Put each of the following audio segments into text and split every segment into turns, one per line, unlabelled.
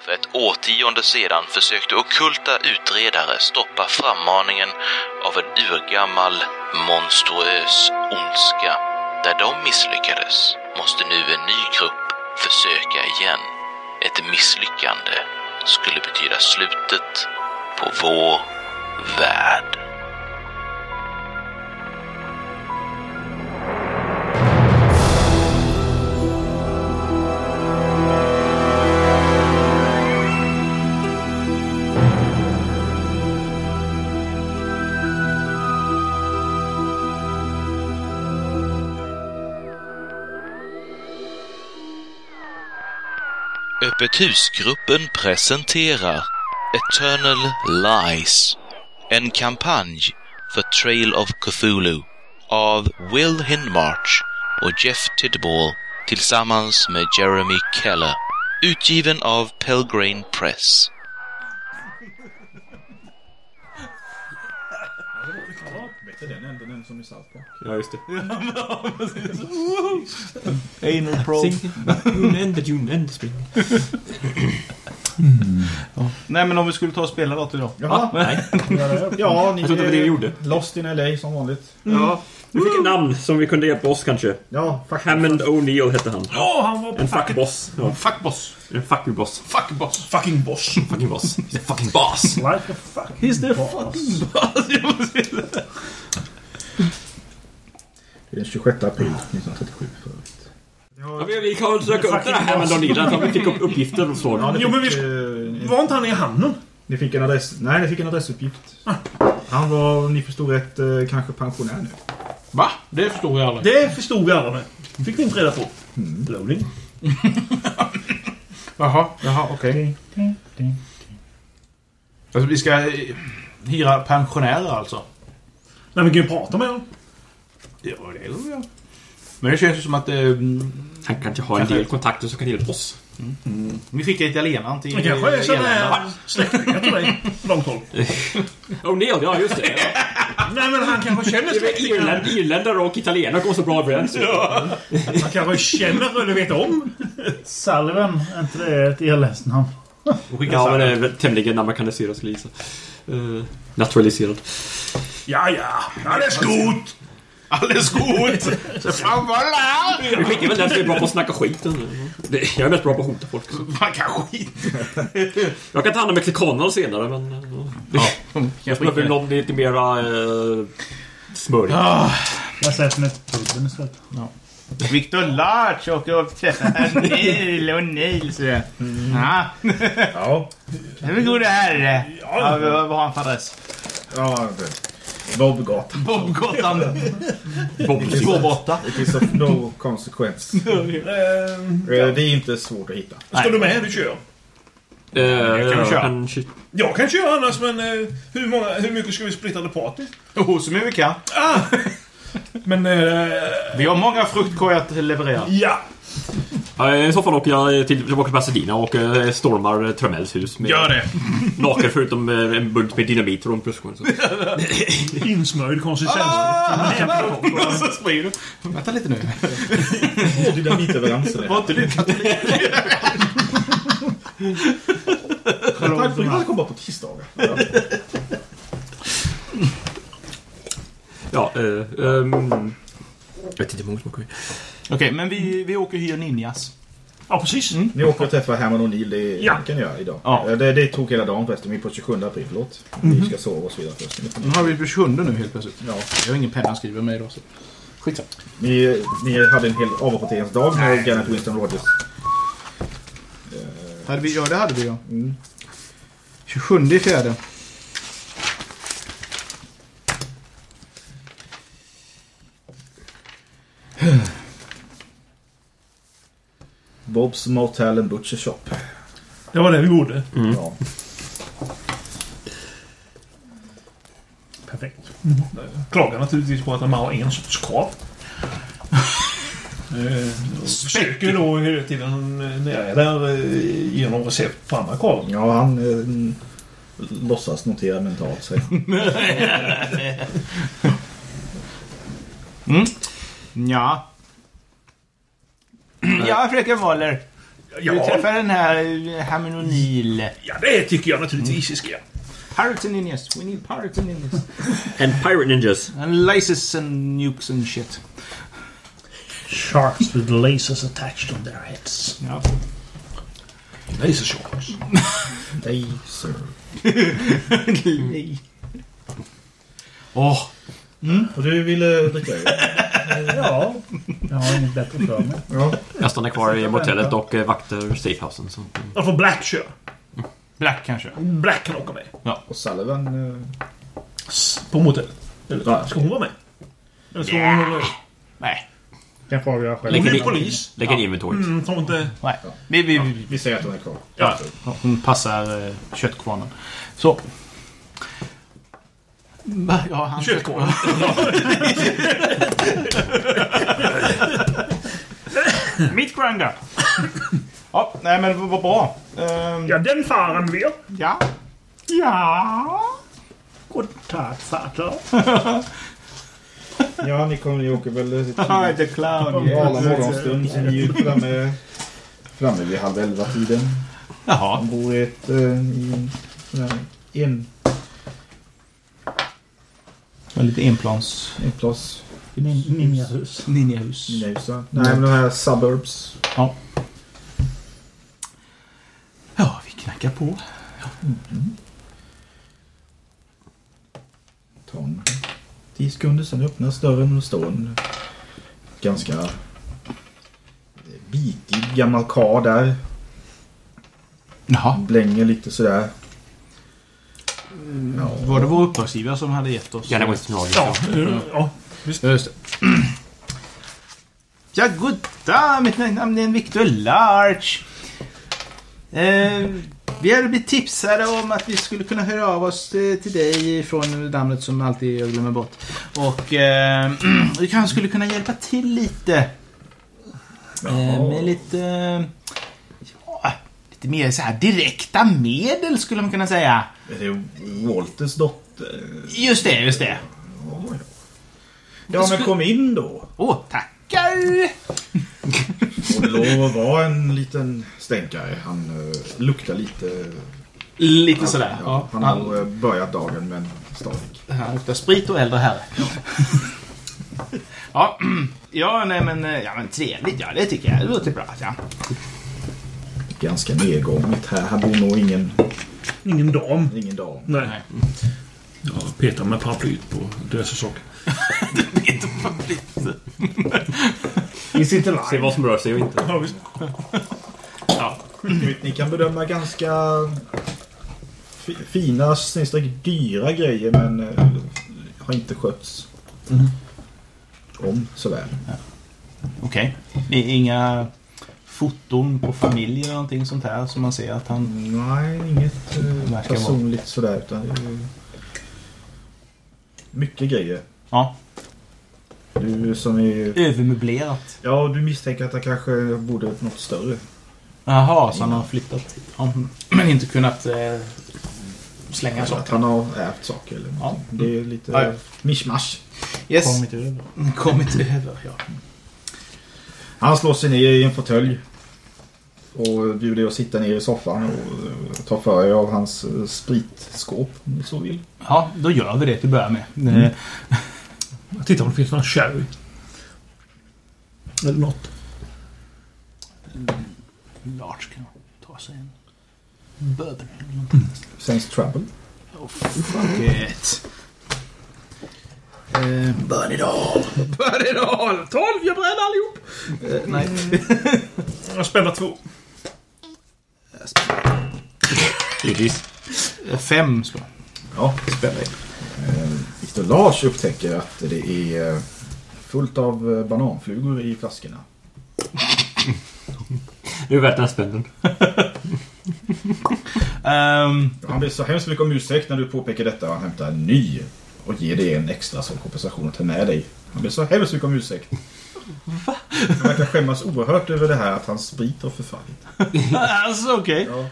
för ett årtionde sedan försökte ockulta utredare stoppa frammaningen av en urgammal monstruös ondska. Där de misslyckades måste nu en ny grupp försöka igen. Ett misslyckande skulle betyda slutet på vår värld. Öppet husgruppen presenterar Eternal Lies. En kampanj för Trail of Cthulhu av Will Hindmarch och Jeff Tidball tillsammans med Jeremy Keller. Utgiven av Pelgrane Press.
Bättre den änden än som är salt på.
Ja, just det. Anal probe.
Sing, Junende, Junende spring.
Nej, men om vi skulle ta och spela något idag.
Jaha.
Nej.
Ja, ni
Jag trodde det var det vi gjorde.
Lost in LA som vanligt.
Ja. Vi fick ett namn som vi kunde hjälpa oss kanske.
Ja, faktiskt.
Hammond O'Neill hette han.
Ja, han var
En fuckboss. Ja,
Fuck boss.
en fuckboss.
Fuck boss. Fucking boss.
Fucking boss. He's a fucking boss.
Like a fuck.
He's the
Det är den 26 april 1937 för övrigt.
Ja, men vi kan väl försöka upp den här Hammond O'Neill. Att vi fick upp uppgifter och så.
Ja, ni
Jo, men vi
fick,
sk-
eh, ni-
Var inte han i hamnen?
Ni fick en adress... Nej, ni fick en adressuppgift. Han var, om ni förstod rätt, eh, kanske pensionär nu.
Va? Det förstår jag aldrig.
Det förstod vi alla med. Fick vi inte reda på. Loading.
Jaha, jaha, okej. Alltså, vi ska eh, hyra pensionärer alltså.
Nej, vi kan ju prata med honom.
Ja, det är det väl. Men det känns ju som att eh,
Han kanske har en del kontakter som kan hjälpa oss.
vi skickar italienaren till
Det kanske är sån här-
Irland.
Släktingar till dig. Långt håll. O'Neill, ja just det.
Nej, men han kanske känner
Det är väl Irland, irländare och italienare går så bra överens.
Han kanske känner eller vet om.
Salven, är inte det ett irländskt namn?
Ja, men det är väl tämligen amerikaniserad skulle jag gissa. Eh, Naturaliserad.
Ja, ja. Alles gut! Alles gut! Så fan vad lär!
Vi skickar väl den som är bra på att snacka skit. eller? Det- Jag är mest bra på att hota folk. så.
Man kan skit.
Jag kan ta hand om mexikanerna senare, men... eh, Jag behöver
skicka-
någon lite mera... Eh, smörj.
Jag sätter mig på puben istället.
Victor Larch åker och träffar Neil och Neil säger Mm. Ja.
Ja.
Hur går det här? Ja, vad vad har han för adress?
Ja, det. Bobgatan.
Bobgatan
Bob,
Tvåbotta.
It is of no consequence. Eh, det är inte svårt att hitta.
Står du med? Du kör.
eh, jag
kan vi köra.
kan kö-
Jag kan köra annars, men eh, hur, många, hur mycket ska vi splitta the party?
Oh, så mycket vi kan.
Men... Eh,
Vi har många fruktkorgar att leverera.
ja.
Ja, I så fall åker jag till, tillbaka till Pasadena och eh, stormar Tramells hus. Med
Gör det.
Laker förutom eh, en bunt med dynamit runt bröstkorgen. så.
Insmörjd konsistens.
Ah.
Så sprider du. Vänta lite nu.
Dynamitleveranser.
Var inte du
Tack för att jag kom bara på tisdagar.
Ja, eh, ehm, jag vet inte hur många som åker med.
Okej, men vi, vi åker och hyr ninjas.
Ja, precis.
Ni åker och träffar Herman och Neil, det
Ja.
kan ni göra idag.
Ja.
Eh, Det, det tog hela dagen förresten, vi är på 27 april, förlåt. Vi ska sova och så vidare först.
Nu har vi blivit sjunde nu helt plötsligt.
Ja.
Jag har ingen penna att skriva med idag så. Skitsamma.
Ni, ni hade en hel avrapporteringsdag med Garnet Winston Rogers.
Hade vi, ja, det hade vi ja. 27 i fjärde.
Bobs Motel and Butcher Shop.
Det var det vi gjorde.
Ja.
Perfekt. Klagar naturligtvis på att de har en sorts krav. Eh, och Försöker då hela tiden eh, när jag är där eh, ge någon recept på andra krav.
ja, han eh, låtsas notera mentalt sig.
Ja. Jag fröken Waller. Du
Ja,
träffar den här eh, Hammond O'Neill.
ja, det tycker jag naturligtvis
Mm.
vi ska göra.
Pirates and Indians. We need pirates and Indians.
And pirate ninjas.
And laces and nukes and shit.
Sharks with lasers attached on their heads.
Ja.
Laser shorts.
Nej.
Och du ville dricka öl?
Ja, jag har inget bättre för mig.
Jag stannar kvar i motellet och eh, vaktar safehousen. Så.
Då får Black köra.
Black kanske.
Black kan åka med.
Och Sullivan... eh,
På motellet. Eller, ska hon vara med? Eller ska hon vara med?
Nej.
Kanske avgöra själv.
Lägger
Hon är
in,
polis.
lägger in inventoriet.
Mm, tror inte...
Nej. Vi, vi, vi,
Vi säger att hon är kvar.
Ja.
Ja, Hon passar eh, köttkvarnen. Så. Va? Ja, han
Köttkvarn.
Mitt grinder. ja, nej men vad bra. Ehm,
Ja, den faren vi.
ja. Ja.
God tack, fartar.
Ja, ni kommer, ni åker väl eh, till
Hi, the clown.
Arla morgonstund som ni är framme, framme vid halv elva-tiden.
Jaha.
Han bor i ett... eh, i en sån här en,
Lite enplans...
en plats.
Ninjahus.
Ninjahus.
Nej, så- Nej, men de här suburbs.
Ja, vi knackar på.
Ta en tio sekunder, sen öppnas dörren och står en ganska eh, bitig gammal karl där.
Jaha.
Blänger lite sådär. Mm.
Var det vår uppdragsgivare som hade gett oss?
Ja, det var inte snarare.
Ja,
eh,
ja.
Ja, just det. Ja, goddag! Mitt namn är Victor Larch. Eh, vi hade blivit tipsade om att vi skulle kunna höra av oss eh, till dig från namnet som alltid jag glömmer bort. Och eh, vi kanske skulle kunna hjälpa till lite. Eh, med lite... Ja, lite mer så här direkta medel skulle man kunna säga.
Är det Walters dotter?
Just det, just det.
Ja, men kom in då.
Åh, tackar!
Och det lov att vara en liten stänkare. Han eh, luktar lite...
Lite sådär.
Ja, han
Ja.
har eh, börjat dagen med en stadig.
Han luktar sprit och äldre herre. ja, ja, nej men, eh, ja, men trevligt. Ja, det tycker jag. Det låter bra. Ja.
Ganska nedgånget här. Här bor nog ingen,
Ingen dam.
ingen dam.
Nej.
Ja, peta med paraplyet på lösa saker.
Is it alive?
Se vad som rör sig och inte.
Mm.
Ni kan bedöma ganska fi- fina, snedstreck dyra grejer men eh, har inte skötts
Mm.
om så väl.
Okej. Det är Inga foton på familj eller någonting sånt här som man ser att han...
Nej, inget eh,
vara.
personligt sådär. Utan det är ju mycket grejer.
Ja,
Du som är
övermöblerat.
Ja, du misstänker att han kanske borde något större.
Jaha, så han har flyttat hit. Ja, men inte kunnat eh, slänga
Alltså att
saker.
han har ärvt saker eller någonting. Det är lite
Ja, ja.
mischmasch.
Yes.
Kommit över.
Kommit över, ja.
Han slår sig ner i en fåtölj. Och bjuder er att sitta ner i soffan och eh, ta för er av hans eh, spritskåp om ni så vill.
Ja, då gör vi det till att börja med. Eh,
Jag tittar om det finns någon sherry. Eller något.
Lars kan ta sig en bourbon eller någonting.
Sense trouble.
Fuck it. Uh, burn it all. Burn it all. Tolv, jag bränner allihop. Eh, nej.
Jag spänner två.
Givetvis.
Eh, Fem slår
Ja.
spelar in.
Victor Eh, Lars upptäcker att det är eh, fullt av eh, bananflugor i flaskorna.
Det är värt den här spännen.
Ehm,
Han ber så hemskt mycket om ursäkt när du påpekar detta och han hämtar en ny och ger dig en extra som kompensation att ta med dig. Han ber så hemskt mycket om ursäkt. Han verkar skämmas oerhört över det här att hans sprit har förfallit.
alltså okej.
Ja.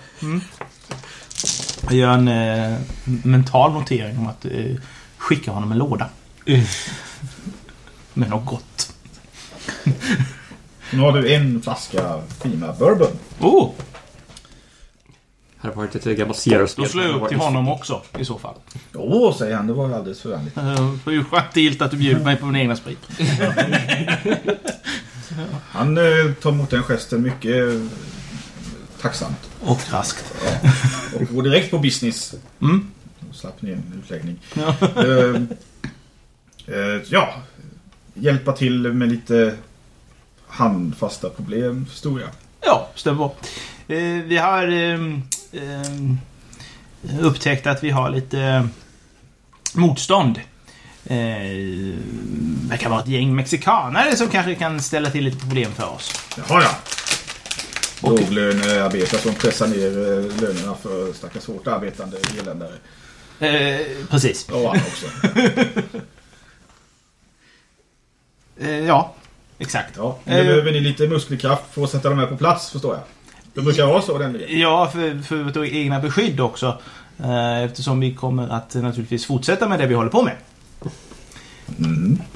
Jag gör en eh, mental notering om att eh, skicka honom en låda. Med något gott.
Nu har du en flaska fina bourbon.
Oh,
Här har varit ett eh, gammalt Sierra-spel.
då slår jag upp till honom också i så fall.
Åh, säger han. Det var ju alldeles förvänligt.
Eh, Det är ju gentilt att du bjuder mig på min egna sprit.
Han eh, tar emot den gesten mycket eh, tacksamt.
Och raskt.
Och går direkt på business.
Mm.
Och slapp ner en utläggning.
Ja.
Eh, eh, ja, hjälpa till med lite handfasta problem, förstod jag.
Ja, stämmer bra. Eh, Vi har ehm, ehm, upptäckt att vi har lite ehm, motstånd. Eh, Det kan vara ett gäng mexikanare som kanske kan ställa till lite problem för oss.
Jaha ja. Låglönearbetare som pressar ner eh, lönerna för stackars hårt arbetande irländare.
Eh, Precis.
Och han också.
Eh, Ja, exakt.
Ja, nu behöver ni lite muskelkraft för att sätta dem här på plats, förstår jag. Det brukar vara så nämligen.
Ja, för, för vårt egna beskydd också. Eh, Eftersom vi kommer att eh, naturligtvis fortsätta med det vi håller på med.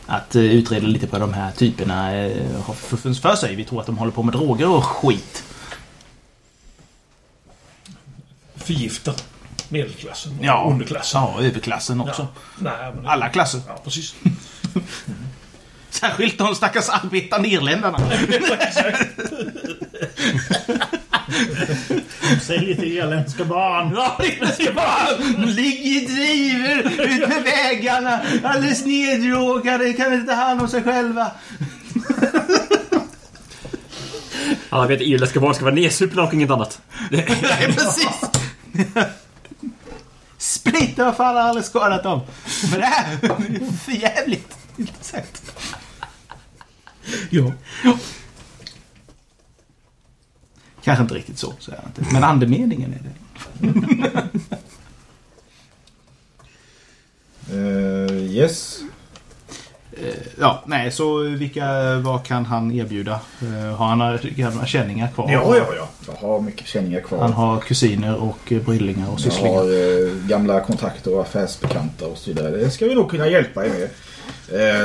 Att eh, utreda lite på de här typerna eh, har fuffens för sig. Vi tror att de håller på med droger och skit.
Förgiftar medelklassen och
Ja.
underklassen. Liksom.
Ja, överklassen också.
Nej, men det-
Alla klasser.
Ja, precis.
Särskilt de stackars arbetande irländarna.
Sälj till irländska barn.
Ja, det ska bara- Ligg i drivor ut med vägarna. Alldeles neddrogade, kan inte ta hand om sig själva.
Alla vet att irländska barn ska vara nedsupna och inget annat.
Nej, precis. Splitter har fan aldrig skadat dem. Men det här är för jävligt. Intressant. Ja. Kanske inte riktigt så, så är det inte. Men andemeningen är det.
Eh, yes.
Ja, nej, så vilka, vad kan han erbjuda? Eh, Har han några gamla känningar kvar?
Ja, ja, ja. Jag har mycket känningar kvar.
Han har kusiner och eh, brillingar och
Jag
sysslingar.
har eh, gamla kontakter och affärsbekanta och så vidare. Det ska vi nog kunna hjälpa er med.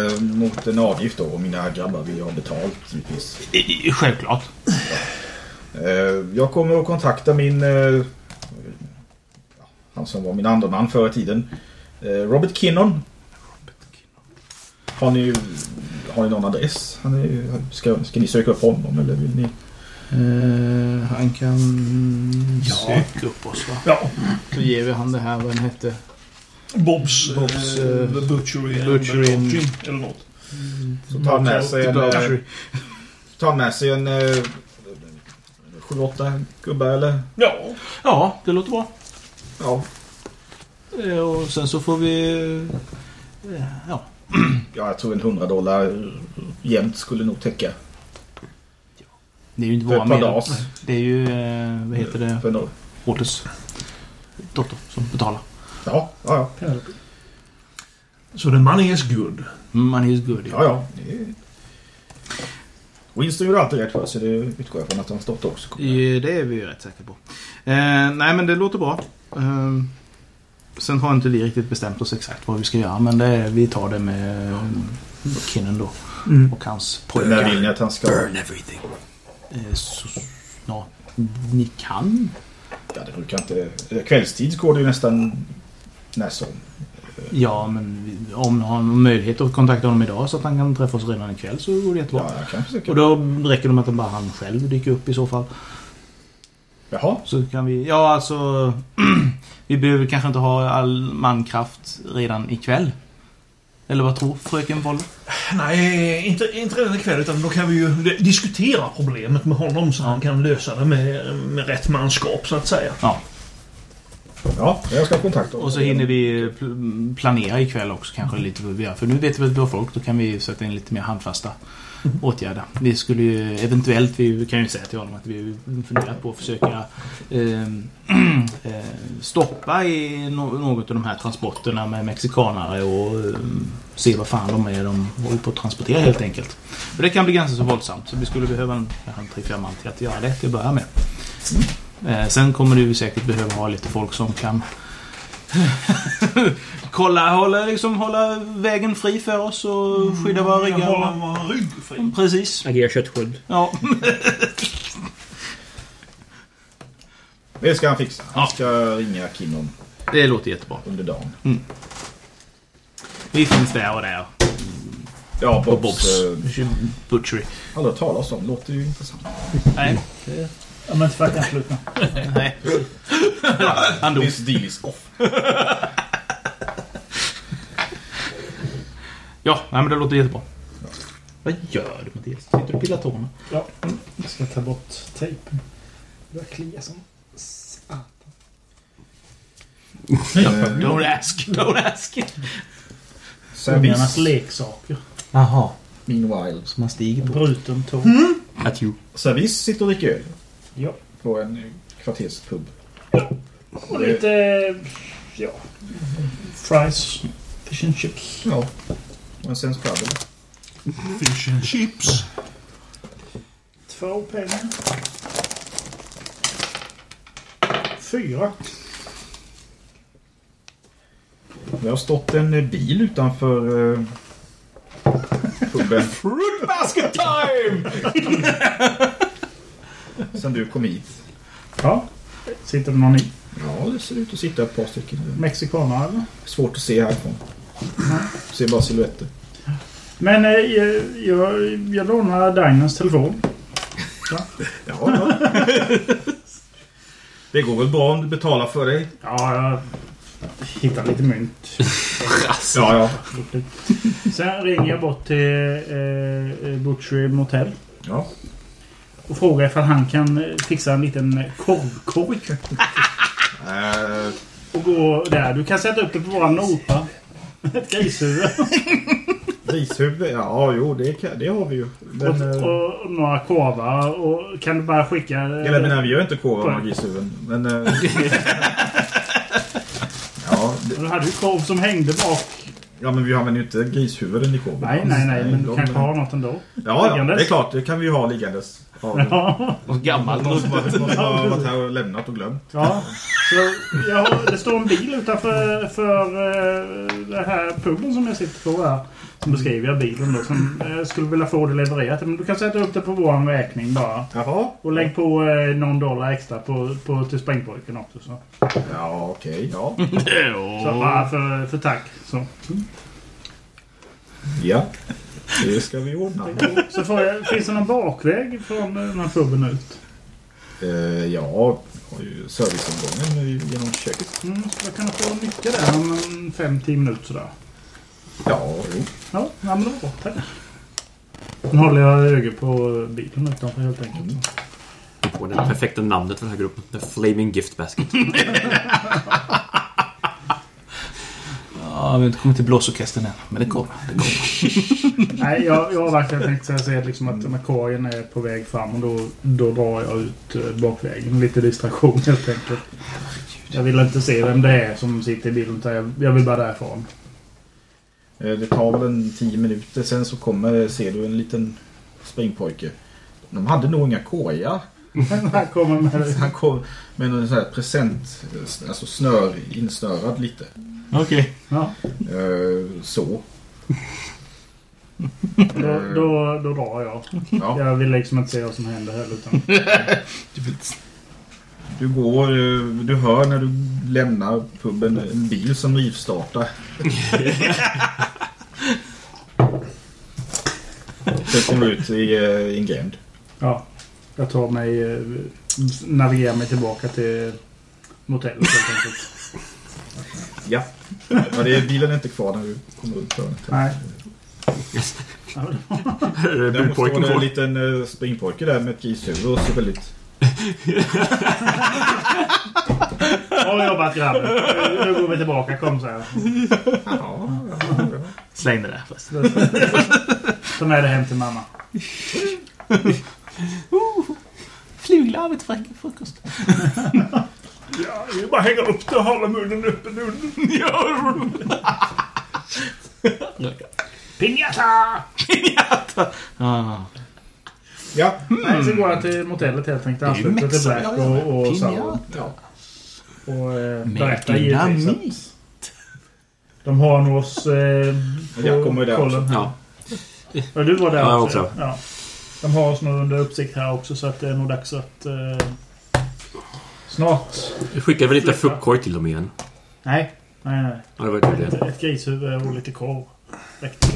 Eh, mot en avgift då. Och mina grabbar vill ju ha betalt givetvis.
I- i- Självklart.
Eh, jag kommer att kontakta min... Eh, ja, han som var min andra man förr i tiden. Eh, Robert Kinnon. Har ni, har ni någon adress? Han är, ska, ska ni söka upp honom eller vill ni?
Eh, han kan...
Sök upp oss va.
Ja,
Så ger vi han det här, vad den hette.
Bobs,
Bob's,
Bobs
eh,
Butchery, and
Butchery and-
Lodging eller något.
Så tar han med sig en... Eh, tar han med sig en... Eh, Sju, åtta gubbar eller?
Ja,
Ja, det låter bra.
Ja.
Eh, Och sen så får vi... eh, Ja.
ja, jag tror en 100 dollar jämnt skulle nog täcka.
Det är ju inte
För
våra
ett par
medel.
dagar.
Det är ju, eh, vad heter det,
För en-
Waters dotter som betalar.
Ja, ja, ja.
så the money is good.
Money is good.
Ja, ja. det är- Winston gjorde alltid rätt för sig. Det utgår jag från att hans dotter också kommer.
Eh, Det är vi ju rätt säkra på. Eh, nej, men det låter bra. Eh, sen har inte vi riktigt bestämt oss exakt vad vi ska göra, men det är, vi tar det med eh, Kinnan då.
Mm.
Och hans
När vill
pojkar.
ni att han ska...
everything.
Eh, så snart ni kan.
Ja, det brukar inte... Kvällstid går det ju nästan när som.
Ja, men vi- om ni har någon möjlighet att kontakta honom idag så att han kan träffa oss redan ikväll så går det jättebra.
Ja, jag kan försöka.
Och då räcker det med att bara han själv dyker upp i så fall.
Jaha.
Så kan vi, ja alltså. vi behöver kanske inte ha all mankraft redan ikväll. Eller vad tror fröken Wolle?
Nej, inte, inte redan ikväll utan då kan vi ju diskutera problemet med honom så han kan lösa det med, med rätt manskap så att säga.
Ja, jag ska kontakta
Och så hinner vi pl- planera ikväll också kanske lite vad vi gör. För nu vet vi att vi har folk, då kan vi sätta in lite mer handfasta åtgärder. Vi skulle ju eventuellt, vi kan ju säga till honom att vi funderar på att försöka eh, eh, stoppa i no- något av de här transporterna med mexikanare och eh, se vad fan de är de håller på att transportera helt enkelt. För det kan bli ganska så våldsamt så vi skulle behöva en, kanske en tre, fem man till att göra det till att börja med. Eh, sen kommer du säkert behöva ha lite folk som kan
Kolla, hålla, liksom, hålla vägen fri för oss och skydda våra
Mm, Jag håller
ryggar.
vår rygg fri.
Precis.
Agera köttsköld.
Ja.
Det ska han fixa. Han ska ringa Kinnon
Det låter jättebra.
under dagen.
Mm.
Vi finns där och där.
Ja, Bobs.
Bobs.
eh,
Butchery.
Aldrig hört talas om. Låter ju intressant.
Nej.
Ja, men inte för att jag slutna.
Nej. Han dog.
This deal is off.
Ja, nej, men det låter jättebra. Vad gör du Mattias? Sitter du och pillar tårna?
Ja. Jag ska ta bort tejpen. Det börjar klia som satan.
Don't ask, don't ask.
Ungarnas
Service.
leksaker.
Jaha,
Meanwhile.
så man stiger
Mm.
på.
Bruten tå.
At you.
Service sitter och dricker öl.
Ja.
På en eh, kvarterspub.
Och lite... Ja. Fries. Fish and chips.
Ja. Och en sen skrabbel.
Fish and chips.
Två pengar. Fyra.
Det har stått en eh, bil utanför eh, puben
Fruit basket time!
sen du kom hit.
Ja. Sitter det någon i?
Ja, det ser ut att sitta ett par stycken.
Mexikanare eller?
Svårt att se härifrån. Ser bara silhuetter.
Men eh, jag, jag, jag lånar Diners telefon.
Ja, ja. Det går väl bra om du betalar för dig?
Ja, jag hittar lite mynt.
Ja, ja.
Sen ringer jag bort till eh, Butchery Motel.
Ja.
Och frågar ifall han kan eh, fixa en liten korvkorg.
Eh,
Och gå där. Du kan sätta upp det på våran nota. Ett grishuvud.
Rishuvud? Ja, jo, det, kan, det har vi ju. Men, eh,
Och, och några korvar. Och kan du bara skicka... eh,
eller menar, vi gör inte korvar med grishuvuden. Men... eh, ja, det,
Du hade ju korv som hängde bak.
ja, men vi använder ju inte grishuvuden i korven.
Nej, nej, nej. Men du
de-
kanske har något ändå.
Ja, ja,
liggandes.
det är klart. Det kan vi ju ha liggandes. Ja, det-
Ja.
Gammalt.
Någon som har, någon som har varit här och lämnat och glömt.
ja. Så jag har, det står en bil utanför för, eh, det här puben som jag sitter på här. Så beskriver jag bilen då. Som eh, skulle vilja få det levererat. Men du kan sätta upp det på våran räkning bara.
Jaha.
Och lägg på eh, någon dollar extra på, på, till sprängpojken också. Så,
Ja, okej. ja.
så bara för, för tack. Så,
ja. Det ska vi ordna.
så får jag, finns det någon bakväg från eh, den här puben ut?
Eh, ja, vi har ju serviceomgången nu genom köket.
Mm, skulle jag kunna få nyttja den om en 5-10 minuter sådär?
Ja, jo.
Ja, ja men då bra. Tack. Nu håller jag ögat på bilen utanför helt enkelt.
Och det perfekta namnet för den här gruppen. The Flaming Gift Basket.
Ja, vi har inte kommit till blåsorkestern än. Men det kommer. Det kommer.
Nej, jag, jag avvaktar. Jag tänkte säga liksom att när korgen är på väg fram och då, då drar jag ut eh, bakvägen. Lite distraktion helt enkelt. Jag vill inte se vem det är som sitter i bilen utan jag, jag vill bara därifrån.
Eh, Det tar väl en tio minuter, sen så kommer, ser du en liten springpojke. De hade nog inga koja.
Han kommer med
Han kom med en sån här present, eh, alltså snör, insnörad lite.
Okej.
ja,
Eh, Så.
då, då, då drar jag.
Ja.
Jag vill liksom inte se vad som händer heller. Utan,
Du går, eh, du hör när du lämnar puben en bil som rivstartar. Sen kommer du ut i eh, en gränd.
ja, jag tar mig... eh, Navigerar mig tillbaka till motellet helt enkelt.
Ja. ja det är, bilen är inte kvar när du kommer runt hörnet.
Nej.
Däremot står
Budpojken
det en
på.
liten eh, springpojke där med ett grishuvud och ser väldigt...
Bra jobbat grabben. Nu- Nu går vi tillbaka. Kom så här.
Släng det där först.
Ta med det hem till mamma.
Fluglarvet för frukost.
Ja, det är bara att hänga upp det och hålla munnen öppen under.
Pinjata!
Ah.
Ja.
Nej, så går jag till motellet helt enkelt.
Det är ju
Ansluter till
Mexiko.
Black och, och
Pinjata.
Sauron.
ja.
Och eh,
Med
berättar givetvis att de har nog oss eh, på
Jag kommer där
kollen.
Ja.
Ja, du var där
Ja, jag
också.
var också.
Ja. De har oss nog under uppsikt här också så att det är nog dags att eh, snart...
Jag skickade väl lite fruktkorg till dem igen.
Nej. Nej, nej.
Ja, det var ju
Ett,
det.
ett grishuvud och lite korv. Räckte.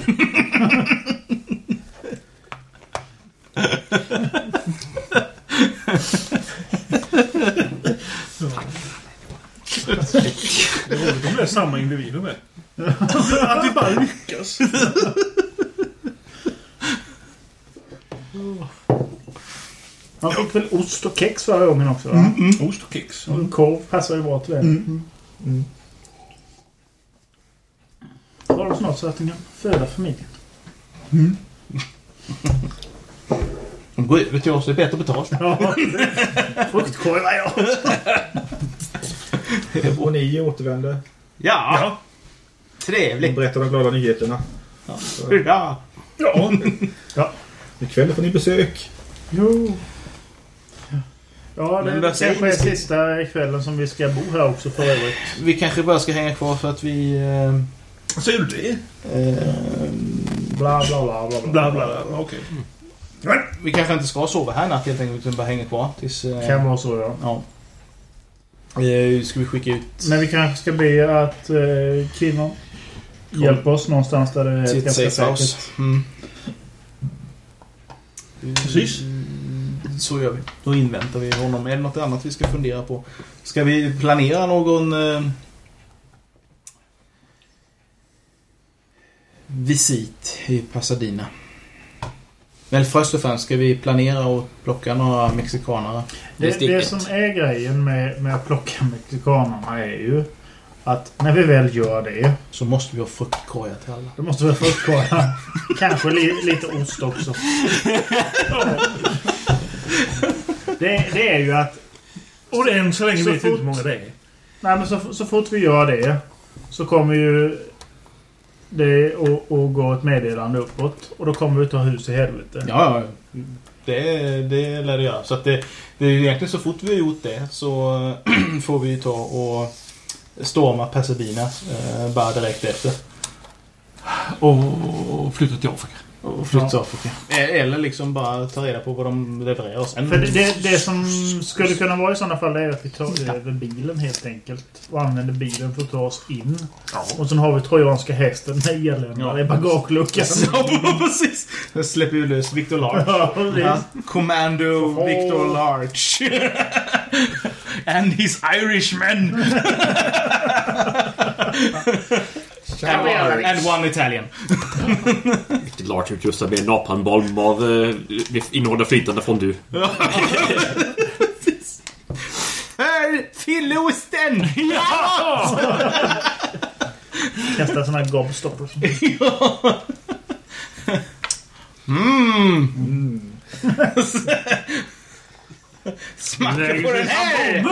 De är samma individer med.
Att vi bara lyckas. Han fick väl ost och kex förra gången också? Va?
Mm, Ost och kex. Mm.
Och korv passar ju bra till det. Då har de snart så att de kan föda familjen.
De går över till oss, det är bättre betalt.
Ja, fruktkorvar ja.
Och ni återvänder.
Ja.
Ni
Trevligt.
berättar de glada nyheterna.
Hurra!
Ikväll får ni besök.
Jo. Ja, det
Men vad
det
säger
kanske är
ni?
sista kvällen som vi ska bo här också för övrigt.
Vi kanske bara ska hänga kvar för att vi... Eh,
Säger du det?
eh,
Bla, bla, bla, bla, bla.
Bla, bla, bla. Okej.
vi kanske inte ska sova här natt helt enkelt, utan bara hänga kvar tills...
Kan
Eh,
vara så ja.
ja. Eh, ska vi skicka ut...
Men vi kanske ska be att eh, kvinnan hjälper oss någonstans där det är
Till ett
Eh,
safe
ganska säkert.
house. Mm.
Precis.
Mm, Så gör vi. Då inväntar vi honom. Är det något annat vi ska fundera på? Ska vi planera någon... Eh, visit i Pasadena? Men först och främst ska vi planera och plocka några mexikanare.
Det, det som är grejen med, med att plocka mexikanerna är ju att när vi väl gör det,
Så måste vi ha fruktkorgar till alla.
då måste vi få upp korgarna. Kanske li, lite ost också. Det, det är ju att
Och det är än så länge
Så
vet vi
fort-
inte hur många det är.
nej men så, så fort vi gör det så kommer ju det att att gå ett meddelande uppåt. Och då kommer vi ta hus i helvete.
Ja, ja. Det, det lär det göra. Så att det, det är ju egentligen så fort vi har gjort det så får vi ta och storma Pasadena eh, bara direkt efter.
Och flytta till Afrika.
Och flytta till Afrika. E- Eller liksom bara ta reda på vad de levererar och sen...
För det, det, det som skulle kunna vara i sådana fall är att vi tar över bilen helt enkelt. Och använder bilen för att ta oss in. Och sen har vi trojanska hästen med elända i bagageluckan.
Ja, precis! Jag släpper ju lös Victor Large.
Ja, precis.
Ja. Commando Victor Large. And his Irishman. and, and one Italian.
Riktigt large utrustad med en napalmbomb av eh, innehåller flytande fondue.
Här! Fylleosten!
Kasta sådana här gobstoppers.
Mm. Smacka
Nej,
på den
det
här!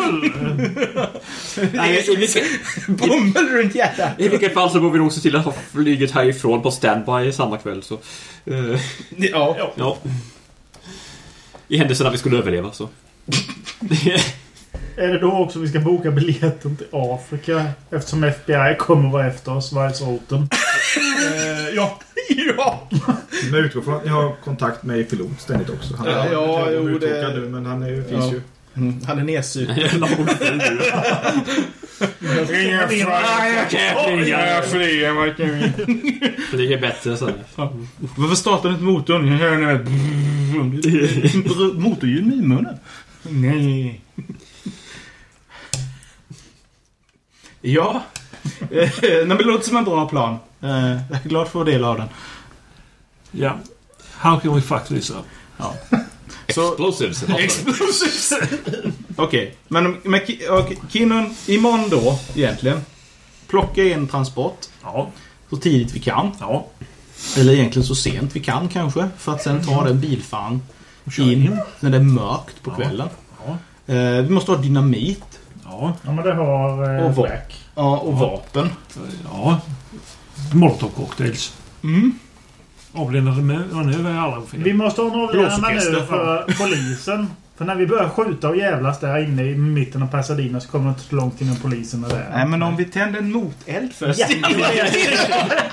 Nej, i, vilket,
Bomull runt hjärtat!
I vilket fall så går vi nog se till att ha flyget härifrån på standby samma kväll. Så, eh,
Ja.
ja. I händelse att vi skulle överleva så.
Är det då också vi ska boka biljetten till Afrika? Eftersom FBI kommer vara efter oss, vargsoten.
ja.
Ja!
Men jag utgår från att ni har kontakt med pilot ständigt också. Han är
Ja, ja, jo,
uttråkad
det-
nu, men han är, ju- finns
Ja.
ju.
Mm, Han är nedsupen.
Inga
Flyger bättre så.
Varför startar du inte motorn? Jag hör nu. Brr, Motorljud med i munnen. Nej. Ja. Eh, Nej, men det låter som en bra plan. Eh, Jag är glad för att vara del av den.
Yeah. How can we fuck this up?
Explosives.
Explosives! Okej, men, men Ki- okej, Kinnon, imorgon då egentligen. Plocka en transport
Ja.
så tidigt vi kan.
Ja.
Eller egentligen så sent vi kan kanske. För att sen ta den bilfan
köra
in när det är mörkt på kvällen. Eh, Vi måste ha dynamit
Ja.
Ja, men det har... Eh,
och, va- ja, och vapen.
Ja. Molotovcocktails.
Mm.
Avledande manöver är aldrig fel.
vi måste ha en avgörande
Blåsorkester,
manöver för polisen. För när vi börjar skjuta och jävlas där inne i mitten av Pasadena så kommer det inte så långt innan polisen är där.
Nej, men om vi tänder en moteld först.
Ja, det var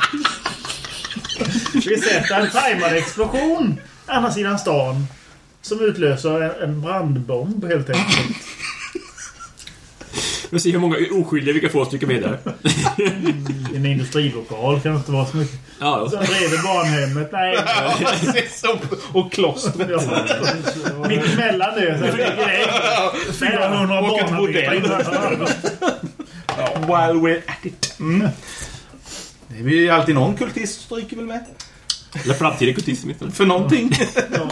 Vi sätter en tajmad explosion andra sidan stan. Som utlöser en, en brandbomb helt enkelt.
Vi ser hur många oskyldiga vi kan få att stryka med där.
I en industrilokal kan det inte vara så mycket.
Ja,
Sen bredvid barnhemmet. Nej.
Och klostret.
Ja. Mitt emellan det så ligger det 400 barnarbetare innan.
While we're at it. Mm. Det är ju alltid någon kultist som stryker väl med.
eller framtida kultism. inte?
För någonting.
Mm.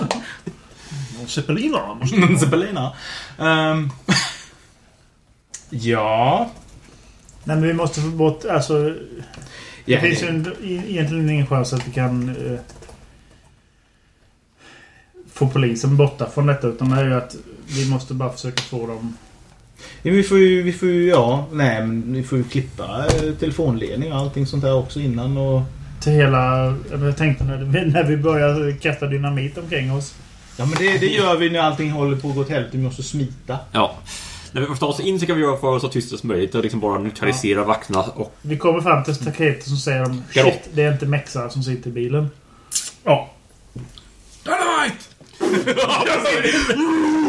Zeppelinarna måste
Men Zeppelina. Ehm, ja.
Nej men vi måste få bort... Alltså, det
Ja,
finns ju
det-
en, e- egentligen ingen chans att vi kan... Eh, få polisen borta från detta. Utan det är ju att vi måste bara försöka få dem...
Ja, vi får ju, vi får ju, ja, nej, men vi får ju klippa eh, telefonledning och allting sånt där också innan och...
Till hela... Jag tänkte när vi, när vi börjar kasta dynamit omkring oss.
Ja, men det, det gör vi när allting håller på att gå åt helvete. Vi måste smita.
Ja. När vi får ta oss in så kan vi göra för oss så tyst som möjligt och liksom bara neutralisera vakterna och...
Vi kommer fram till staketet som säger de,
Garott.
Shit, det är inte mexar som sitter i bilen.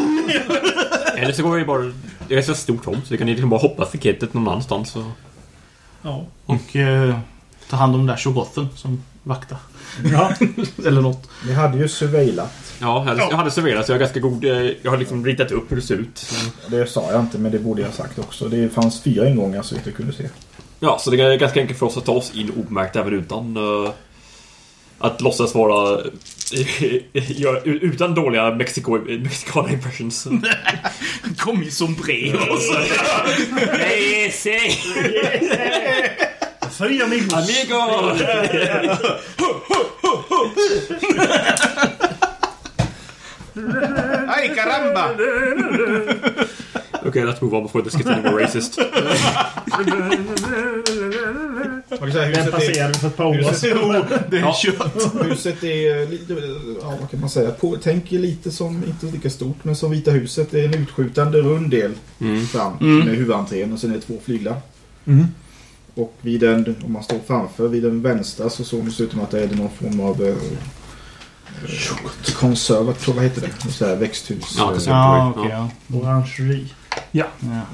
Eller så går vi bara... Det är så stort tom så vi kan liksom bara hoppa staketet någon annanstans. Så.
Och eh, ta hand om den där shogothen som vaktar. Eller något.
Ni hade ju surveillat.
Ja, jag, jag hade serverat så jag har ganska god... eh, Jag har liksom ritat upp hur det ser ut. Så-
Det sa jag inte, men det borde jag ha sagt också. Det fanns fyra ingångar så vitt jag kunde se.
Ja, så det är ganska enkelt för oss att ta oss in obemärkt även utan... eh, att låtsas vara... gör- utan dåliga Mexiko, mexikana impressions.
Kom i sombrero.
Mm.
Nej, säg!
Fria amigos!
Amigo!
Ay, caramba!
Okay, let's move on before this gets any more racist.
Man kan säga
Den
huset är...
passerade för ett par år
Huset,
sedan.
Det är
Ja.
kött.
huset är eh, lite... Ja, vad kan man säga? På, tänk er lite som, inte lika stort, men som Vita huset. Det är en utskjutande rund del fram med huvudentrén och sen är det två flyglar. Och vid den, om man står framför, vid den vänstra så såg det ut som att det är någon form av... Eh, eh, konservator, vad heter det? Så här, växthus.
Ja, det ser
Ja,
okej,
okej. ja.
Orangeri.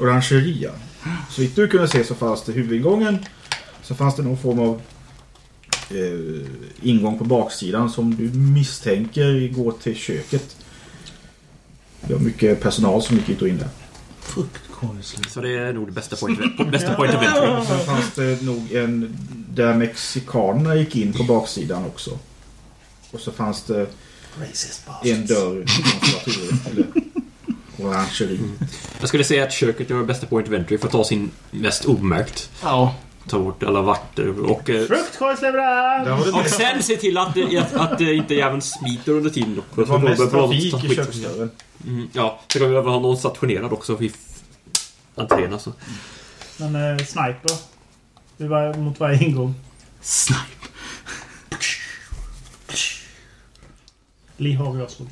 orangeria. Så vitt du kunde se så fanns det huvudingången. Så fanns det någon form av eh, ingång på baksidan som du misstänker går till köket. Det var mycket personal som gick ut och in där.
Så det är nog det bästa point of, bästa point of entry.
Och sen fanns det nog en där mexikanerna gick in på baksidan också. Och så fanns det en dörr till konservatorer. Eller orangeri.
Jag skulle säga att köket är bästa point of entry för att ta sin mest obemärkt.
Ja.
Ta bort alla vakter och... eh,
Där har du
Och sen se till att, det- att, att det inte jäveln smiter under tiden.
det var mest trafik i köksdörren.
Mm, ja, så kan vi behöva ha någon stationerad också vid f- entrén alltså.
Men eh, sniper. Vi var mot varje ingång.
Snipe.
Lee Harvey Oswald.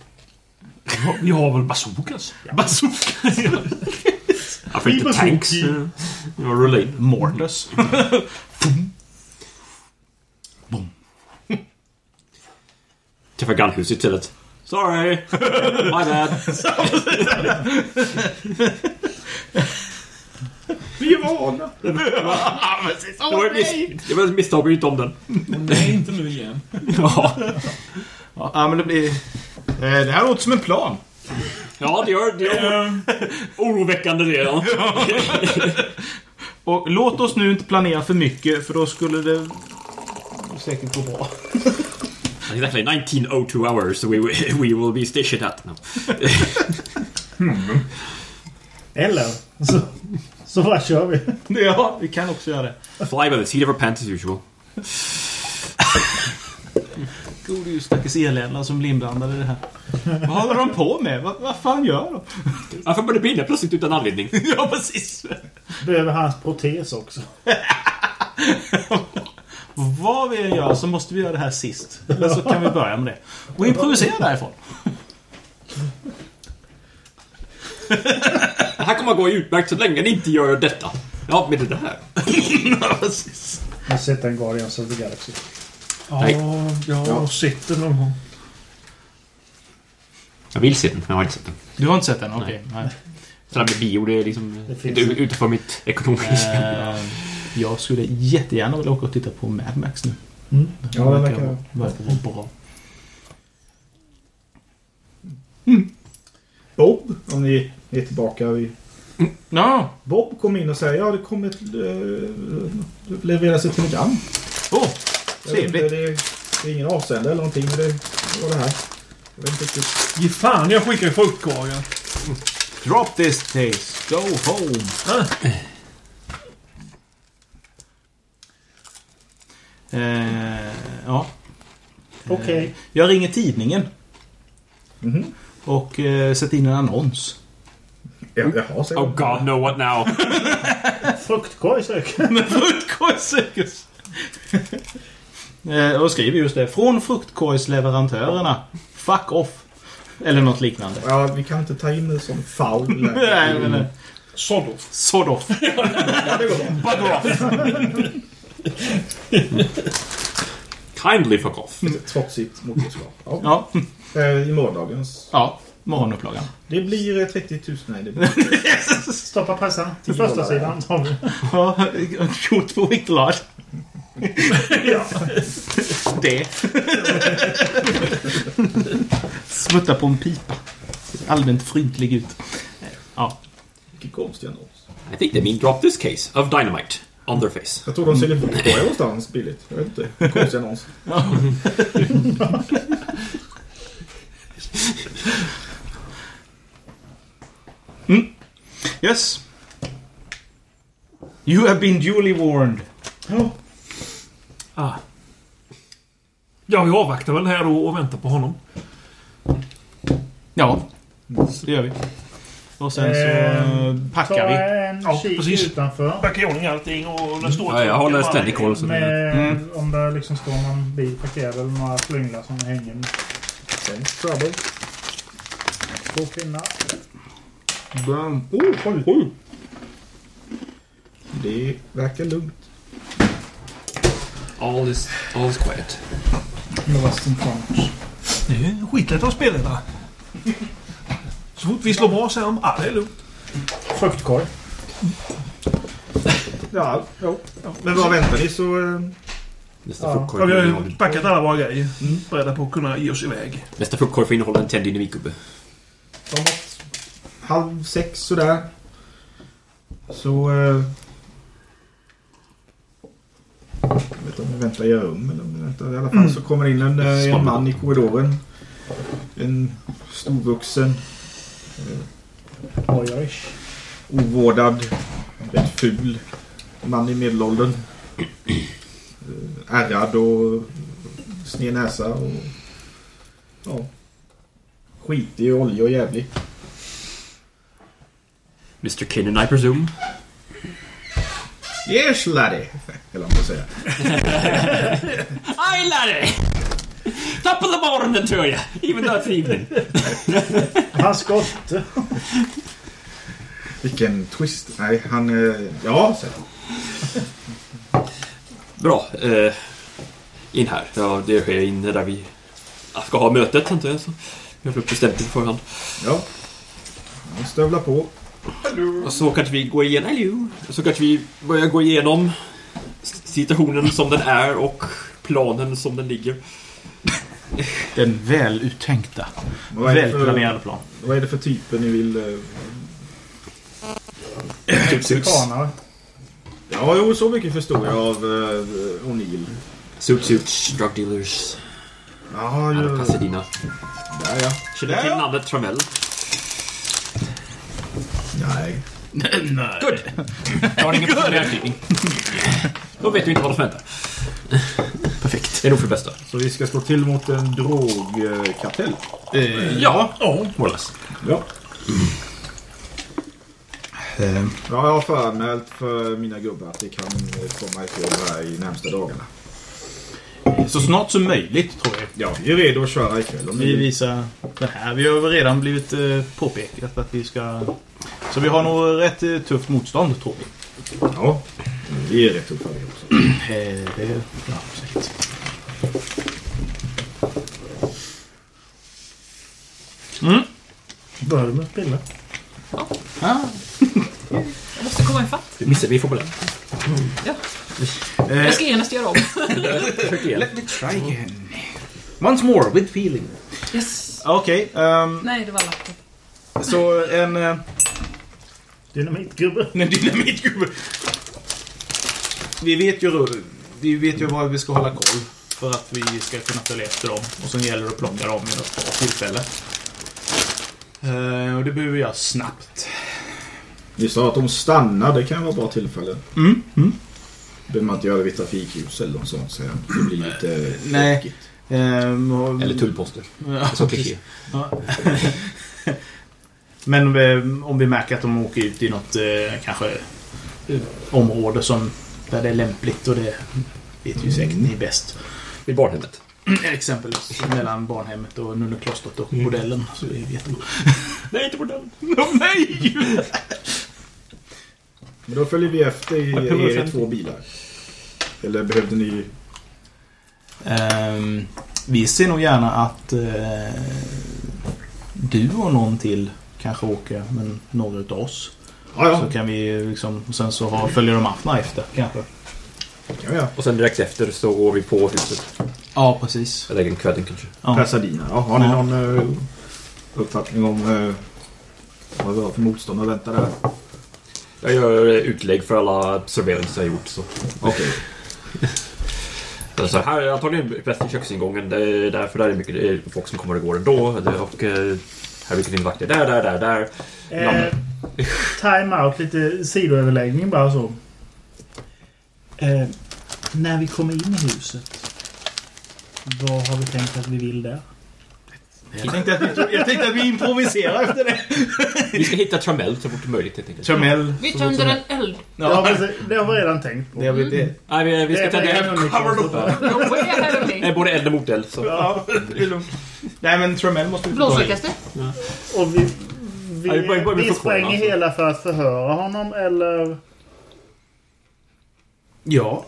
Vi har väl bazookas?
Bazooka.
Ja, för inte
Ibas
tanks. eh, Ja, rulla in.
Mortus.
Träffa grannhuset istället. Sorry! My bad.
Vi är vana!
Det var ett, mis- det var ett misstag, vi inte om den.
Nej, inte nu igen.
Ja,
Ja, men det blir...
Eh, det här låter som en plan.
ja det gör det. Gör. Oroväckande det, ja.
Och låt oss nu inte planera för mycket för då skulle det säkert gå bra.
It's actually 1902 hours, so we, we will be stationed at now.
Eller så, så bara kör vi.
Ja, vi kan också göra det.
Fly by the seat of our pants as usual.
Gode ju stackars elända som blir inblandade i det här. Vad håller de på med? Vad, vad fan gör de?
Varför började det brinna plötsligt utan anledning?
Ja, precis.
Behöver hans protes också.
Vad vi än gör så måste vi göra det här sist. Eller så kan vi börja med det. Och improvisera därifrån.
Det här kommer att gå utmärkt så länge ni inte gör detta. Ja, med det där.
Jag har sett en Guardians of the Galaxy.
Ja,
Nej.
jag har sett det någon gång.
Jag vill se den, men jag har inte sett den.
Du har inte sett den? Okej. nej.
Så det här med bio, det är liksom
Det finns
inte ut- utanför mitt ekonomiska.
Eh, jag skulle jättegärna vilja åka och titta på Mad Max nu.
Ja, det verkar...
verkar vara bra.
Bob, om ni är tillbaka vid
Ja,
Bob kom in och säger ja, det kommer ett... Äh, levereras ett telegram.
åh,
Jag vet inte,
Trevligt.
Det, är- det är ingen avsändare eller någonting, men det var det här. Jag vet inte riktigt.
Ge fan, jag skickar ju fruktkorgen.
drop this taste, go home. Eh, ja.
Okej.
Jag ringer tidningen
Mhm.
och eh, sätter in en annons.
Ja, Jaha, säger
Oh god, no what now?
Fruktkorg söker.
Med fruktkorgssirkus. eh, och skriver just det. Från fruktkorgsleverantörerna. Fuck off. Eller något liknande.
Ja, vi kan inte ta in en sån foul.
Nej, men, eh,
Såld off.
sod off.
Kindly fuck off.
Trotsigt moderskap. Ja.
Ja,
Eh, I morgondagens.
ja morgonupplagan.
Det blir eh, 30 000. Nej, det blir...
Stoppa pressarna till första sidan. tar vi.
Ja, gjort på viktlad. Det. Smutta på en pipa. Allmänt fryntlig ut. Ja.
Vilken konstig annons.
I think they mean drop this case of dynamite on their face.
Jag tror de
Mm.
säljer bokkorgar någonstans billigt. Jag vet inte. Konstig annons.
Yes. You have been duly warned.
Ah. Ja, vi avvaktar väl här då och väntar på honom.
Ja, det gör vi. Och sen så
Ehm,
eh, packar vi.
Ta en
Ja,
kik
precis.
utanför.
Packa i ordning allting och det står...
Ja, jag håller ständig koll. så det-
Med, Om det liksom står någon bil parkerad eller några flynglar som hänger.
Sen trouble.
Två pinnar.
Oh, Det verkar lugnt.
All is, all is quiet.
Lost in front.
Det är ju skitlätt att spela där. Så fort vi slår bra säger de ah, det är lugnt.
Fruktkorg.
Ja, jo. Men vad väntar ni så... eh,
Nästa
Ja.
fruktkorg
Ja, vi har
får
ju
innehålla-
packat alla våra grejer. Mm. Beredda på att kunna ge oss iväg.
Nästa fruktkorg får innehålla en tänd dynamitgubbe.
framåt halv sex sådär. Så... Eh, jag vet inte om vi väntar i era rum eller om vi väntar. I alla fall så kommer in en, eh, en man i korridoren. En storvuxen,
Oj-oj.
ovårdad, rätt ful man i medelåldern. Eh, Ärrad och sned näsa och... Ja. Skitig och oljig och jävlig.
Mr Kinnan, I presume.
Yes, laddie! Eller vad man säger.
I laddie! Top of the morning tror jag! Even though it's evening.
Hans skotte.
Vilken twist. Nej, han... eh, Ja, säger han.
Bra. Eh, in här. Ja, det sker inne där vi ska ha mötet antar jag. Så. Vi har bestämt det på förhand.
Ja. Han stövlar på.
Och så kanske vi går igenom... Hello. Så kanske vi börjar gå igenom situationen som den är och planen som den ligger.
Den väl uttänkta,
Vad är, det
väl
för,
planerade plan.
vad är det för typer ni vill... eh,
Suits,
Spanare.
Ja, jo, så mycket förstår jag av uh, O'Neill.
suits, suits, drug dealers.
Jaha,
Här är
ju...
Pasadena.
Där, Mm. ja.
Känner till namnet Tramell.
Nej.
Good! Jag har ingen personlig anknytning. Då vet vi inte vad som väntar. Perfekt. Det är nog för det bästa.
Så vi ska slå till mot en drogkartell? Eh,
Ja. More or less.
Ja. Ja, jag har föranmält för mina gubbar att det kan eh, komma ett jobb här i närmsta dagarna.
Så snart som möjligt, tror jag.
Ja, vi är redo att köra ikväll om ni
Vi
vill.
visar det här. Vi har väl redan blivit eh, påpekat att vi ska... Så vi har nog rätt eh, tufft motstånd, tror vi.
Ja, vi är rätt tuffa vi också.
Eh, det, ja, säkert.
Börjar du med att spela?
Jag måste komma ifatt.
Du missade vi får på den.
Jag ska genast göra om.
Försök igen.
Once more, with feeling.
Yes.
Okej, ehm,
Nej, det var laptop.
så en... eh,
Dynamitgubbe.
En dynamitgubbe. Vi vet ju, vi vet ju var vi ska hålla koll. För att vi ska kunna följa efter dem. Och sen gäller det att plocka dem vid något bra tillfälle. Eh, och det behöver jag snabbt.
Ni sa att de stannar, det kan vara bra tillfälle.
Mm, mm.
Behöver man inte göra det vid trafikljus eller något sånt. Så det blir lite
Nej.
tråkigt.
Ehm, och-
Eller tullposter.
Ja,
Så
precis.
kliché.
Men om vi, om vi märker att de åker ut i något eh, kanske eh, område som, där det är lämpligt och det vet ju säkert ni bäst.
Vid barnhemmet.
Mm. Exempelvis Mm. mellan barnhemmet och nunneklostret och bordellen. Så det är jättebra.
Nej, inte bordell.
Åh nej!
Men då följer vi efter i er i två bilar. Eller behövde ni...
Ehm, vi ser nog gärna att eh, du och någon till kanske åker, men några utav oss.
Ja, ja.
Så kan vi eh, liksom, och sen så har, följer de andra efter kanske.
ja, ja.
Och sen direkt efter så går vi på huset.
Ja, precis.
Eller en kvällen kanske.
Ja.
Pasadena. Ja, har ni
Ja.
någon eh, uppfattning om eh, vad vi har för motstånd att vänta där?
Jag gör eh, utlägg för alla surveillance jag har gjort. Så.
Okej.
Alltså, här är antagligen bäst i köksingången. Det är därför där är mycket det är folk som kommer och går ändå. Det- Och eh, här är mycket din vakter. Där, där, där, där.
Eh, Time-out, lite sidoöverläggning bara så.
Eh, när vi kommer in i huset. Vad har vi tänkt att vi vill där?
Jag, tänkte att vi, jag tänkte att vi improviserar efter det.
Vi ska hitta Tramell så fort som möjligt helt enkelt.
Chamel.
Mitt under en eld.
Ja,
Ja,
precis. det har vi redan tänkt på.
det har vi det.
Nej, vi, vi ska
Det
ta
är
det.
en underkonsult.
No way ahead of me.
Nej, både eld och moteld. Så.
Ja, det är lugnt. Nej, men Tramel måste vi få
Blåsarkaste.
Och vi, vi,
Ja, vi börjar- börjar med
vi
funktionen,
spränger
alltså.
hela för att förhöra honom eller...
Ja.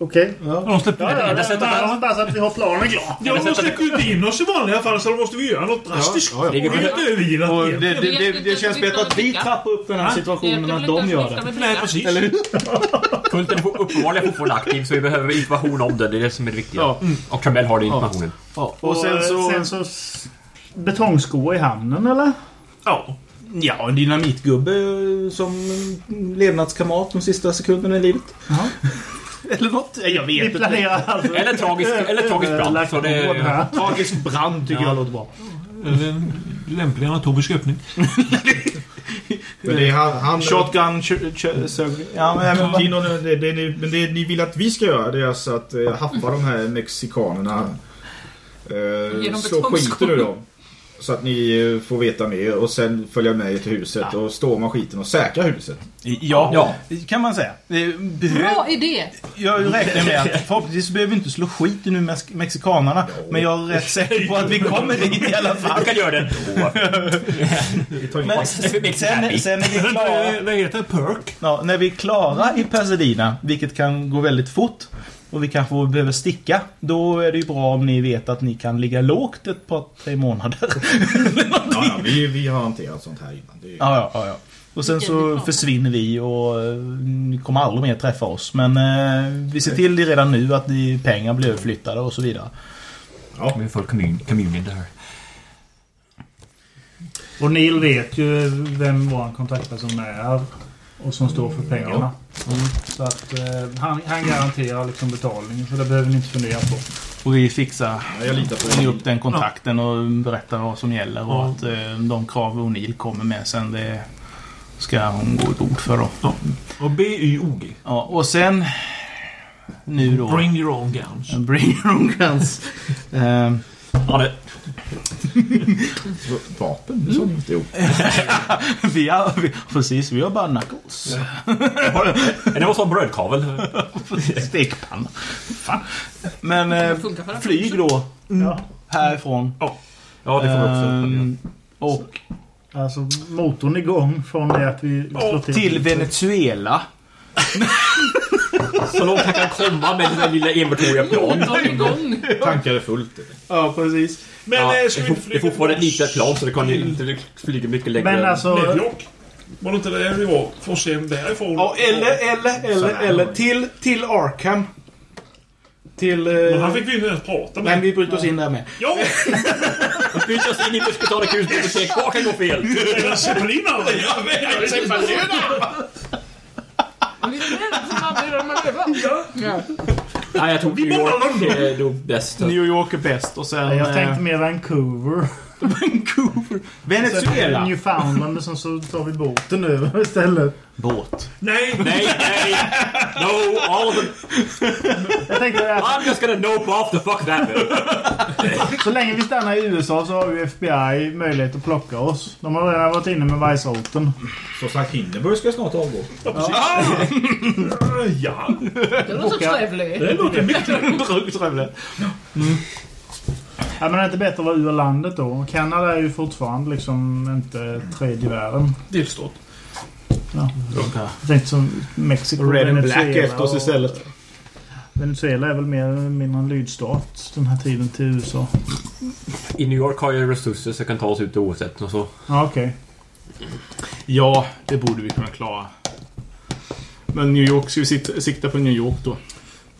Okej.
De släpper
Ja,
in
ja,
enda
det-
sättet att-
bara, bara så att vi har planen klar.
Ja, de släppte ju inte in oss i vanliga fall så då måste vi göra något drastiskt.
Ja, ja.
Det är helt övergivet.
Och
egentligen.
det, det, det, det känns bättre att vi trappar upp den här situationen än att de gör det.
Nej, precis.
Kulten är for- uppenbarligen fortfarande aktiv så vi behöver information om den. Det är det som är det viktiga. Mm.
Ja.
Och Tramell har den informationen.
Ja, och sen så...
Sen så s- betongskor i hamnen eller?
ja. Ja, en dynamitgubbe eh, som levnadskamrat de sista sekunderna i livet.
Ja.
Eller något. Jag vet
Vi
inte.
planerar alltså...
Eller tragisk, eller tragisk brand. Så
Överlagt vård
det,
här.
Tragisk brand tycker jag låter bra.
Eller en lämplig anatomisk öppning.
Men det är han... han
Shotgun, kö- kö- sög- Ja, men... men vad-
Tino, det, det, ni- men det ni vill att vi ska göra det är alltså att eh, haffa de här mexikanerna. Eh,
Genom
slå
betongskor.
skiten ur dem. Så att ni eh, får veta mer och sen följa med er till huset och storma skiten och säkra huset.
Ja,
Ja.
kan man säga. Eh, Behöv,
Bra idé!
jag räknar med att förhoppningsvis behöver vi inte slå skit nu med mexikanerna. Men jag är rätt säker på att vi kommer dit i alla fall.
vi kan göra det ändå.
Men sen, sen när vi är klara...
Det heter perk.
Ja, när vi är klara i Pasadena, vilket kan gå väldigt fort och vi kanske behöver sticka, då är det ju bra om ni vet att ni kan ligga lågt ett par, tre månader.
Ja, ja, vi, vi har hanterat sånt här innan. Det är,
ja, ja, ja, ja. Och sen så försvinner vi och eh, ni kommer aldrig mer träffa oss. Men eh, vi ser till det redan nu att ni, pengar blir överflyttade och så vidare.
Vi är full commun- communion där.
Och Neil vet ju vem vår kontaktperson är och som står för pengarna. Så att eh, han, han garanterar liksom betalningen så det behöver ni inte fundera på.
Och vi fixar
Ja, jag litar på
ringer
er.
upp den kontakten och berättar vad som gäller och att eh, de krav O'Neill kommer med sen det ska hon gå i god för då.
Och BYOG.
Ja, och sen nu då...
Bring your own gowns.
Eh, Bring your own guns. Ehm,
Ja, det.
Vapen? Det sa ni inte. Jo.
vi, har, vi, precis, vi har bara knuckles.
Det var som brödkavel.
Stekpanna. Fan. Men eh,
funkar för det.
flyg då. Härifrån.
Ja, det får vi också.
Ehm, och
Alltså motorn igång från det att vi slår
till Venezuela.
Så långt han kan komma med den där lilla enmotoriga plan.
Motorn igång.
Tankar är fullt.
Ja, precis.
Men
Ja,
eh,
det
ska
är
vi inte
fort- det är
flyga
fortfarande ett
till
litet plan så det kan ju inte flyga mycket längre.
Men alltså...
New York? Var det inte där vi var? Får se därifrån.
Ja, eller, eller, eller, eller till, till Arkham. Till...
Men han
Eh,
fick vi inte ens prata
men
med.
vi bryter oss in där med.
Ja,
Byt oss in i Musketanekrus bibliotek. Vad kan gå fel?
eller zeppelinare. Ja,
Vi är den som aldrig ramlar över.
Nej, jag tror New York är nog bäst.
New York är bäst och sen...
Jag tänkte
eh,
mer Vancouver.
Vancouver.
Venezuela.
Venezuela.
Newfoundland men sen så tar vi båten över istället.
Båt.
Nej,
Nej, nej! No, all of them.
Jag tänkte eh, att
I'm just gonna nope off the fuck that bill.
så länge vi stannar i USA så har ju FBI möjlighet att plocka oss. De har redan varit inne med Weissholten.
Som sagt, Hindenburg ska snart avgå.
ja.
Det låter trevligt.
Det låter mycket.
Trevligt.
Ja, men det är inte bättre att vara ur landet då. Kanada är ju fortfarande liksom inte tredje världen.
Delstat.
Jag tänkte som Mexiko
Red and black
Venezuela
efter oss
och-
istället.
Venezuela är väl mer eller mindre en lydstat den här tiden till USA.
I New York har jag resurser så jag kan ta oss ut oavsett och så.
Ja, okej.
Ja, det borde vi kunna klara. Men New York, ska vi sitta, sikta på New York då?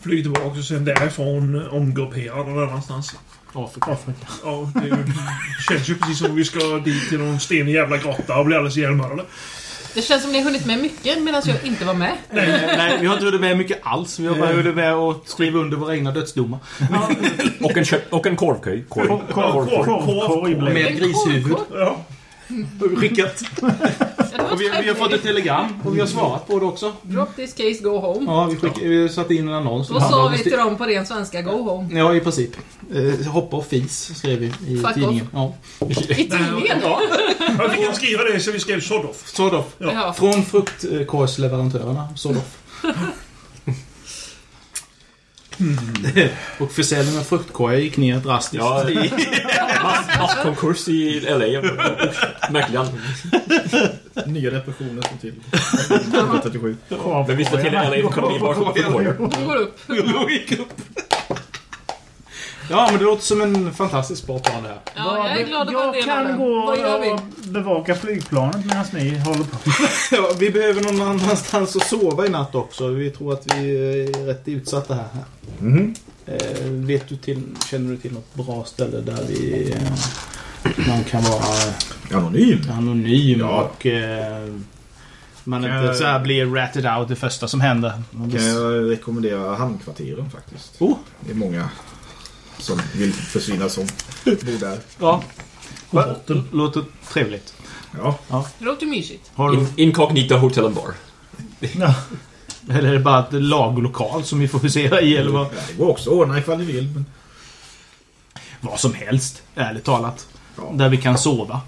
Flyg tillbaka och sen därifrån eh, omgruppera någon annanstans.
Afrika.
Ja, det är ju- känns ju precis som vi ska dit till någon stenig jävla grotta och bli alldeles ihjälmördade.
Det känns som ni har hunnit med mycket medan jag inte var med.
Nej, vi har inte hunnit med mycket alls. Vi har bara hunnit med att skriva under våra egna dödsdomar.
Och en, kö- och en korvköj. Korv. Korvkorv.
Korvkorg blev det.
Med grishuvud.
Ja.
Skickat.
Ja, det var
Och vi, vi har fått
trevligt.
ett telegram och vi har svarat på det också.
Drop this case, go home.
Ja, vi, skick, vi satte in en annons.
Vad sa vi till dem på ren svenska? Go home.
Ja, i princip. Eh, hoppa och fis skrev vi i
Fuck
tidningen. Ja.
I tidningen?
Ja, vi kan skriva det så vi skrev Sodoff.
Sodoff.
Ja.
Från fruktkorgsleverantörerna. Sodoff.
Mm.
och försäljningen av fruktkorgar gick ner drastiskt.
Ja, mass, masskonkurs i LA. Märklig anledning.
Nya depressioner som till. 37.
Men vi slår till LA ekonomi bara för korv.
De går upp.
Då gick upp. Ja, men det låter som en fantastisk bra plan det här.
Ja, jag är glad att vara
Jag
en del av
kan
den.
gå
Vad gör vi?
och bevaka flygplanet medan ni håller på.
Ja, vi behöver någon annanstans att sova i natt också. Vi tror att vi är rätt utsatta här.
Mhm.
Eh, vet du till, känner du till något bra ställe där vi, eh, man kan vara
Anonym.
anonym
Ja.
och eh, man
Kan
inte
jag-
så här blir ratted out det första som händer?
Kan jag rekommendera hamnkvarteren faktiskt.
Oh.
Det är många som vill försvinna som bor där.
Ja. Låter trevligt.
Ja,
Det låter ju mysigt.
Har
In,
du,
incognito hotel and bar.
eller är det bara ett laglokal som vi får husera i eller vad?
det går också att ordna ifall ni vill. Men...
Vad som helst, ärligt talat.
Ja.
Där vi kan sova.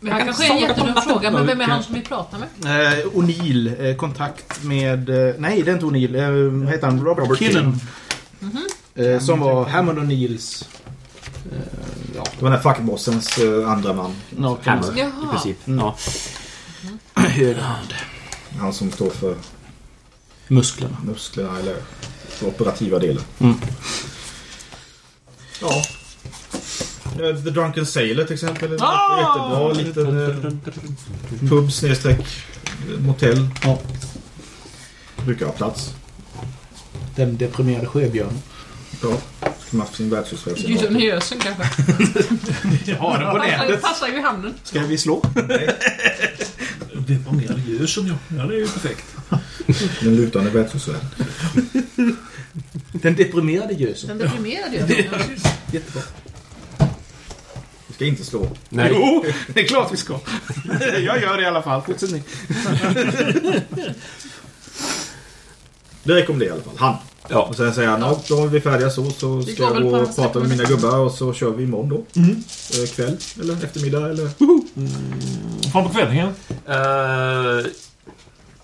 Det här kanske är en jättedum fråga, men vem är han som vi pratar med?
Eh, O'Neill, eh, kontakt med... Eh, nej, det är inte O'Neill. Eh, vad heter han? Robert, Killen. Eh, som var Hammond O'Neills...
Det var den här fuckbossens eh, andra man.
No,
Hammer, i
Jaha.
princip.
Mm.
Ja.
högra hand.
Han som står för
Musklerna.
musklerna eller för operativa delen.
Mm.
Ja. Eh, The Drunken Sailor till exempel. En
Ah!
jättebra liten eh, pub snedstreck eh, motell.
Ja.
Brukar ha plats.
Den deprimerade sjöbjörnen.
Ja. Skulle haft sin världshusresa.
Gudrun i Ösen kanske.
Ja, den
Passar, passar ju i hamnen.
Ska vi slå?
Deprimerad ljus som jag. Ja, det är ju perfekt.
Den lutande världshusvärden.
Den deprimerade gösen.
Den deprimerade ju.
Jättebra.
Vi ska inte slå.
Nej.
Jo, det är klart vi ska. Jag gör det i alla fall. Fortsätt ni.
Det rekommenderar jag i alla fall. Han.
Ja.
Och sen säger han att då är vi färdiga så så ska
går
jag
väl
gå
på
och
hans
prata med mina
rekommendation.
gubbar och så kör vi imorgon då.
Mhm.
Mm.
Eh, Kväll eller eftermiddag eller...
Fram på kvällningen.
Uh,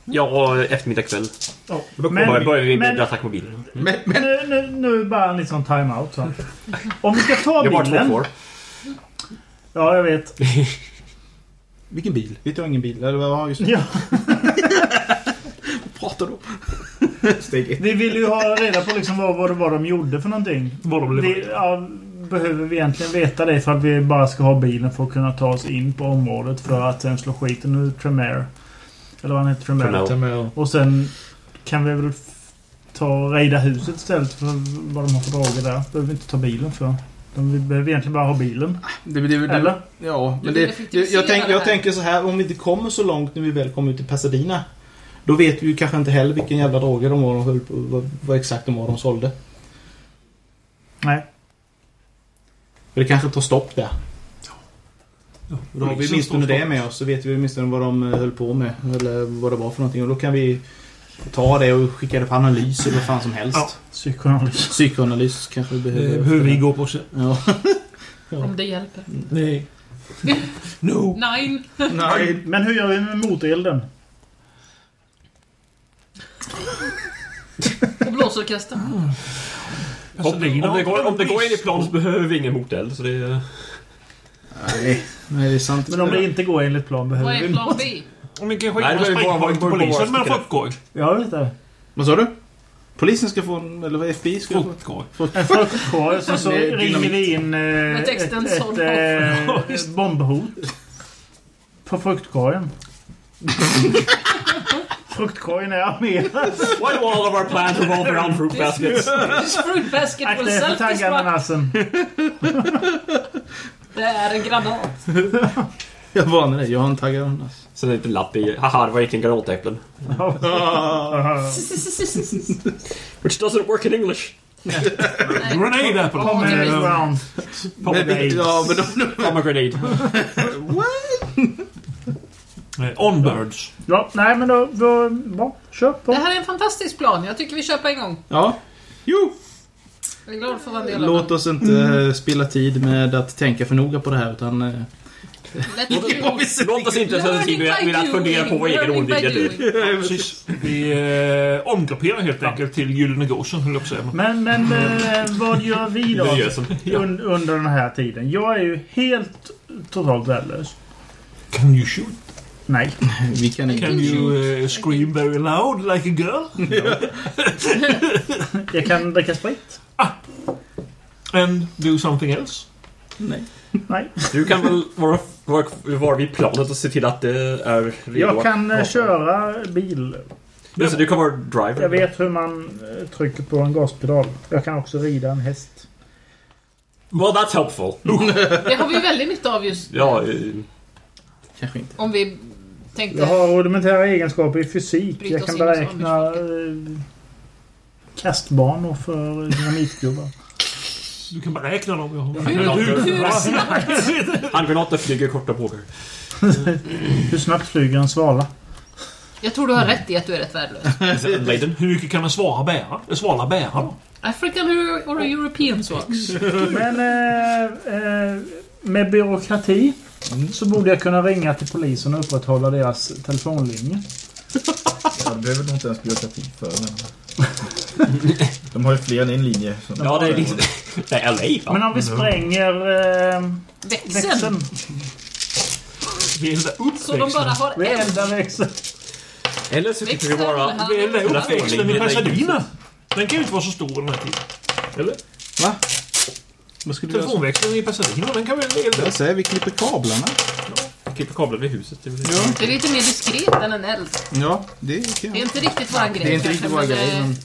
ja, eftermiddag kväll.
Ja.
Då
Men-
börjar börjar vi med
men-
attack på bilen.
Men, Nu, nu, nu bara en liten time-out. va? Om vi ska ta
Det var två
bilen.
kvar.
Ja, jag vet.
Vilken bil? Vi tar ingen bil. Eller vad? Just det.
Ja,
Pratar då.
Steg ett.
vi vill ju ha reda på liksom vad, vad det var de gjorde för någonting.
Var de
Vi,
levererade.
ja, behöver vi egentligen veta det för att vi bara ska ha bilen för att kunna ta oss in på området för att sen slå skiten ur Tremere. Eller vad han heter, Tremere.
Tremere.
Och sen kan vi väl f- ta och rejda huset istället för vad de har för droger där. behöver vi inte ta bilen för. De, vi behöver egentligen bara ha bilen.
Det, det, det,
Eller?
Ja, men
Du vill
det, jag,
effektivisera
jag, tänk,
det här.
jag tänker så här. Om vi inte kommer så långt när vi väl kommer ut till Pasadena. Då vet vi ju kanske inte heller vilken jävla droger de var de höll på, vad, vad exakt de var de sålde.
Nej.
För det kanske tar stopp där.
Ja,
Och då har vi
polisen
åtminstone
står
det
kvar.
med oss. Så vet vi åtminstone vad de eh, höll på med. Eller vad det var för någonting. Och då kan vi ta det och skicka det på analys eller vad fan som helst.
Ja. Psykoanalys.
Psykoanalys kanske vi behöver.
Eh, Hur vi går på sen.
Ja.
Om det hjälper.
Nej. No.
Nine.
Nej.
Men hur gör vi med motelden?
Och
Mm.
blåsorkestern.
Om, om, det går, om det går enligt plan så behöver vi ingen moteld. Så det är...
Nej. Nej, det är sant.
Men om det inte går enligt plan behöver
Vad
vi...
är plan B?
Om vi kan skicka
Nej,
en
det var ju bara-
sprängkorg till
bara- bara-
polisen
bara-
med en fruktkorg.
Ja, jag vet det.
Vad sa du? Polisen ska få en... Eller vad FBI ska få?
Fruktkorg.
En fruktkorg och sen så
Det är
ringer
dynamit.
vi in eh,
Med
ett,
texten
ett,
såld
eh,
Ja, just
bombhot. På fruktkorgen. fruktkorgen är armerad.
Why do all of our plans revolve around fruit baskets?
This fruit basket
Akta
will
er för
self-destruct.
tangananasen.
Det är en granat.
Jag varnar dig. Jag har en taggad ananas.
Sen är det lite lapp i. Haha, det var egentligen granatäpplen. Which doesn't work in English.
Nej.
Grenade apple.
Ja, men-
Pomegranate round.
Men, ja, men de,
I'm a grenade.
Eh, Onbirds.
Ja, nej men då... då bra, kör på.
Det här är en fantastisk plan. Jag tycker vi kör på en gång.
ja. Jo!
Jag är glad för vad en del av
Låt
den.
oss inte eh, spilla tid med att tänka för noga på det här utan... eh,
Let it go.
Låt oss inte ta tid med, med att fundera på vad egen
Learning by
ordning är.
doing.
Precis. Vi eh, omgrupperar helt enkelt till Gyllene Gåsen, höll jag på att säga. Men
Men, men eh, vad gör vi då?
Det gör som- Ja.
Un, under den här tiden. Jag är ju helt totalt värdelös.
Can you shoot?
Nej.
Vi kan inte...
Can you eh, scream very loud like a girl?
Jag kan dricka sprit.
And do something else?
Nej.
Du kan väl vara, vara, vara vid planet och se till att det är redo
Jag
att-
kan eh,
Ja.
köra bil.
Ja, så du kan vara driver?
Jag vet hur man eh, trycker på en gaspedal. Jag kan också rida en häst.
Well, that's helpful.
Det har vi väldigt mycket av just
Ja, eh,
Kanske inte.
om vi tänkte...
Jag har rudimentära egenskaper i fysik.
Bryt
Jag
oss
kan
in i
beräkna eh, kastbanor för dynamitgubbar.
Du kan bara räkna dem. Ja.
Hur långt? Hur snabbt?
handgranater flyger korta bågar.
Hur snabbt flyger en svala?
Jag tror du har rätt i att du är rätt värdelös.
Bladen.
Alltså, Hur mycket kan en svara bära? En svala bära då?
African or- or European socks.
Men eh, eh, med byråkrati
Mm.
så borde jag kunna ringa till polisen och upprätthålla deras telefonlinje.
Ja, det behöver nog inte ens byråkrati för. Men... De har ju fler än en linje. som-
Ja, det är liksom... Nej, LA
Men
va?
om vi spränger eh, växeln.
Växeln.
Vi eldar upp
Så de bara
växeln.
har
Vi
en.
eldar växeln.
Eller så tycker vi
Växeln,
bara...
han-
Vi eldar upp växeln i
Telefonlinjen är
Pasadena. Den kan ju inte vara så stor den här tiden. Eller?
Vad skulle du göra?
Telefonväxeln i Pasadena, den kan vi väl elda
Jag
upp?
säger vi klipper kablarna.
Klipper kablar vid huset. Det är väl-
Det är lite mer diskret än en eld.
Ja, det kan
Det är
jag.
inte riktigt våran grej.
Det är inte riktigt
kanske,
våra
men,
grejer
eh,
men...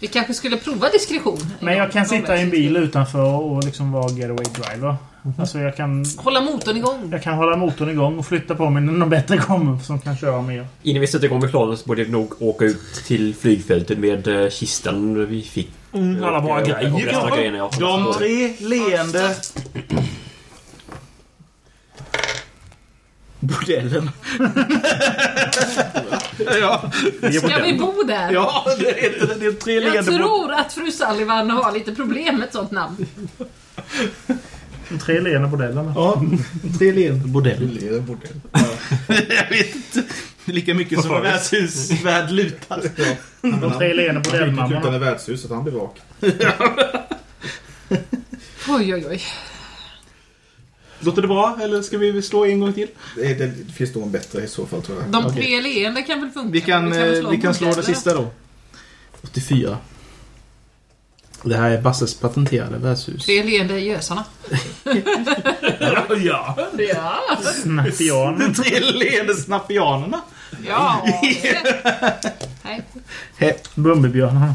Vi kanske skulle prova diskretion.
Men jag kan sitta i en bil utanför och liksom vara getaway driver. Alltså jag kan,
Hålla motorn igång.
jag kan hålla motorn igång och flytta på mig när någon bättre kommer som kan köra mer.
Innan vi sätter igång med planen så borde vi nog åka ut till flygfältet med eh, kistan vi fick.
Mm, alla våra
Och, eh,
grejer
och resten av
kanske?
grejerna, ja.
De tre leende... Bordellen. Ja.
Ska vi bo där?
Ja, det är, det är tre
Jag
ledbord.
tror att fru Sullivan har lite problem med ett sånt namn.
Tre leende bordellerna.
Ja, tre len. Bordell.
Leder bordell.
Jag vet inte. Lika mycket som värdshus värd lutar.
De tre leende
Utan
bordellmammorna.
i värdshuset, han blir rak.
Oj, oj, oj.
Låter det bra eller ska vi slå en gång till?
Det, det, det finns nog en bättre i så fall tror jag.
De tre leende kan väl funka?
Vi kan,
väl
eh, vi kan slå det
bordeller?
sista då. 84. Det här är Basses patenterade värdshus.
Tre leende i Gösarna.
Ja.
Ja,
Snappian.
De tre leende snappianerna.
ja. Nej.
Bumbibjörnarna.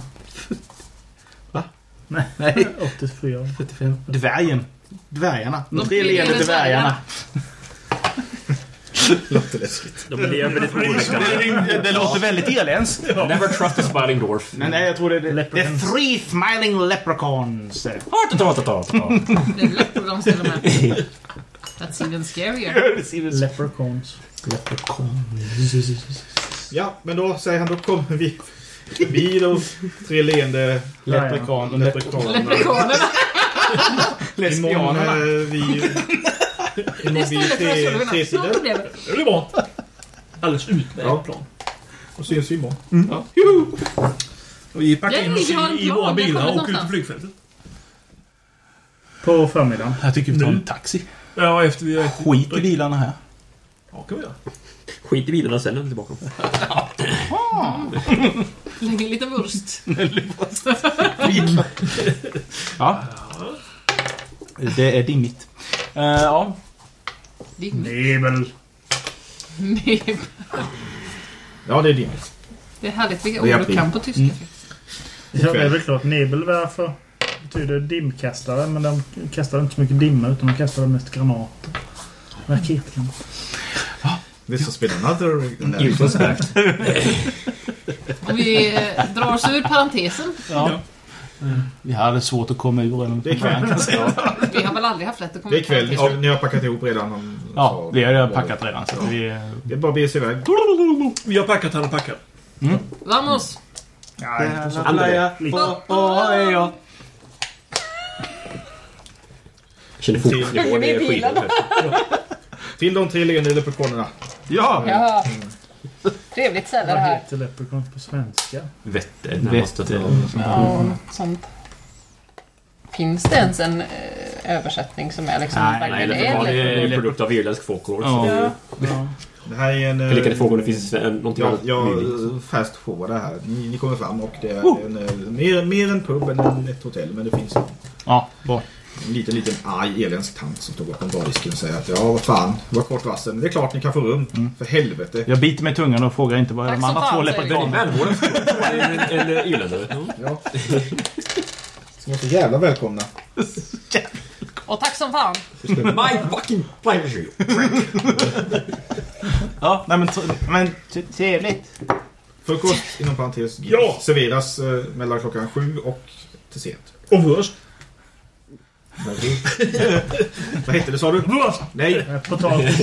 Va?
Nej,
Nej,
84.
45. Dvärgen. Dvärgarna. De tre
tre
leende
leende
dvärgarna.
Låter läskigt.
De lever i ett olika...
Det, det låter väldigt irländskt.
Never trust a smiling dwarf.
Men nej, jag tror det är... Det är
Leprechauns.
three smiling leprechauns.
Det är lätt att de ställer med. That's even scarier.
Leprechauns.
Ja, men då säger han då kommer vi förbi de tre leende
Leprechaun och
leprechaunerna.
Leprechaunerna.
Imorgon
Lesbianerna.
eh, vi...
Det
Imorgon
är
vi
stället
tre,
för
tre
Sullivan. Något
sidor.
problem.
Det blir bra. Alldeles utmärkt
Ja.
plan.
eh,
Och syns vi imorgon.
Och vi packar
Jag
in oss
har en
i, i
plan,
våra
jag kommer
bilar och åker ut
någonstans.
till flygfältet.
På förmiddagen.
Jag tycker vi tar en taxi.
Ja, efter vi har ätit.
Mm. Skit i bilarna här.
Ja, kan vi göra.
Skit i bilarna och ställ dem tillbaka.
Släng in lite wurst.
Ja. Det är dimmigt. Eh, ja.
Din
Nebel.
Nej,
Ja, det är din.
Det är härligt vilka
Det är
ord du
april.
kan på tyska.
Ja, det är väl klart. Nebel varför? Betyder dimkastare, men de kastar inte så mycket dimma utan de kastar mest granater. Raketgranater.
This has been another...
Utan märkt.
Om vi eh, drar oss ur parentesen.
ja. Vi hade svårt att komma ur den.
Det är kväll.
Vi har väl aldrig haft lätt att komma
Det är kväll.
i
Ni,
parentes.
ni har packat ihop redan. om-
Ja,
så-
vi har redan packat redan. Så att vi, eh,
Det är bara att bege sig iväg.
Vi har packat, han har packat.
Vamos!
Ja, inte så.
alla ja,
Lite.
åh, åh, hej, ja.
Känner fotnivån i skidorna.
Till de tre leende leprechaunerna.
Ja!
Ja. Trevligt ställe det
Vad
här.
heter leprechaun på svenska?
Vette närmaste.
Ja, något sånt. Finns det ens en eh, översättning som är liksom
Nej,
Nej,
verkligen
det var
eller?
en produkt av irländsk folklore.
Ja.
så det är ju-
Det här är en... eh,
Jag Klickade frågan om det finns en- någonting
Ja,
annat. Mm.
jag
möjligt.
fast forwardar här. Ni, ni kommer fram och det är en, eh, mer, mer en pub än en, ett hotell. Men det finns
Ja, bra.
en liten, liten arg irländsk tant som står bakom bardisken och säger att ja, vad fan, vad kort varsel. Men det är klart ni kan få rum. För helvete.
Jag biter mig i tungan och frågar inte vad
Tack
de
som
andra
fan,
två
säger vi.
Ja,
leprechaunerna...
välvården En- En en irländare.
Ja. Så var så jävla välkomna.
Och tack som fan!
Mm. My fucking pleasure!
Ja, nej men, tr- men t- trevligt.
Frukost inom parentes
Ja.
serveras eh, mellan klockan sju och till sent.
Och wurst.
Vad hette det sa du?
Wurst!
Nej,
Eh, Potatis.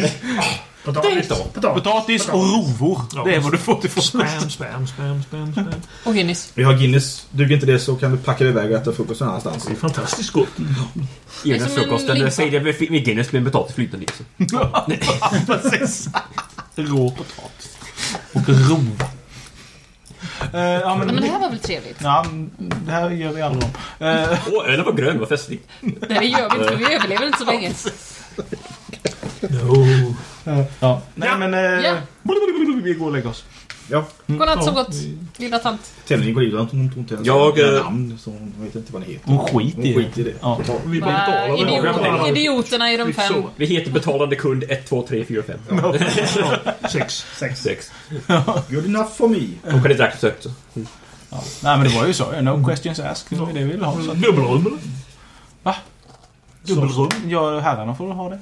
Potatis. Potatis.
Potatis och rovor. Det är vad du får till frukost.
Spam, spam, spam, spam, spam.
Och Guinness.
vi har Guinness. Duger inte det så kan du packa dig iväg och äta frukost någon annanstans.
Fantastiskt gott.
Irländsk
som en
frukost. Den
limpa.
säger det med- med Guinness med potatis flytande i. så.
Precis. Rå potatis. Och rova. Eh, ja,
Men
men,
det här var väl trevligt?
ja, det här gör vi aldrig om. Eh,
Åh, ölen var grön. Vad festligt.
Nej, det gör vi inte för vi överlever inte så länge.
ja. Nej, men... eh,
Ja.
Vi går och lägger oss.
Ja,
Godnatt så gott, lilla tant.
Tämligen går ibland hon tog inte ens
Jag,
sina
eh,
namn så hon vet inte vad ni heter.
Hon skiter i
Hon
det.
skiter i det.
Ja.
Totalt.
Vi bara
Äh,
betalar
idiot.
varandra.
idiot, idioterna i de fem.
Så.
Vi heter betalande kund 1, 2, 3, 4, 5.
Sex.
Sex.
6.
Good enough for me.
De kan inte räkna sig också.
Nej, men det var ju så. No questions asked. Det var ju det vi ville ha. Så att,
Dubbelrum eller?
Va?
Dubbelrum?
ja, herrarna får ha det.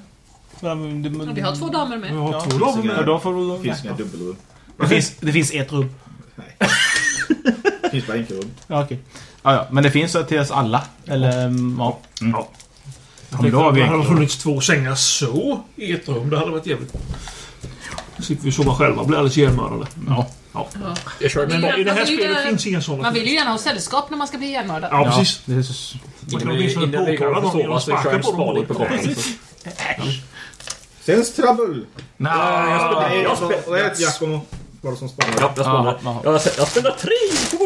Men, det,
Ja, Vi har två damer med.
Vi har två
finns
rum.
inga-
Ja, då får du...
Det finns inga dubbelrum.
Det finns, det finns ett rum.
Det finns bara enkelrum.
Ja, okej. Ja, ja, men det finns så till oss alla. Eller, mm, ja. Mm.
Ja.
Ja, men då har vi
Det hade
enkelrum.
funnits två sängar så i ett rum. Det hade varit jävligt slipper vi sova själva och blir alldeles ihjälmördade.
Ja.
ja.
Ja.
Jag kör, men
Man vill
i det här
ju
spelet
gärna-
finns inga sådana.
alltså, Man vill ju gärna ha sällskap när man ska bli ihjälmördad.
Ja, precis.
Det är så...
Man kan åtminstone
Innan vi går
påkalla
och
någon genom
sover
att
så kör jag
sparka
en
på dem.
spaning på gången.
Precis.
Sens trouble!
Nej,
jag spelar-
Nej,
jag
alltså,
spelar-
Rätt Giacomo. Var det som spanade?
Ja, jag spelar.
Ja,
Jag, jag spelar tre!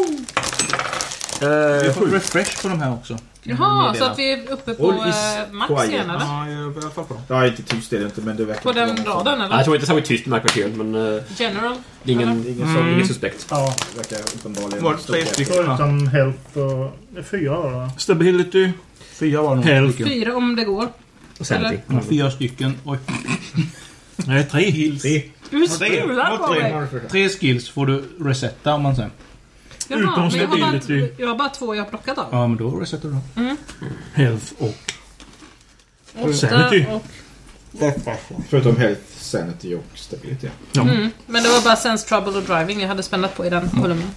Uh,
Jag får refresh på de här också.
Jaha, så att vi är uppe på
All is
eh, max
quiet.
igen eller?
Ja, jag börjar fall på dem.
Nej, inte tyst är det inte, men det verkar
På
inte vara
den
någon
raden eller?
jag tror inte särskilt tyst med kvarteren, men eh,
General?
det är ingen,
Eller?
ingen, som, ingen suspekt.
Ja,
som Verkar uppenbarligen...
Mm. Var det tre stycken? Ja.
förutom health och... Det är fyra var det va?
Stability.
Fyra var det nog.
Health.
stycken.
Fyra om det går.
Och sen
Eller?
någonting.
Fyra stycken. Oj.
Nej, tre heals.
Du strular på mig!
Tre skills får du resetta om man sen.
Jaha,
Utom
men jag har, bara,
stability.
jag har bara två jag har plockat av.
Ja, men då resetar du dem.
Health och...
Åtta
Sanity.
och...
Förutom health, sanity och stability.
Mm. Men det var bara sense trouble och driving jag hade spännat på i den
Mm.
kolumnen.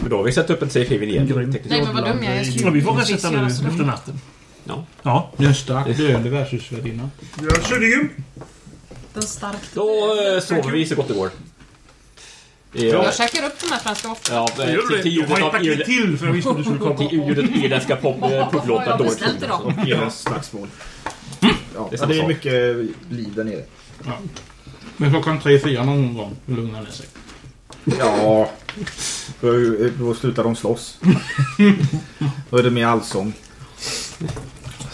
Men då har vi satt upp en safe-haven igen.
Grymt.
tekniskt.
Nej men vad dum jag är.
Ja, vi får resetta nu efter natten.
Ja.
Ja.
Du är en stark döende värdshusvärdinna.
Jag kör ju.
Den starkt.
Då eh, sover vi så gott det går.
Jag
Ja,
käkar upp de här franska vafforna.
ja,
Gör
eh,
du
till,
det?
till
Jag
ljudet
har
av
ett paket
irländska
till för jag visste att du skulle komma.
till ljudet av irländska pop, eh,
Vad har
poplåtar
jag
Doris
beställt
Jones.
idag?
Hela slagsmål. Ja,
Det är
det,
samma
är det är
sak.
mycket liv där nere.
Men klockan tre, fyra någon gång lugnar det sig.
Ja, då, då slutar de slåss. Då är det mer allsång.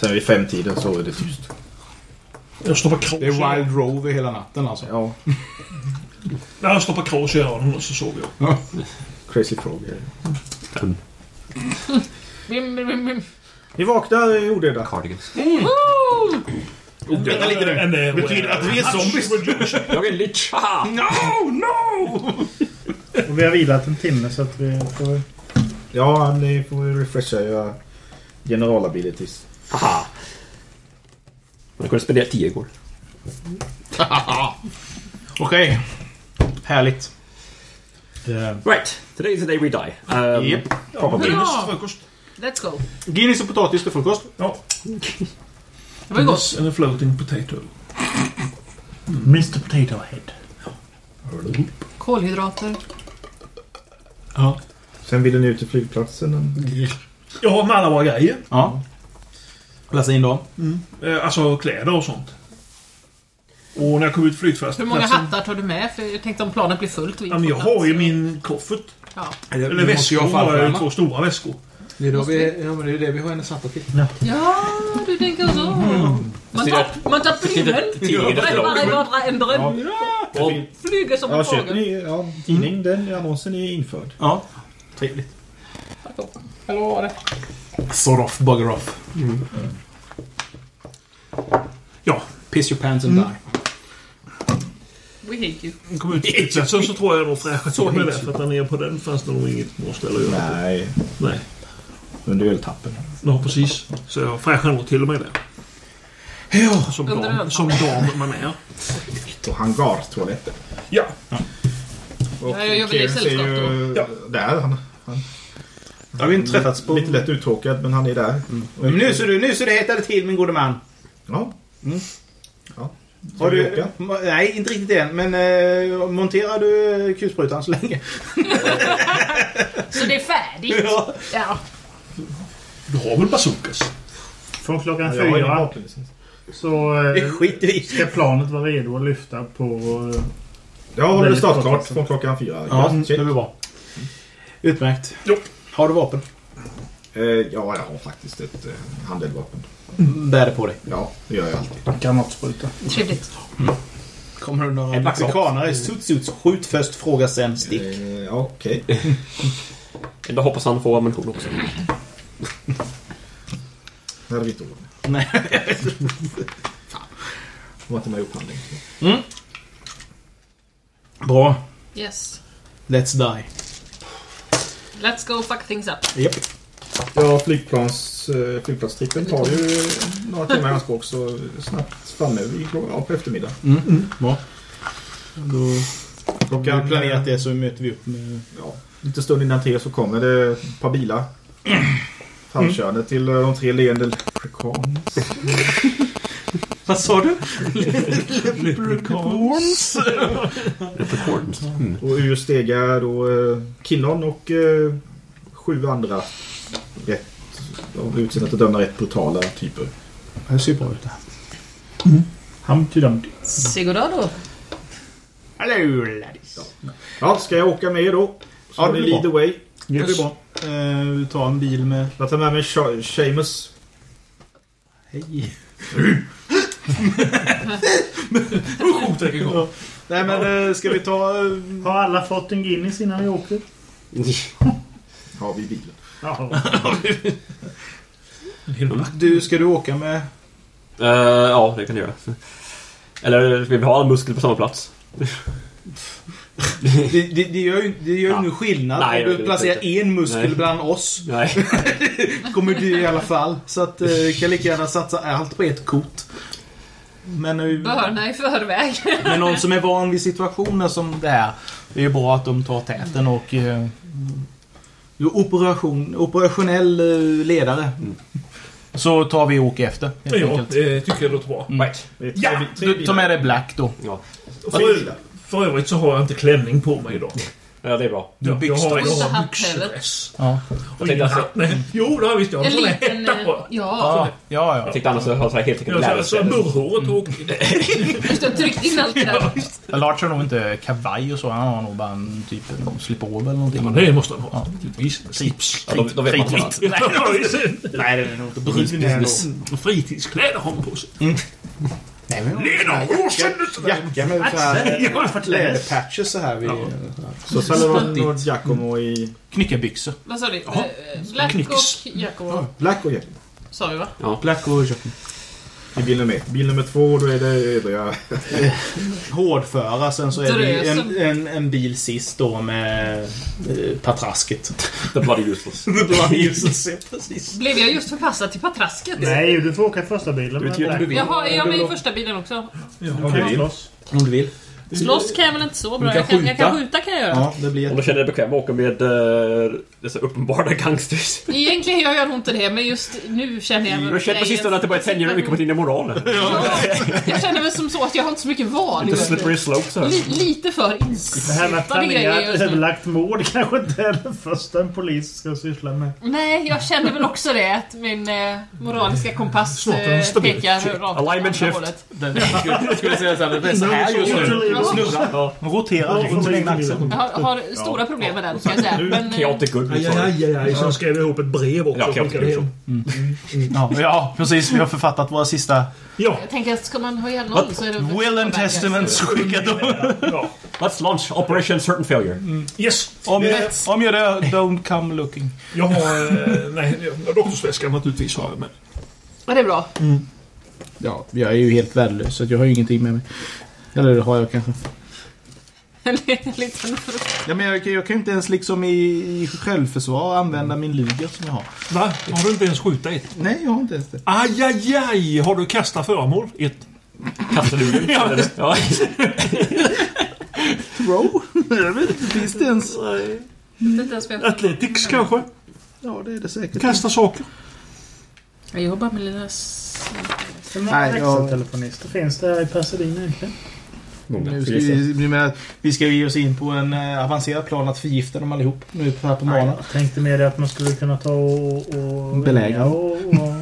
Sen vid femtiden så är det tyst.
Jag stoppar krås
Det
i
är
öronen.
Wild Rover hela natten alltså.
Ja,
Ja, Jag stoppar krås i öronen och så sover jag.
crazy frog.
Bim, bim, bim, bim.
Ni vaknar eh, i odöda.
Cardigans.
Woo!
Vänta lite nu.
And then
Betyder att vi är zombies?
Jag är lich!
Och vi har vilat en timme så att vi får...
Ja, ni får ju refresha era generalabilities.
Haha! Man kunde spendera 10 igår.
Okej. Härligt. Eh,
Right! Today is the day we die. Um,
Japp.
Bra!
frukost.
Let's go.
Guinness och potatis till frukost.
Det var ju gott.
And a floating potato.
Mr Potato Head.
Kolhydrater.
Sen ville ni ut till flygplatsen.
Ja, med alla våra grejer.
Ja. Läsa in dem.
Eh, Alltså kläder och sånt. Och när jag kom ut
Hur många
flygplatsen...
hattar tar du med? För jag tänkte om planet blir fullt. och vi
Ja, men jag
får plats.
har ju min koffert.
Ja.
Eller väskor. Jag har ju två stora väskor.
Det är, då vi, ja, men det är det vi har henne satta till.
ja, du tänker så.
Mm.
Man tar, man tar filmen.
Tidningen efter
Bara i
dagen.
vardera änden.
Och
Flyger som en
Ja, köper
fågel.
ni ja, tidning? Den annonsen är införd.
Ja. Trevligt. Sort off, bugger off.
Ja,
Piss your pants and
Mm.
die.
We hate you.
jag kom ut till flygplatsen så tror jag nog fräschat till mig där. För att där nere på den fanns det nog inget bra ställe att göra.
Nej,
Nej.
under öltappen.
Ja, precis. Så jag fräschade nog till mig där. Ja, som
Under
dam,
öl.
som dam man är.
Och hangartoaletten.
Ja.
Och
Ja, jag vill
Kevin
ju
ser
sällskap
ju där. Han,
Har vi inte träffats på...
lite lätt uttråkad, men han är där.
Men Nu ser du, nu ser det hettar till min gode man.
Ja.
Mm.
ja.
Har du,
åka?
ma- nej, inte riktigt än. Men eh, monterar du eh, kulsprutan så länge?
Så det är färdigt.
Ja.
Ja.
Du har väl bazookas?
Från klockan
Ja, jag har ingen
fyra
liksom.
vapenlicens.
så
Det
eh,
skiter vi i.
ska planet vara redo att lyfta på... eh,
Jag håller
Väldigt
startklart
kortfattat.
från klockan fyra.
Ja,
Just
Mm, det
check.
blir bra. Utmärkt.
Jo.
Har du vapen?
Eh, ja, jag har faktiskt ett eh, handeldvapen.
Bär det på dig.
Ja, det gör jag alltid.
Granatspruta.
Trevligt.
Kommer du några
En back
mexikanare i suits Skjut först, fråga sen, stick.
Eh, ja, Okej.
Ändå hoppas han får ammunition också.
Det hade vi inte råd med.
Nej.
Fan. Det var inte med i upphandlingen.
Bra.
Yes.
Let's die.
Let's go fuck things up.
Ja, flygplans, eh, flygplatstrippen tar ju eh, några timmar i anspråk så snabbt framme vi klo- ja, på eftermiddag.
Mm. Då har vi planerat det så möter vi upp med...
Ja, lite stund innan tre så kommer det ett par bilar.
Mm.
Framkörande till eh, de tre leende leprechauns.
Vad sa du? Leprechauns?
Leprechauns.
Och ur stegar då eh, Kinnon och eh, sju andra rätt, av utseendet att döma rätt brutala typer.
Det ser bra ut det
Han till
Sigurdado.
Hallå laddis. Ja, ska jag åka med då? Så
Ja,
ja,
det
det
blir
lead the way.
Det blir bra. Eh, ta en bil med...
Jag tar med mig Sha- Seamus.
Hej.
Ja. Nej men eh, ska vi ta... eh,
Mm. Har alla fått en Guinness innan vi åker?
Har vi bilen?
Ja.
Du, ska du åka med...
Eh, ja, det kan du göra. Eller vill vi ha en muskel på samma plats?
Det, det, det gör ju, det gör ju
Ja.
ingen skillnad
Nej,
om
det
du
vet
placerar
jag
en muskel
Nej.
bland oss.
Nej.
kommer du i alla fall. Så att eh, vi kan lika gärna satsa allt på ett kort. Men, eh,
Börna i förväg.
men någon som är van vid situationer som det här. Det är ju bra att de tar täten och... Eh, du är operation, operationell eh, ledare. Så tar vi och åker efter helt
Mm. Ja,
enkelt. Mm.
det tycker jag låter bra.
Right.
Det är Eh, tre,
Ja,
bi- tre
Du tar med dig Black då.
Ja.
För, för övrigt så har jag inte klänning på mig idag.
ja, det är bra.
Du har
jag har, jag
byxdress.
har
Och så hatt
byxdress.
Ja.
Och
tänkte
ingen
alltså-
hatt. Nej. Jo, det har jag visst. Jag har en
En
sån här
liten...
hetta
eh,
på.
Ja.
Ja, ja,
Jag
ja.
tänkte annars ha så här heltäckande
Jag har så här
läderställ.
murrhåret och...
Just det, tryckt in allt det där.
Lars har nog inte kavaj och så. Han har nog bara en typ en slipover eller någonting.
Men det måste han ha.
Fritids.
Ja, de- de vet man inte.
Nej, det är nog inte brun här
Precis.
då. Mm.
Fritidskläder har han på sig.
Nej, men
Ledarhåsen!
Jacka med så här
läderpatches så här vid...
Så Salomon och Giacomo i...
Knyckarbyxor.
Vad sa du? Eh, Black
Knycks.
och Jakob
Black och Giacomo.
sa vi va?
Black och Giacomo.
I bil nummer ett. Bil nummer två, då är det övriga...
Hårdföra, sen så är det en,
Drösen.
en, en bil sist då med eh, patrasket.
The bloody useless.
Det var ljuset, precis.
Blev jag just förpassad till patrasket?
Nej, du får åka i första bilen.
Du vet ju om du vill.
Jaha, är jag med i första bilen också?
Om du vill.
Slåss kan jag väl inte så bra?
kan
Jag kan, jag kan
skjuta.
skjuta kan jag göra.
Ja, det blir
Om
ett...
du känner dig bekväm att åka med eh, dessa uppenbara gangsters.
Egentligen gör jag nog inte det, men just nu känner jag...
Du Mm. känner på sistone att det börjar tänja mycket på dina moraler.
Ja, jag känner väl som så att jag har inte så mycket val.
Lite slippery slope så här.
Li, lite för
Det här med
insiktade grejer
planerat
just nu.
överlagt mord kanske inte är det första en polis ska syssla med.
Nej, jag känner väl också det. Att min eh, moraliska kompass
Snart är den
eh,
stabil.
pekar rakt åt
Alignment
andra
shift.
hållet.
Jag skulle säga såhär, det är så här just nu. Roterar runt sin egen axel.
Jag har, har stora problem med den, ska jag säga. Men, eh,
Chaotic good. sorry.
Ajajaj, som skrev jag ihop ett brev också.
Ja,
och
chaotic
skickade
good.
hem.
Ja, ja, precis. Vi har författat våra sista
Ja,
jag tänker att ska man höja noll så är det...
Will and Testaments skickade.
Let's launch Operation Certain Failure.
yes.
Om,
Eh,
om jag dör, don't come looking.
Jag har... eh, Nej, jag har doktorsväskan naturligtvis har jag med.
Ja, det är bra.
Ja, jag är ju helt värdelös så att jag har ju ingenting med mig. Eller det har jag kanske.
En liten frukt.
Ja, men jag, kan- jag kan ju inte ens liksom i, i självförsvar använda min luger som jag har.
Va? Har du inte ens skjutit ett?
Nej, jag har inte ens det.
Ajajaj! Har du kastat föremål? Ett.
Kasteluren.
Ja,
eller? Ja.
Throw? jag vet inte, finns det ens?
Det är inte ens vad jag-
Eh, Athletics kanske?
Ja, det är det säkert.
Kasta saker?
Jag jobbar med lilla... s-
Nej, jag-
Växeltelefonister finns det i Pasadena egentligen?
Nu ska vi, nu menar jag att vi ska ge oss in på en eh, avancerad plan att förgifta dem allihop nu på- här på
Nej,
morgonen.
jag tänkte mer det att man skulle kunna ta och... och
Belägra.
ringa Och, och,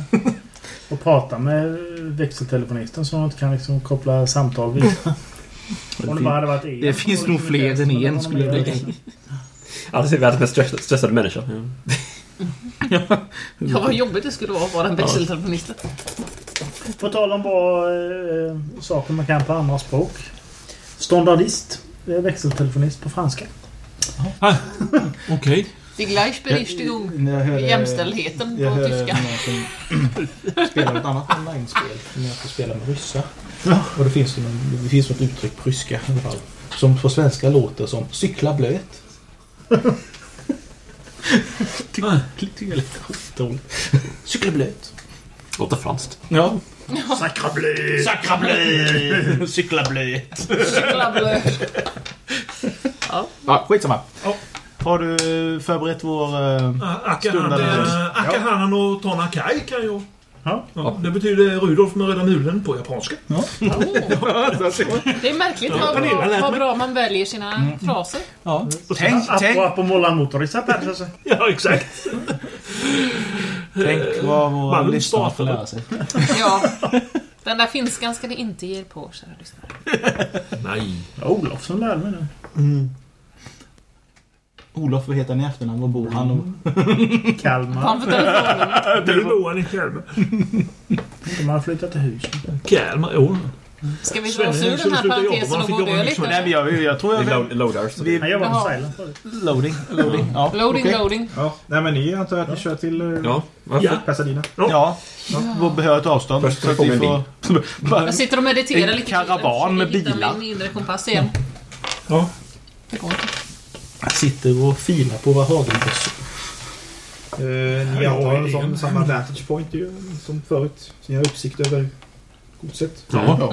och prata med växeltelefonisten så man inte kan liksom koppla samtal vidare. Om det bara hade varit en.
Det finns nog fler än en, skulle jag vilja
säga.
Annars är vi världens mest stress- stressade människa.
Ja, vad jobbigt det skulle vara att vara en växeltelefonist.
På tal om bra eh, saker man kan på andra språk. Standardist. Det är växeltelefonist på franska.
Okej.
Die Gleichberechtigung.
När jag hörde-
Jämställdheten
jag
på
hörde
tyska.
någon som spelar ett annat online-spel. Som jag får spela med ryssar. Och det finns, ju någon, det finns något uttryck på ryska i alla fall. Som på svenska låter som cykla blöt. Ty- Tycker jag är lite skitroligt. Cykla blöt.
Låter franskt.
Ja.
Sacra bleu!
Cykla blöt. Cykla blöt.
Blablö.
Ja, skitsamma. Har du förberett vår... eh, Stundande-
Akahanen och Tana Kai kan ju...
Ja. Det betyder Rudolf med röda mulen på japanska. Ja.
Oh, Det är märkligt
Ja,
vad,
Pernilla lät
bra, vad
mig.
bra man väljer sina fraser.
Ja.
Tänk, tänk. Apropå Mollan Motorisar Persson.
Ja, exakt.
Tänk vad våra
Malmö
lyssnare får
startade.
lära sig.
Ja. Den där finskan ska ni inte ge er på, kära lyssnare.
Nej.
Ja, Olofsson lärde mig det.
Olof, vad heter han i efternamn? Var bor han?
Mm.
Och...
Fan
Kalmar.
för telefonen.
Där bor han i Kalmar.
De har flyttat till hus.
Kalmar,
Oh.
jo.
Ska vi dra
Sven,
oss ur
så
den här
slutar jobba,
parentesen
man
och
fick
gå och
jobba
dö
mycket
lite?
Nej, men jag, jag tror jag...
Lo- Loaders.
Vi...
Nej, jag var på
Jaha.
silent förut.
Loading, loading. Ja.
Loading,
okej.
loading.
Ja. Nej men ni antar att ni kör till eh,
Ja, varför?
Ja.
Pasadena?
Ja, vi behöver ett avstånd.
Först
Så att
får vi
vi
en
får... Bara-
Jag sitter och mediterar
En
lite.
karavan med
Jag försöker hitta
bilar.
min inre kompass igen.
Ja.
Det går inte.
sitter och filar på våra hagelbössor.
Eh, ni antar en sån, samma vantage point ju, som förut. Så ni har uppsikt över godset.
Ja.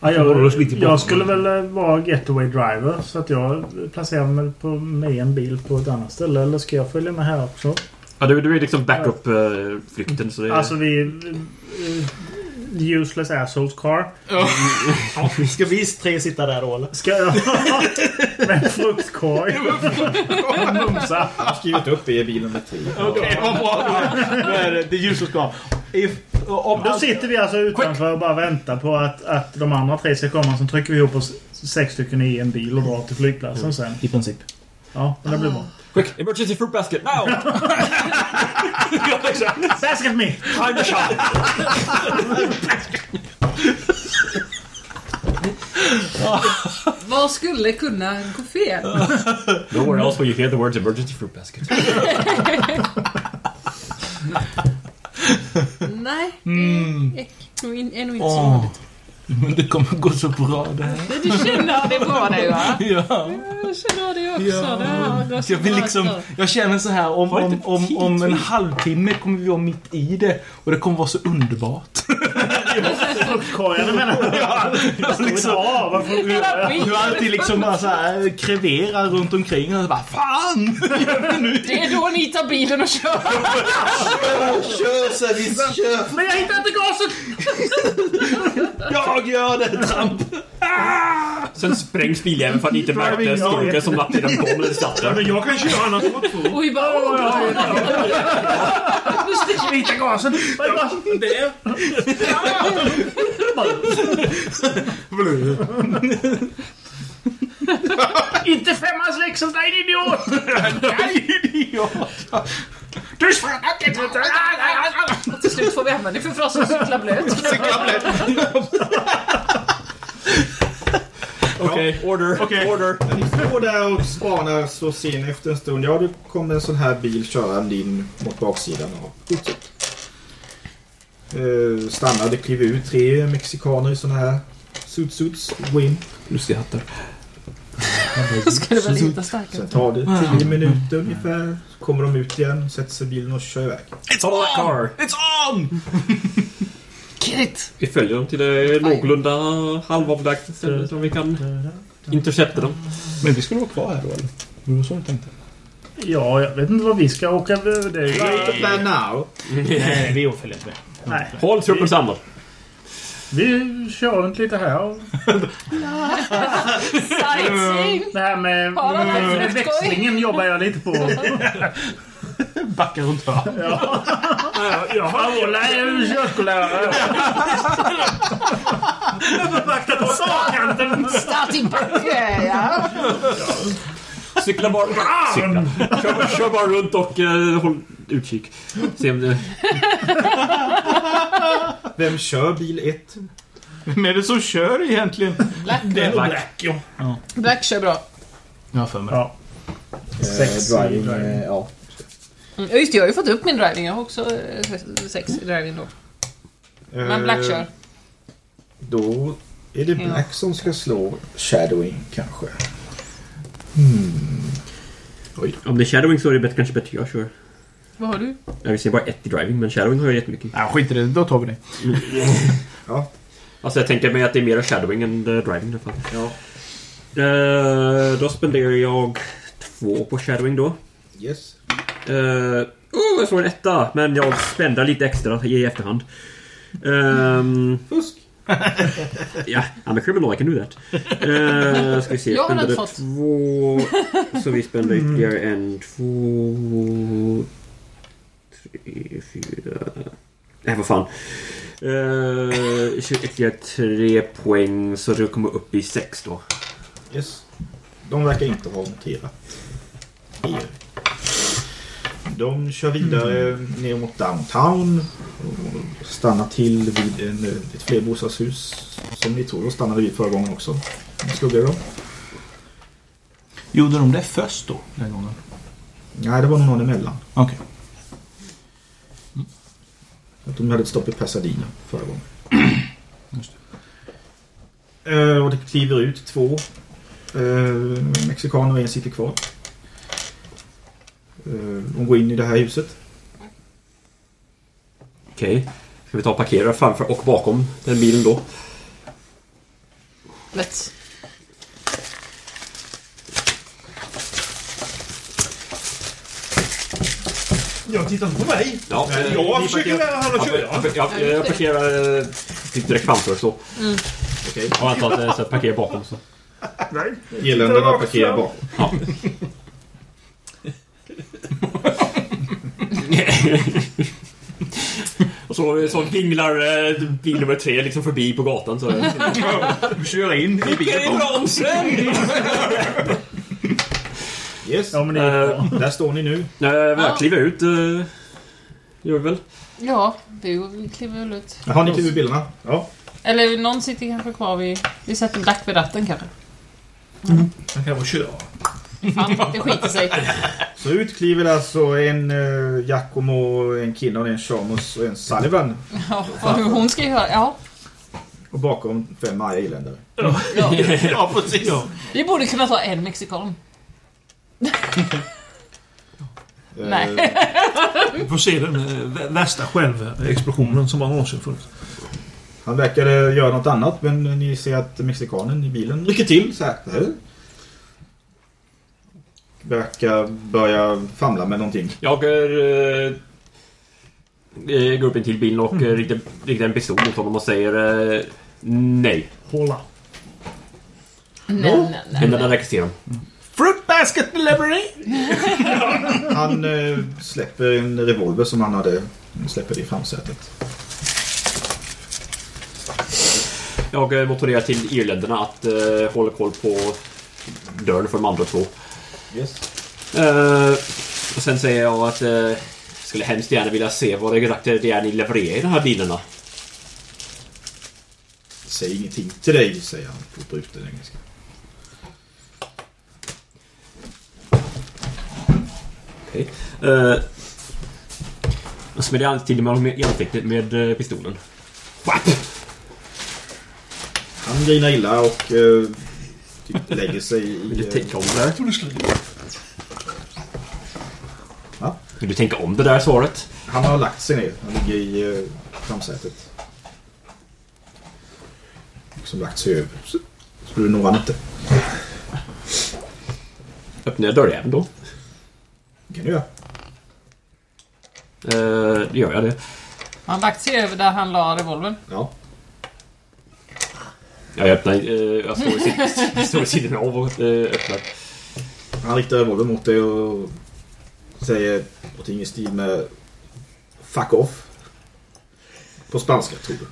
Ja,
Så håller du oss
jag,
lite borta.
jag skulle väl eh, vara getaway driver så att jag placerar mig på med en bil på ett annat ställe. Eller ska jag följa med här också?
Ja, du, du är liksom backup-flykten. Så det är...
Alltså vi... eh, Useless assholes car.
Ska vi tre sitta där då eller?
Ska jag... med en fruktkorg. Mumsa.
Jag har skrivit upp er i bilen med tre.
Okej, vad bra. Det är det ljus som ska. If- Om
Då sitter vi alltså utanför och bara väntar på att, att de andra tre ska komma. Sen trycker vi ihop oss sex stycken i en bil och drar till flygplatsen sen.
I princip.
Ja, men det blir bra.
Quick, emergency fruit basket now!
Basket me!
Time to shop!
Vad skulle kunna gå fel?
No where else will you hear the words emergency fruit basket.
Nej, det är nog in- är nog inte så
Mm. Åh.
vanligt.
Men det kommer gå så bra det här.
Det Du känner det bra nu va?
Ja.
Jag känner det också.
Ja.
Det här går så
Jag, vill
bra
liksom,
så.
jag känner så här om, om, om, om en halvtimme kommer vi vara mitt i det och det kommer vara så underbart.
Fruktkorgarna menar jag. Liksom. Ja, varför
Det där skit.
Hur alltid liksom bara så här kreverar runt omkring och så bara FAN! Gör vi nu?
Det är då ni tar bilen och kör.
Kör service, kör!
Men jag hittar inte gasen!
Jag gör det! Tramp!
Sen sprängs biljäveln för att inte märkte storken som lagt i den bomben i
Ja,
staden.
men jag kan köra annars om två.
Och vi bara... Åh, bra.
Jag hittar gasen!
Där.
Inte femmans växel, nej din idiot! Du snackar inte!
Och till slut får vi användning för frasen cykla blöt.
Okej, order, order.
När ni står där och spanar så ser ni efter en stund, ja det kommer en sån här bil körande in mot baksidan av godset. Eh, stannar, det kliver ut tre mexikaner i såna här suits-suits. Gå in.
Lustiga hattar.
Ska det väl hitta starkare.
Sen tar det tio minuter
Mm.
ungefär. Så kommer de ut igen, sätter sig i bilen och kör iväg.
It's all that car!
It's on! Get it!
Vi följer dem till det någorlunda halvavlägsna stället som vi kan intercepta dem.
Men vi skulle vara kvar här då eller? Det var så du tänkte?
Ja, jag vet inte vad vi ska åka över. Det är ju-
Plan now.
Nej, vi följer inte med.
Nej,
Håll truppen samman.
vi kör inte lite här.
Sightseeing!
Det här med
Har han en
med
fruktkorg?
växlingen jobbar jag lite på.
Backa runt hörnet.
Paola är körskollärare. Övervaktat på stakanten.
Starting backe! Ja.
Cykla bara... Cykla. Kör, kör bara runt och eh, håll utkik. Se om det...
Vem kör bil 1?
Vem är det som kör egentligen?
Black.
Black.
Black kör bra.
Jag har för mig.
Ja. Sex i
Eh, driving.
driving.
eh, ja.
Mm, ja, just det, jag har ju fått upp min driving. Jag har också eh, sex i driving då. Men Black
Eh,
kör.
Då är det Black som ska slå Shadowing kanske.
Oj. Om det är shadowing så är det bättre, kanske bättre jag kör.
Vad har du?
Jag vill se bara ett i driving, men shadowing har jag jättemycket.
Ja, skit i det. Då tar vi det.
Alltså jag tänker mig att det är mer shadowing än eh, driving i alla fall.
Ja.
Eh, då spenderar jag två på shadowing då.
Yes.
Eh, Oh, jag slår en etta, men jag spände lite extra i efterhand. Ehm,
Fusk.
ja, I'm a criminal, I can do that. Uh, ska vi se,
Jag har
spände
den
det
fått.
två... Så vi spände
Mm.
ytterligare en, två... Tre, fyra... Nej, vad fan. Uh, ytterligare tre poäng, så det kommer upp i sex då.
Yes. De verkar inte ha noterat er. De kör vidare ner mot downtown. Och stannar till vid en, ett flerbostadshus som ni tror stannade vid förra gången också. Ni Skuggade dem?
Gjorde de det först då, den gången?
Nej, det var nog någon emellan.
Okej.
Att de hade ett stopp i Pasadena förra gången. Eh, och det kliver ut två eh, mexikaner och en sitter kvar. Eh, de går in i det här huset.
Okej. Ska vi ta och parkera framför och bakom den bilen då?
Lätt.
Jag tittar inte på mig.
Ja, eh,
Nej, jag
ni
försöker
parkerar-
lära honom att köra.
Jag, jag, jag, jag parkerar eh, typ direkt framför så.
Mm.
Okej.
Och antar att det är eh, så att parkera bakom så.
Nej.
Irländarna parkerar bakom.
Ja. Och så, så vinglar eh, bil nummer tre liksom förbi på gatan. Så.
Kör in i
Vilken är bromsen!
Yes.
Ja, men det är
Eh,
Där står ni nu.
nej,
Ja.
Jag kliver ut. eh, Gör vi väl?
Ja, du kliver väl ut.
Har ni klivit ur bilarna? Ja.
Eller någon sitter kanske kvar vid... Vi sätter Black vid ratten kanske.
Han kan vara köra.
Fan, det skiter sig.
Så ut kliver alltså en uh, Giacomo, en Kinnon, en Shamus och en Sullivan.
Ja, vad hon ska göra. Ja.
Och bakom fem arga irländare.
ja.
Ja, precis.
Vi borde kunna ta en mexikan.
Eh,
Nej.
Vi får se den eh, vä- värsta självexplosionen som man någonsin funnits.
Han verkade göra något annat men ni ser att mexikanen i bilen rycker till så här. Eh. Verkar börja famla med någonting.
Jag eh, eh, går upp in till bilen och mm. riktar, riktar en pistol mot honom och säger eh, nej.
Hålla.
Nej, nej, nej.
Händerna rekryterar honom.
Fruit basket delivery!
Han eh, släpper en revolver som han hade. Han släpper det i framsätet.
Jag eh, motorerar till irländarna att eh, hålla koll på dörren för de andra två.
Yes.
Eh, och sen säger jag att eh, skulle hemskt gärna vilja se vad exakt det är ni levererar i de här bilarna.
Säg ingenting till dig, säger han på bruten engelska.
Okej. Eh, och smäller jag till honom i ansiktet med eh, pistolen.
Han grinar illa och eh, typ lägger sig i...
Vill du
eh,
tänka om det där?
Va?
Vill du tänka om det där svaret?
Han har lagt sig ner. Han ligger i eh, framsätet. Som lagt sig över. Så, så du når han inte.
Öppnar jag dörrjäveln då?
Det kan du göra.
Eh, det gör jag det.
Han har lagt sig över där han la revolvern.
Ja.
Jag öppnar... eh, jag står i sid- står i sidan av och eh, öppnar.
Han riktar revolvern mot dig och säger någonting i stil med Fuck off. På spanska, tror jag.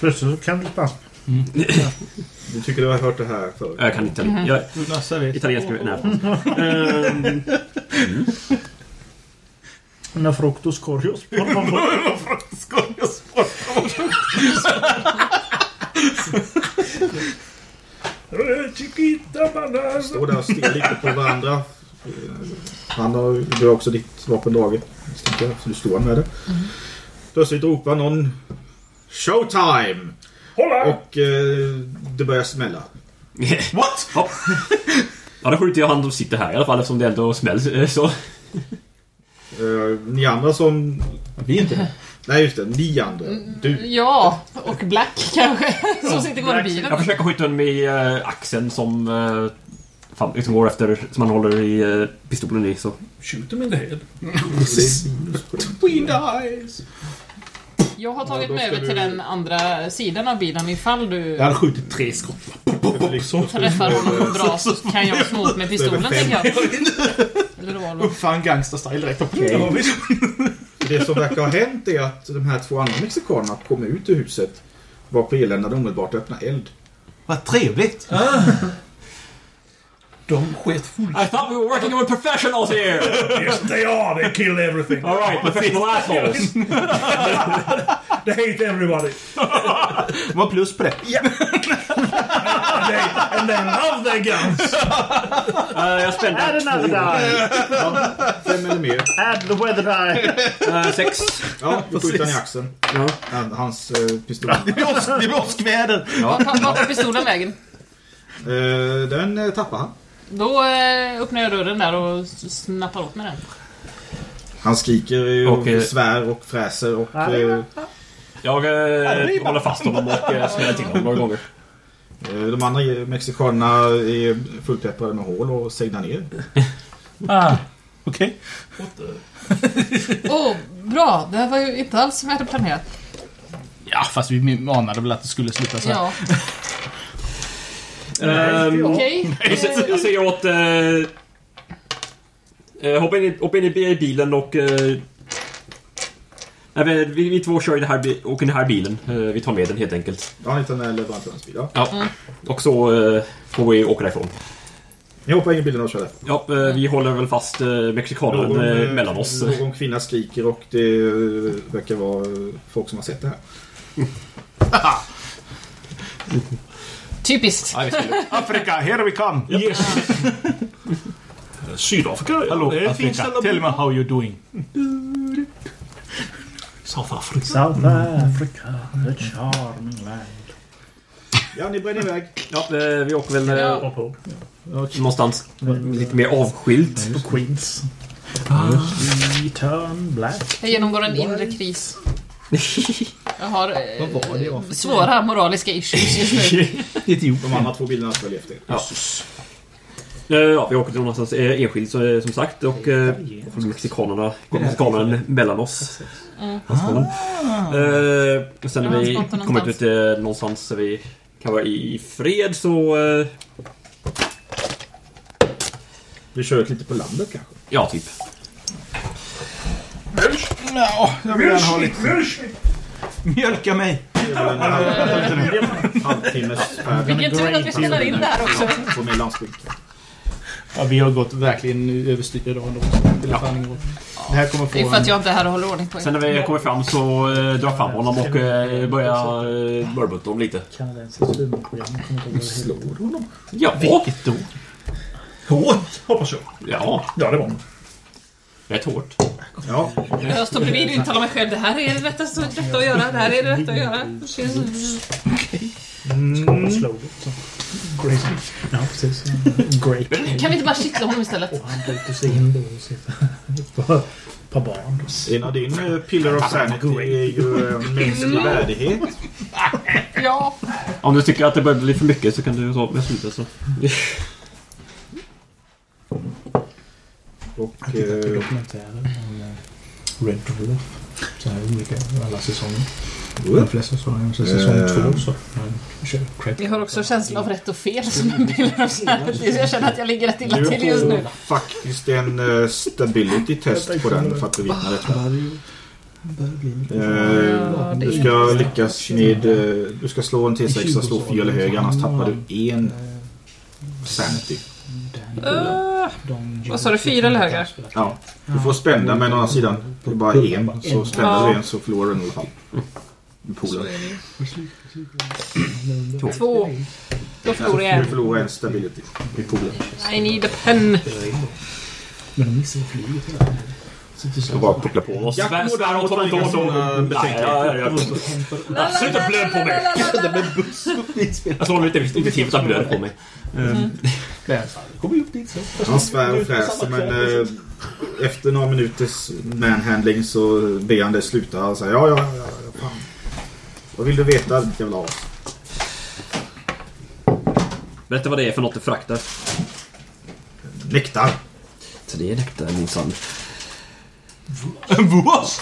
Plötsligt så kan du spanska.
Du tycker du har hört det här förut?
Jag kan inte...
Mhm.
Jag,
Lasse vet.
italienska... Nej. Ehm,
Una fructus corios. por favor.
står där och stirrar lite på varandra. Eh, Han har, du har också ditt vapen draget. misstänker jag, Så du står med det. Mm. Plötsligt ropar någon Showtime! Och eh, det börjar smälla.
What? Ja. ja, då skjuter jag han som sitter här i alla fall eftersom det ändå smälls. eh, Så.
Eh, ni andra som...
Vi är inte Mm. det.
Nej just det, ni andra. Du.
Ja, och Black kanske. Som sitter kvar i
Jag
bilen.
försöker skjuta honom i eh, axeln som eh, fan, liksom går efter, som han håller i eh, pistolen i. Så.
Shoot him in the head.
Between the eyes. Jag har tagit
Ja, då
mig
ska
över
du-
till den andra sidan av bilen ifall du
Jag hade skjutit tre skott. Liksom.
träffar honom bra så kan jag slå åt med pistolen tänker jag. Eller revolvern.
Uppfann gangsta-style direkt.
Okej. Det som verkar ha hänt är att de här två andra mexikanerna kom ut ur huset. Var på elände omedelbart öppna eld.
Vad trevligt!
De sket fullt.
I thought we were working with professionals here!
Yes, they are. They kill everything.
All right, professional assholes!
They hate everybody.
Det var plus på det.
And they, and they love their guns.
Eh, jag spände
Add another die!
Fem eller mer.
Add the weather die!
eh, sex.
Ja, då skjuter han i axeln.
Ja.
Han, hans eh, pistol.
Det blir åskväder!
Ja.
Vart tar- vart tar pistolen vägen?
Eh, den eh, tappar han.
Då eh, öppnar jag dörren där och s- snappar åt mig den.
Han skriker eh, och,
Och, eh,
svär och fräser och...
Ja, det
eh,
Jag eh, håller fast honom och eh, smäller till honom några gånger.
eh, de andra mexikanerna är fullpepprade med hål och segnar ner.
Ah, Okej.
Åh, bra! Det här var ju inte alls som jag hade planerat.
Ja, fast vi anade väl att det skulle sluta så här.
Ja,
Ehm,
okej.
jag sä- jag säger åt... Eh, eh, hoppa, in i, hoppa in i bi- bilen och... Eh, nej, vi, vi, vi två kör i den här, bi- åker i den här bilen. Eh, vi tar med den helt enkelt.
Ja, han hittar den här leverantörens bil. Ja.
Ja. Och så eh, får vi åka därifrån.
Ni hoppar in i bilen och kör därifrån.
Ja, eh, vi håller väl fast eh, mexikanaren eh,
eh,
mellan oss.
någon kvinna skriker och det eh, verkar vara eh, folk som har sett det här.
Typiskt.
Ja, vi skulle-
Afrika, here we come!
Yes. Sydafrika,
Hallå,
det är ett fint
Afrika.
ställe att
Tell
bo.
me how you're doing.
South Africa.
South Africa, the charming land.
Ja, ni bränner iväg.
ja, eh, vi åker väl eh,
Ja.
på.
någonstans lite mer avskilt.
Mm.
På Queens.
Ah.
We turn black.
Jag genomgår en inre kris. Jag har eh, svåra moraliska issues just nu.
De andra två bilderna följer efter. er.
Ja. Eh, Ja, vi åker till någonstans eh, enskild så, eh, som sagt och eh, från mexikanerna, går mexikanen mellan oss. Hans
Ah.
eh, och sen när
Ja, han
vi
spottar någonstans.
kommit ut eh, någonstans så vi kan vara i fred så... Eh,
Vi kör lite på landet kanske.
ja, typ.
Jag vill gärna ha lite... Mjölka mig!
Det är väl en halv- halvtimmes färd
Vilken tur att vi spelar in det här också.
på mer landsbygd.
Ja, vi har gått verkligen överstyr idag ändå. Det spelar fan ingen roll. Det här kommer få
Det är för
en...
att jag inte är här och håller ordning på
Sen
er.
när vi kommer fram så eh, drar jag fram honom och eh, börjar eh, mörbulta honom lite.
Kanadensiska stumfilmer kommer inte ihåg vad det heter.
Ja,
Vilket ord!
Hårt, hoppas jag.
ja,
Ja, det var
rätt hårt.
Ja,
Jag står bredvid och intalar mig själv. Det här är det rätta, så- rätta att göra. Det här är det rätta att göra. Det känns-
Slow it, så. Crazy. Ja, precis. Great.
Kan vi inte bara kittla honom istället?
Han bryter sig in då och sitter på, på barn.
en av din eh, pillar of sanity är ju eh, mänsklig värdighet.
Ja.
Om du tycker att det börjar bli för mycket så kan du ta med slutet så.
Och
Tittar på
eh,
dokumentärer om eh, Red Dwarf. Så här olika, alla säsonger. De flesta säsongerna, så säsong
Eh.
två så. ja, kör cred.
Vi har också känsla av rätt och fel som en bild av så här. Så Jag känner att jag ligger rätt illa
du
till just nu.
får faktiskt en eh, stability test på den för att bevittna detta. Eh, Du ska lyckas med... eh, Du ska slå en T6 och slå 4 eller högre annars tappar du en sanity.
Öh, vad sa du, fyra eller högre?
Ja. Du får spända men å andra sidan, det är bara en. Så spänner du en så förlorar du en i alla fall. Polen.
Två. Då förlorar jag
Du
en.
förlorar en stability i poolen.
I need a pen.
Men de missar flyget hela tiden. Så till slut-
Och bara puckla på.
Och svär svär åt honom inte åt
sådana betänkligheter.
Sluta blöd på mig! Jag slår lite effektivt att blöd på mig.
Kommer ju upp dit sen.
Han svär och fräser men eh, efter några minuters manhandling så ber han det sluta. Han säger ja, ja, ja, ja fan. Vad vill du veta ditt jävla as?
Vet du vad det är för något du fraktar?
Nektar.
Tre nektar minsann.
En vås?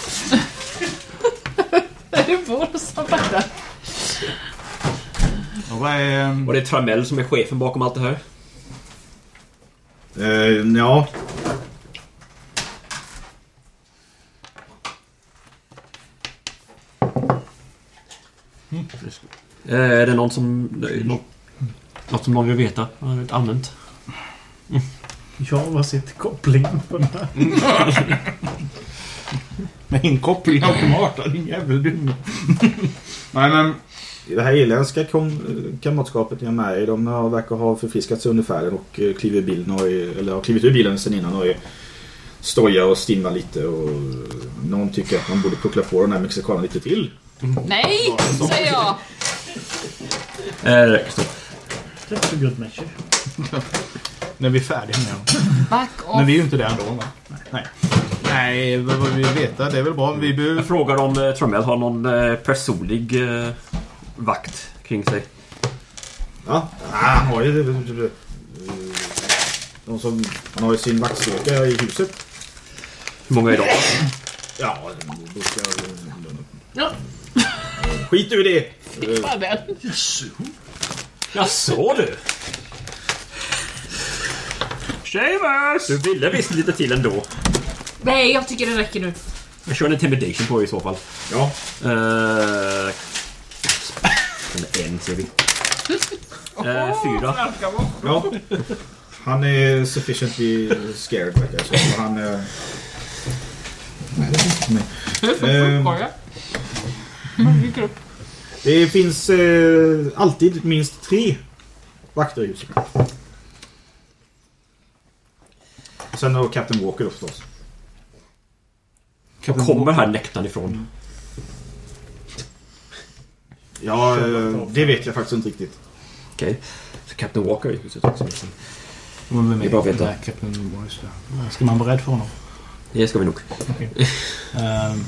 Är det vår som fattar?
Och, och det är Tramell som är chefen bakom allt det här.
Eh, ja.
Eh, Är det någon som... Något, något som någon vill veta? Eh, Ett allmänt?
Jag har sett kopplingen på den här.
Med inkoppling automat, din jävel dum.
Nej, men det här irländska kom- eh, kamratskapet jag är med i, de har, verkar ha förfriskat sig under färden och eh, kliver i bilen och är, eller har klivit ur bilen sen innan och är, stojar och stimmar lite och eh, någon tycker att man borde puckla på den här mexikanen lite till.
Nej, säger jag.
Eh,
That's a good measure.
När vi är färdiga med dem.
Back off.
Men vi är ju inte där ändå va? Nej. Nej, vad vad vi veta, det är väl bra. Vi behöver...
Jag frågar om eh, Tramell har någon eh, personlig eh, vakt kring sig.
Ja, han har ju... eh, De som, han har ju sin vaktstyrka i huset.
Hur många är de?
Ja, då ska jag...
Ja,
Skit ur det!
det var den.
Jag såg du! Shamus! Du ville visst lite till ändå.
Nej, jag tycker det räcker nu.
Jag kör en intimidation på er i så fall.
Ja.
Eh, den är en ser vi. Eh, fyra.
Ja. Han är sufficiently scared verkar det som. Och Han... eh, Nej, det är inte för mig. Ehm.
Fråga. Man dyker upp.
Det finns eh, alltid minst tre vakter i huset. Och sen har Captain Walker då förstås.
Var kommer här nektarn
Mm.
ifrån?
Ja, eh, det vet jag faktiskt inte riktigt.
Okej. Så Captain Walker är i huset också.
Men vem
Det är bra att veta.
den här Captain Morris där? Ska man vara rädd för honom?
Det ska vi nog.
Ehm,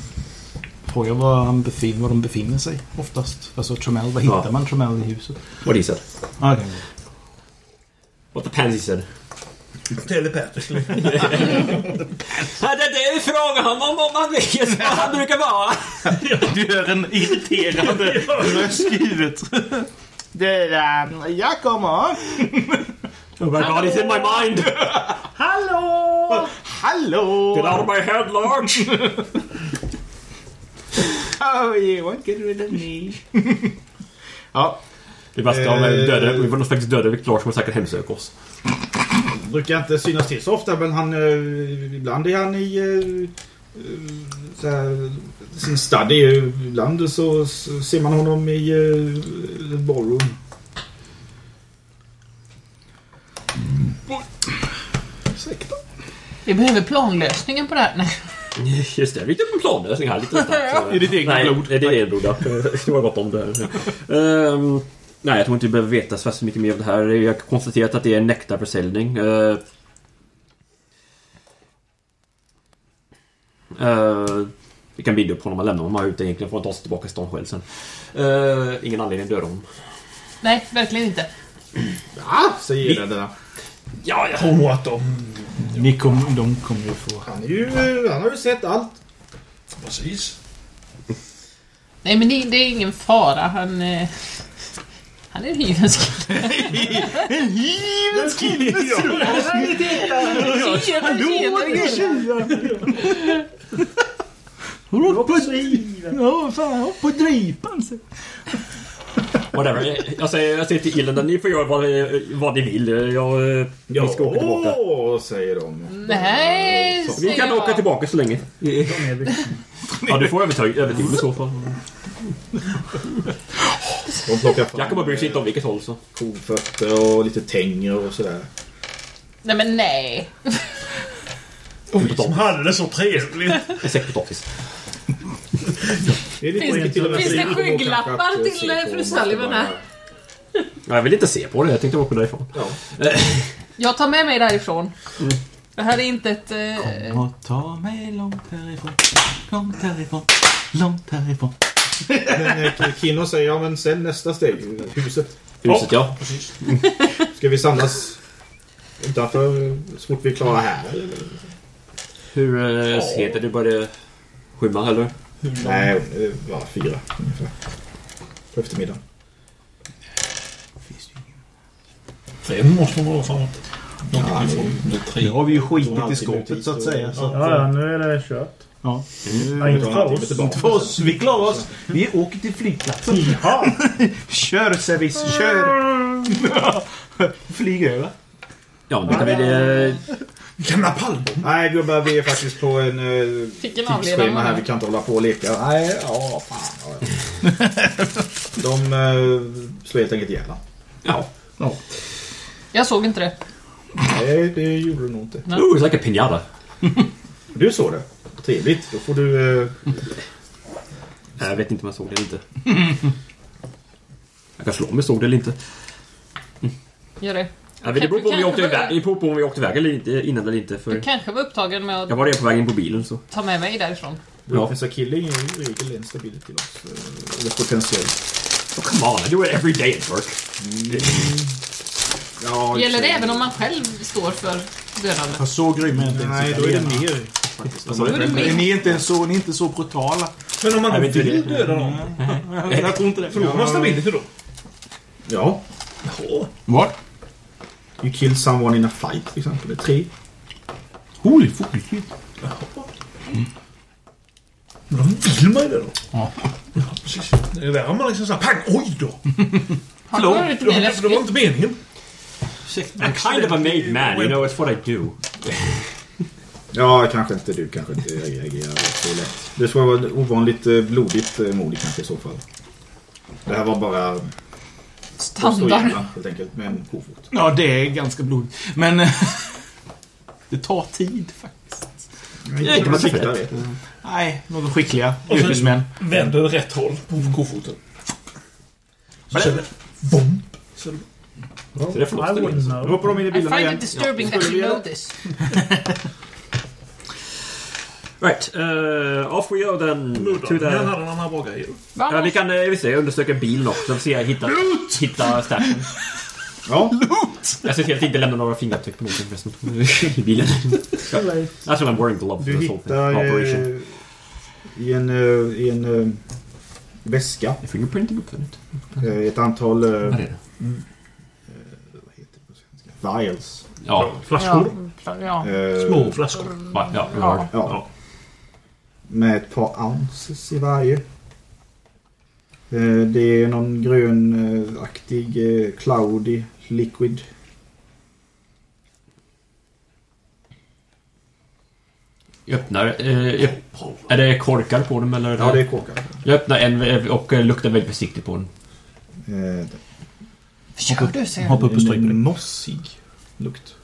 Fråga var, han befin, var de befinner sig oftast. Alltså Tremell, var hittar
Ja.
man Tremell i huset?
What he said.
Ah, okay.
What the pansy said.
Telepatiskt.
Ja, det är frågan om om han vet vad han brukar vara.
Du gör en irriterande röst i huvudet. Det där, jag kommer.
Oh my god, it's in my mind!
Hallå!
Hallå!
Get out of my head, Large!
Oh, you won't get rid of me. ja,
Det värsta om eh, döda, vi får faktiskt döda Victor Large som säkert hemsöker oss.
Brukar inte synas till så ofta men han... Eh, ibland är han i... Eh, eh, så här, sin study. Ibland så, så ser man honom i eh, ballroom.
Vi behöver planlösningen på det här. Nej.
Just det, vi tog en planlösning här lite snabbt.
I ditt eget
nej,
blod.
Nej, det är eget blod. ja. Det var gott om det. Ehm, nej, jag tror inte vi behöver veta så värst mycket mer om det här. Jag har konstaterat att det är en nektarförsäljning. Uh, eh, vi kan binda upp honom och lämna honom här ute egentligen. Får han ta sig tillbaka till stan själv sen. Eh, ingen anledning att döda honom.
Nej, verkligen inte.
Ja, säger gäddarna.
Ja, ja.
Tror nog att de...
ni kom, de kommer ju få...
Han, är ju, eh, han har ju sett allt.
Precis.
Nej, men det, det är ingen fara. Han... Eh, han är en hyvens En hyvens kille!
Ja, fan, på dripan.
Whatever. Jag, jag, säger, jag säger till Irlanda, ni får göra vad, vad ni vill. Jag, eh, vi ska åka tillbaka.
Åh, säger de.
Nej,
Vi
säger
kan
jag.
åka tillbaka så länge. ja, du får övertag, övertid i så fall.
De plockar fram
Jag kommer bry sig inte om vilket håll så.
kofötter och lite tänger och sådär.
Nej, men nej.
Oj, som hade det så trevligt.
En säck potatis.
Det är lite
Finns-
till och med Alltså,
finns
frivilligt
det
kanske
skygglappar
att
till,
se
eh,
på
fru
om man ska
Sullivan
bara-
här?
Ja, Jag vill inte se på det, jag tänkte åka därifrån.
Ja.
Jag tar med mig därifrån.
Mm.
Det här är inte ett... Eh,
Och ta mig långt härifrån, långt härifrån, långt härifrån.
Men eh, Kino säger, ja men sen nästa steg, huset.
Huset ja.
Ska vi samlas utanför eh, så fort vi är klara här.
Hur eh, ser det? Du började skymma eller?
Nej, det var fyra ungefär. På eftermiddagen.
Fem måste man vara framåt.
Ja,
Nu har vi ju skitit i
alltid
skåpet så att säga. Så att,
Ja, ja, nu är det kört.
Ja.
Mm.
Ja, inte
Det tar
för oss.
en timme tillbaka.
Inte för oss. Vi klarar oss. Vi åker till flygplatsen. kör service, kör! Flyg över.
Ja, då kan vi... eh,
Gamla palm. Nej gubbar, vi är faktiskt på en eh,
Fick en avledare,
tidsschema här.
va?
Vi kan inte hålla på och leka. Nej, ja, fan. Ja, ja. De eh, slår helt enkelt ihjäl honom.
Ja.
Jag såg inte det.
Nej, det gjorde de nog inte.
Nej. Oh, it's
like a pinata.
Du såg det. Trevligt. Då får du... Eh,
Nej, jag vet inte om jag såg det eller inte. Jag kan slå om jag såg det eller inte.
Gör det.
Jag vet, det beror på om vi
Kanske-
åkte iväg, det beror på om vi åkte iväg eller inte, innan eller inte.
Du
För
kanske var upptagen med
jag
att
var redan på väg in på bilen så.
ta med mig därifrån.
Ja.
Professor Killing är ju i regel en stability loss. eh, Eller potentiell. Mm.
Oh, come on, I do it every day at work.
Ja,
Gäller det även om man själv står för dödandet?
Jag såg grymma inte ens
Nej,
i
då är det
italienarna.
mer.
Vad sa du?
Då är det mer.
Ni är inte ens så, ni är inte så brutala.
Men om man
Jag vet
vill
inte det.
döda någon?
Nej, Jag tror inte det.
Förlorar man stability då?
Ja.
What?
You kill someone in a fight till exempel. Det är tre.
Holy fuck.
Men då vill man ju det då.
Ja.
precis. Det är värre om man liksom såhär pang, oj då!
Han var lite
det
mer
var, inte- det var
läskig.
inte meningen.
I'm kind of a made man, you know, it's what I do.
Ja, kanske inte du kanske inte reagerar så lätt. Det skulle vara ett ovanligt eh, blodigt eh, mord kanske i så fall. Det här var bara...
Standard.
Påstå helt enkelt med en kofot.
Ja, det är ganska blodigt. Men... eh, det tar tid faktiskt.
Det
kan man säga.
Nej, några skickliga
Och sen-
yrkesmän.
Vänder det rätt håll på kofoten. Så känner jag, Vom! Så är det
Så det är förlåt.
I wouldn't know.
liksom. Hoppar de in i
I
bilarna
find
igen?
it disturbing that you know this.
Right, uh, off we go then. To
bra. Den
the...
hade han här bra grejer.
Ja,
Va?
vi kan eh, vi ser, undersöka bilen också. Vi ser, hitta, hitta stashen.
Ja.
Jag ser till att inte lämna några fingeravtryck på någonting förresten. I bilen. That's what I'm wearing glove
Du
for this whole thing.
hittar
Operation.
eh, i en, eh, i en eh, väska
Fingerprinting uppfunnet.
eh, ett antal eh,
Mm. Vad är det?
vials.
Ja.
Flaskor.
Ja, ja.
eh,
Små flaskor.
Va? Ja, vi har det.
Ja. Med ett par ounces i varje. Eh, Det är någon grönaktig eh, cloudy liquid.
Jag öppnar... Eh, jag, är det korkar på dem eller?
Ja, det är kåkar.
Jag öppnar en eh, och eh, luktar väldigt försiktigt på den.
Eh,
Kör du, säger jag.
Hoppa upp och strypa dig.
En mossig lukt.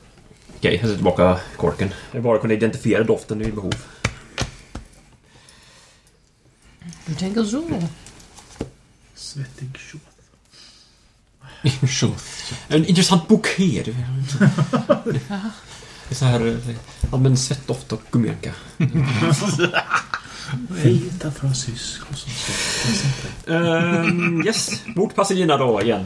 Okej, jag sätter tillbaka korken. Jag bara kunna identifiera doften vid behov.
Du tänker så.
Svettig tjo.
Så. En intressant bouquet. du vet. Det är så här... eh, Ja, men svettdoft och gummijacka.
Vita fransyskor som
Ehm, yes, mot Pasadena då igen.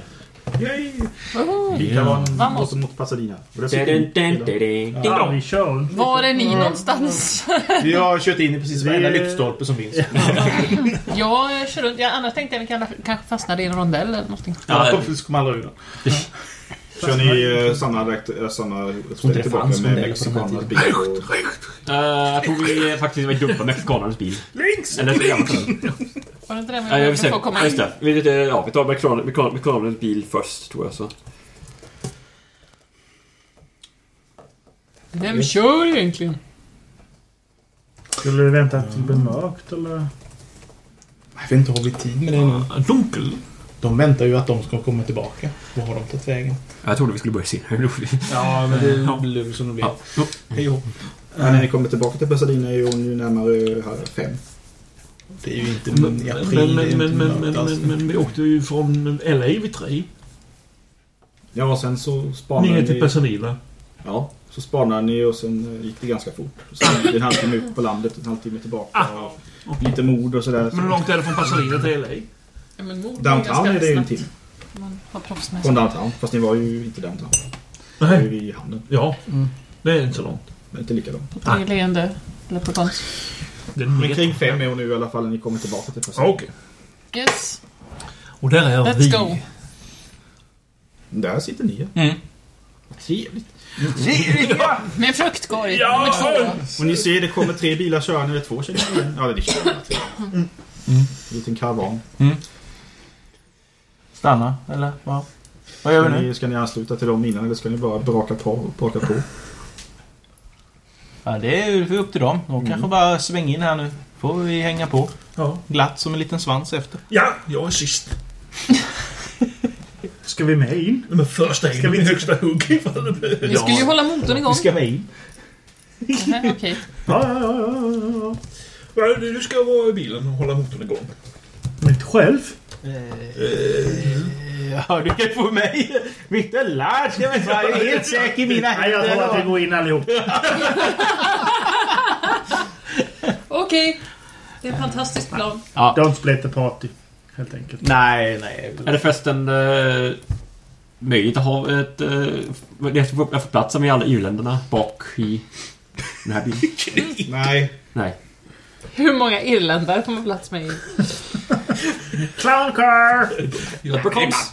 Yay!
Woho!
Likadan
Vamos.
låt mot Pasadena. Och det
Dun,
sitter
dun, dun,
i-
dun, dun. Ding
Ja,
dong.
vi kör.
Var är ni någonstans?
Vi har kört in i precis varenda
Vi-
lyktstolpe som finns.
Jag kör runt. Jag, annars tänkte jag att vi kan- kanske fastnade i en rondell eller någonting.
Ja,
Ja, vi kommer aldrig ur den.
Kör ni eh, samma direkt, eh, samma
Hon träffar
tillbaka
hans
med
modell på den här
mexikanernas bil?
tiden.
och-
Eh, jag tror vi eh, faktiskt var dumpa mexikanernas bil. Links! Eller så jävla
Var det inte det
Ja, jag
med
vill
att få
säga,
komma
just
in?
det. Vi, eh, ja, vi tar mexikaner- mexikaner- mexikanernas bil först tror jag så.
Vem kör egentligen?
Skulle du vänta tills det blir mörkt eller?
Jag vet inte, har vi tid med det nu?
Dunkel.
De väntar ju att de ska komma tillbaka. Vad har de tagit vägen?
Jag trodde vi skulle börja senare.
Ja, men det blev som det blev.
Ja. Jo.
Hej då.
Men När ni kommer tillbaka till Pasadena är hon ju närmare eh, här, fem.
Det är ju inte
Men,
i
men,
april.
men,
det är
men,
inte
men, men,
mörkt alls.
men, men vi åkte ju från LA vid tre.
Ja, sen så spanar
Ner till Pasadena.
Ja, så spanade ni och sen eh, gick det ganska fort. Sen en halvtimme ut på landet, en halvtimme tillbaka. Och lite mord och sådär.
Men hur långt är det från Pasadena till LA?
Ja, men mord går
Downtown
ganska
är det ju en
snabbt.
timme.
Man har proffsmässigt.
Från downtown. Fast ni var ju inte downtown. Det är vid hamnen.
Ja, det är inte så långt.
Det är inte lika långt.
Tre leende leprechauns.
Mm.
Men kring fem är hon nu i alla fall när ni kommer tillbaka till Okej.
Yes.
Och där är
Let's
vi.
go.
Där sitter ni.
Mm.
Trevligt.
Med en fruktkorg.
Ja!
Nummer två.
Och ni ser det kommer tre bilar körande, eller två känner ni igen. Ja, det är kör alla tre.
Mm.
En liten karavan.
Stanna, eller vad? Vad gör vi
Ska
nu?
ni- Ska ni ansluta till dem innan eller ska ni bara braka på? Braka på?
Ja, det är ju upp till dem. De
Mm.
kanske bara svänger in här nu. Får vi hänga på. Glatt som en liten svans efter.
Ja, jag är sist.
Ska vi med in?
Men första in
Ska vi
med
inte-
högsta hugg ifall det blir.
Vi ska ju hålla motorn igång.
Vi ska med in.
Nähä, Okej.
Ja, ja, ja, ja, ja. Du ska vara i bilen och hålla motorn igång.
Men inte själv?
Ja, du kan få mig. Victor Lars kan vi ta. Jag är helt säker i mina
Nej, jag tror att vi går in allihop.
Okej. Det är en fantastisk plan.
Ja. Don't split the party. Helt enkelt.
Nej, nej.
Är det förresten eh, möjligt att ha ett... Eh, det är för- jag får plats med alla EU-länderna bak i den här bilen?
Nej.
Nej.
Hur många irländare får man plats med i?
Clown car!
Leprechauns.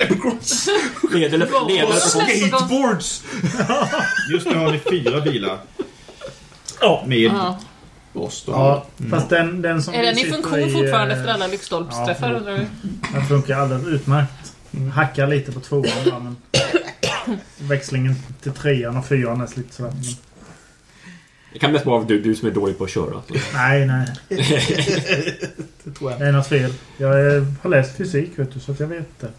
Leprechauns. Ledare
Skateboards!
Just nu har ni fyra bilar.
Ja.
Med
Ja.
oss då.
Ja, fast den, den som
Är
vi
den i
sitter
funktion fortfarande
eh,
efter alla lyktstolpsträffar
ja,
undrar vi?
Den funkar alldeles utmärkt. Hackar lite på tvåan där, men... Växlingen till trean och fyran är lite sådär. Men...
Det kan mest vara du, du som är dålig på att köra.
Nej, nej.
det tror
Det är något fel. Jag eh, har läst fysik, vet du, så att jag vet det.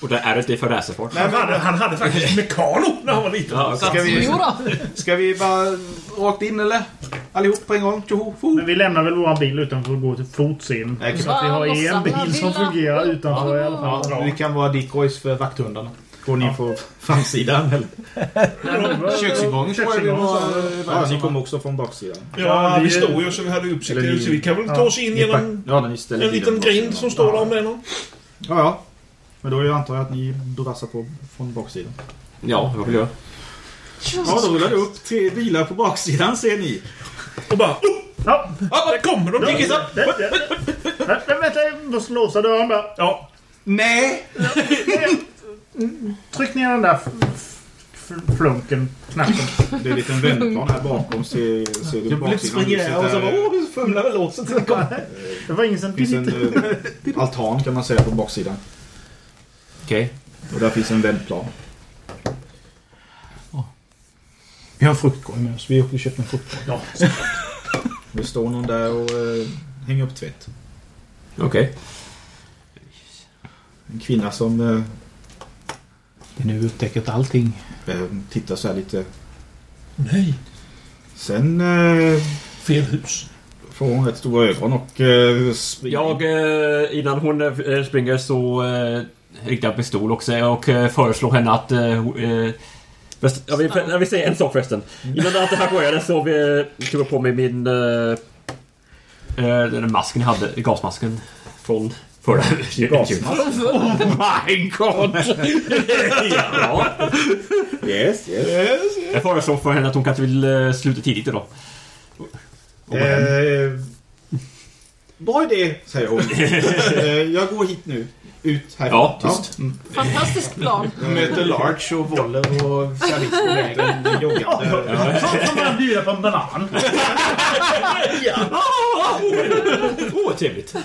Och där är det inte för racerfart.
Han hade, han hade faktiskt Mekano när han var liten.
Ja,
Så
okej.
att-
Jo
Ska vi bara rakt in eller? Allihop på en gång? Tjoho, fo.
Men vi lämnar väl vår bil utanför och går till fots in.
Nej,
Så att vi har
Fan,
en
mossarna
bil som
vill ha-
fungerar utanför i alla fall.
Ja, vi kan vara decoys för vakthundarna.
Går ni på framsidan eller?
Köksingången tror jag vi var.
Ja, ni kom också från baksidan.
Ja, vi stod ju så vi hade utsikt.
Eller ni-
Så vi kan väl ta oss in
Ni
genom
pack- ja, när ni ställer
en
bilen
liten
på baksidan.
grind som står där om det är någon.
Ja, ja. Men då antar jag att ni brassar på från baksidan.
Ja, vad vill jag?
Ja, då rullar det upp tre bilar på baksidan ser ni.
Och bara... Oh!
Ja,
Ja, där kommer de! Diggis upp!
Vä- vä- vä- vä- Vänta, jag måste låsa dörren där.
Ja.
Nej!
Tryck ner den där f- f- f- flunken, knappen.
Det är en liten vändplan här bakom. Ser, ser du
Jag springer här och så bara åh, hur fumlar vi låset till det
Det var ingen som...
Det finns en eh, altan kan man säga på baksidan.
Okej.
Och där finns en vändplan.
Vi har en fruktkorg med oss. Vi åkte och köpte en fruktkorg.
Ja.
Det står någon där och eh, hänger upp tvätt.
Okej.
En kvinna som eh,
Det är nu vi upptäcker att allting...
eh, tittar så här lite.
Nej.
Sen eh,
Fel hus.
får hon rätt stora ögon och eh, springer.
Jag, eh, innan hon eh, springer så eh, riktar jag en pistol också och eh, föreslår henne att... Eh, eh, först- jag, vill, jag vill säga en sak förresten. Innan allt det här började så vi, tog jag på mig min... Eh, eh, den där masken jag hade, gasmasken. Från förra...
Gasmask?
Oh my god! ja,
Yes, yes.
jag föreslår för henne att hon kanske vill eh, sluta tidigt idag. Och gå hem.
Eh, bra idé, säger hon. eh, jag går hit nu. Ut här.
Ja, tyst.
Fantastisk plan.
Jag möter Larch och Voller och Charlize på vägen joggande.
Som man bjuder på en banan.
Åh, vad Oh, trevligt.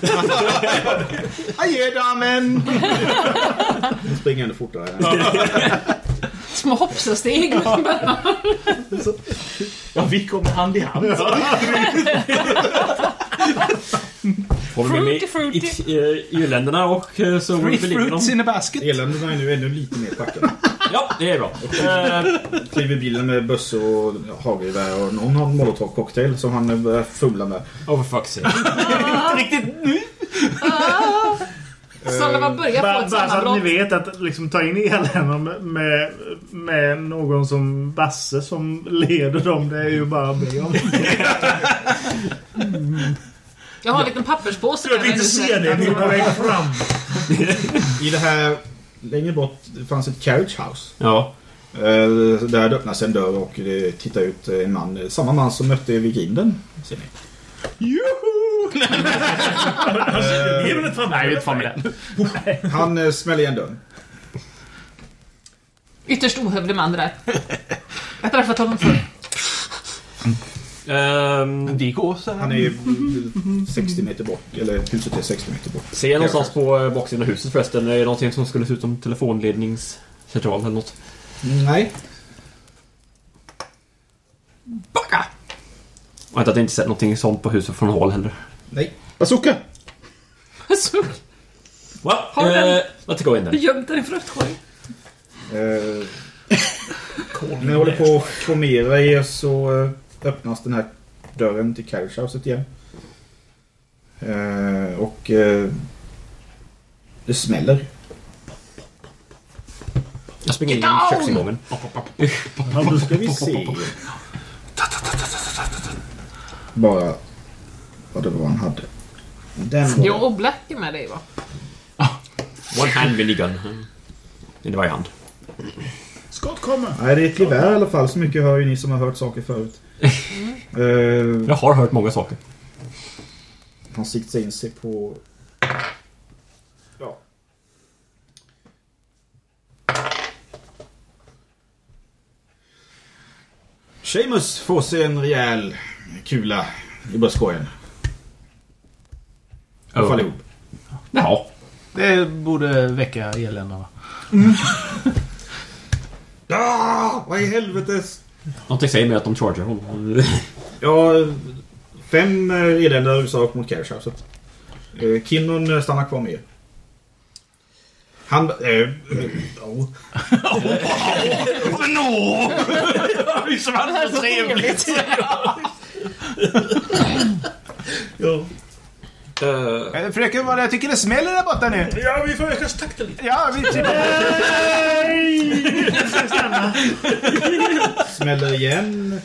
Adjö damen!
Hon springer ännu fortare.
Små hoppsasteg.
Ja, vi kommer hand i hand.
Får vi med
Fruity,
i- i- eh, EU-länderna och eh, så...
Three
vi ligger
fruits
dem.
in a basket.
Eländerna är nu ännu lite mer packade.
Ja, det är bra. Eh,
Kliver i bilen med bössor och hagelgevär och någon har en molotovcocktail som han börjar fumla med.
Oh for fuck's sake.
Sallava börjar få
Bara, bara
ett
så att ni
sammanbrott.
vet att liksom, ta in eländerna med, med, med någon som Basse som leder dem, det är ju bara att be om.
Jag har en liten papperspåse
Jag vill inte se det. Ni är på väg fram.
I det här... Längre bort det fanns ett carriage house.
Ja.
Eh, Där öppnas en dörr och det tittar ut en man. Samma man som mötte vid grinden. Ser ni.
Joho! Ge mig ett fram. Nej, vi är inte framme där.
Eh, Han eh, smäller igen dörren.
Ytterst ohövlig man det där. Jag har träffat honom förr.
Ehm,
det går så Han är 60 meter bort. Eller huset är 60 meter bort.
Ser jag någonstans på eh, baksidan av huset förresten? Är det någonting som skulle se ut som telefonledningscentral eller något?
Nej.
Och inte att jag inte sett någonting sånt på huset från håll heller.
Nej. Bazooka!
Alltså,
Va?
Har du den?
Eh, Let's go in
du
then.
gömde den i fruktkorgen.
Eh, när ni håller på att formera er så eh, öppnas den här dörren till carriage houset igen. Eh, och eh, det smäller.
Jag springer in i
Get down!
köksingången.
Ja, då ska vi se. Bara vad det var han hade. Den var...
Jo, och Black är med dig va?
One hand minigun. In varje hand.
Skott kommer! Nej, det är ett gevär i alla fall. Så mycket hör ju ni som har hört saker förut. Eh,
Jag har hört många saker.
Han siktar in sig på... Ja. Seamus får sig en rejäl kula i bröstkorgen. Han faller ihop.
Ja.
Det borde väcka eländarna.
Ah, vad i helvetes!
Någonting säger mig att de charger honom.
Ja, fem eh, irländare rusar upp mot Cash House. Eh, Kinnon eh, stannar kvar med er. Han... Eh, eh, ja.
Nå! Vi som hade så trevligt.
Jo.
Eh,
Eh, Fröken, vad jag tycker det smäller där borta nu.
Ja, vi får öka takten lite.
Ja, vi...
Smäller igen.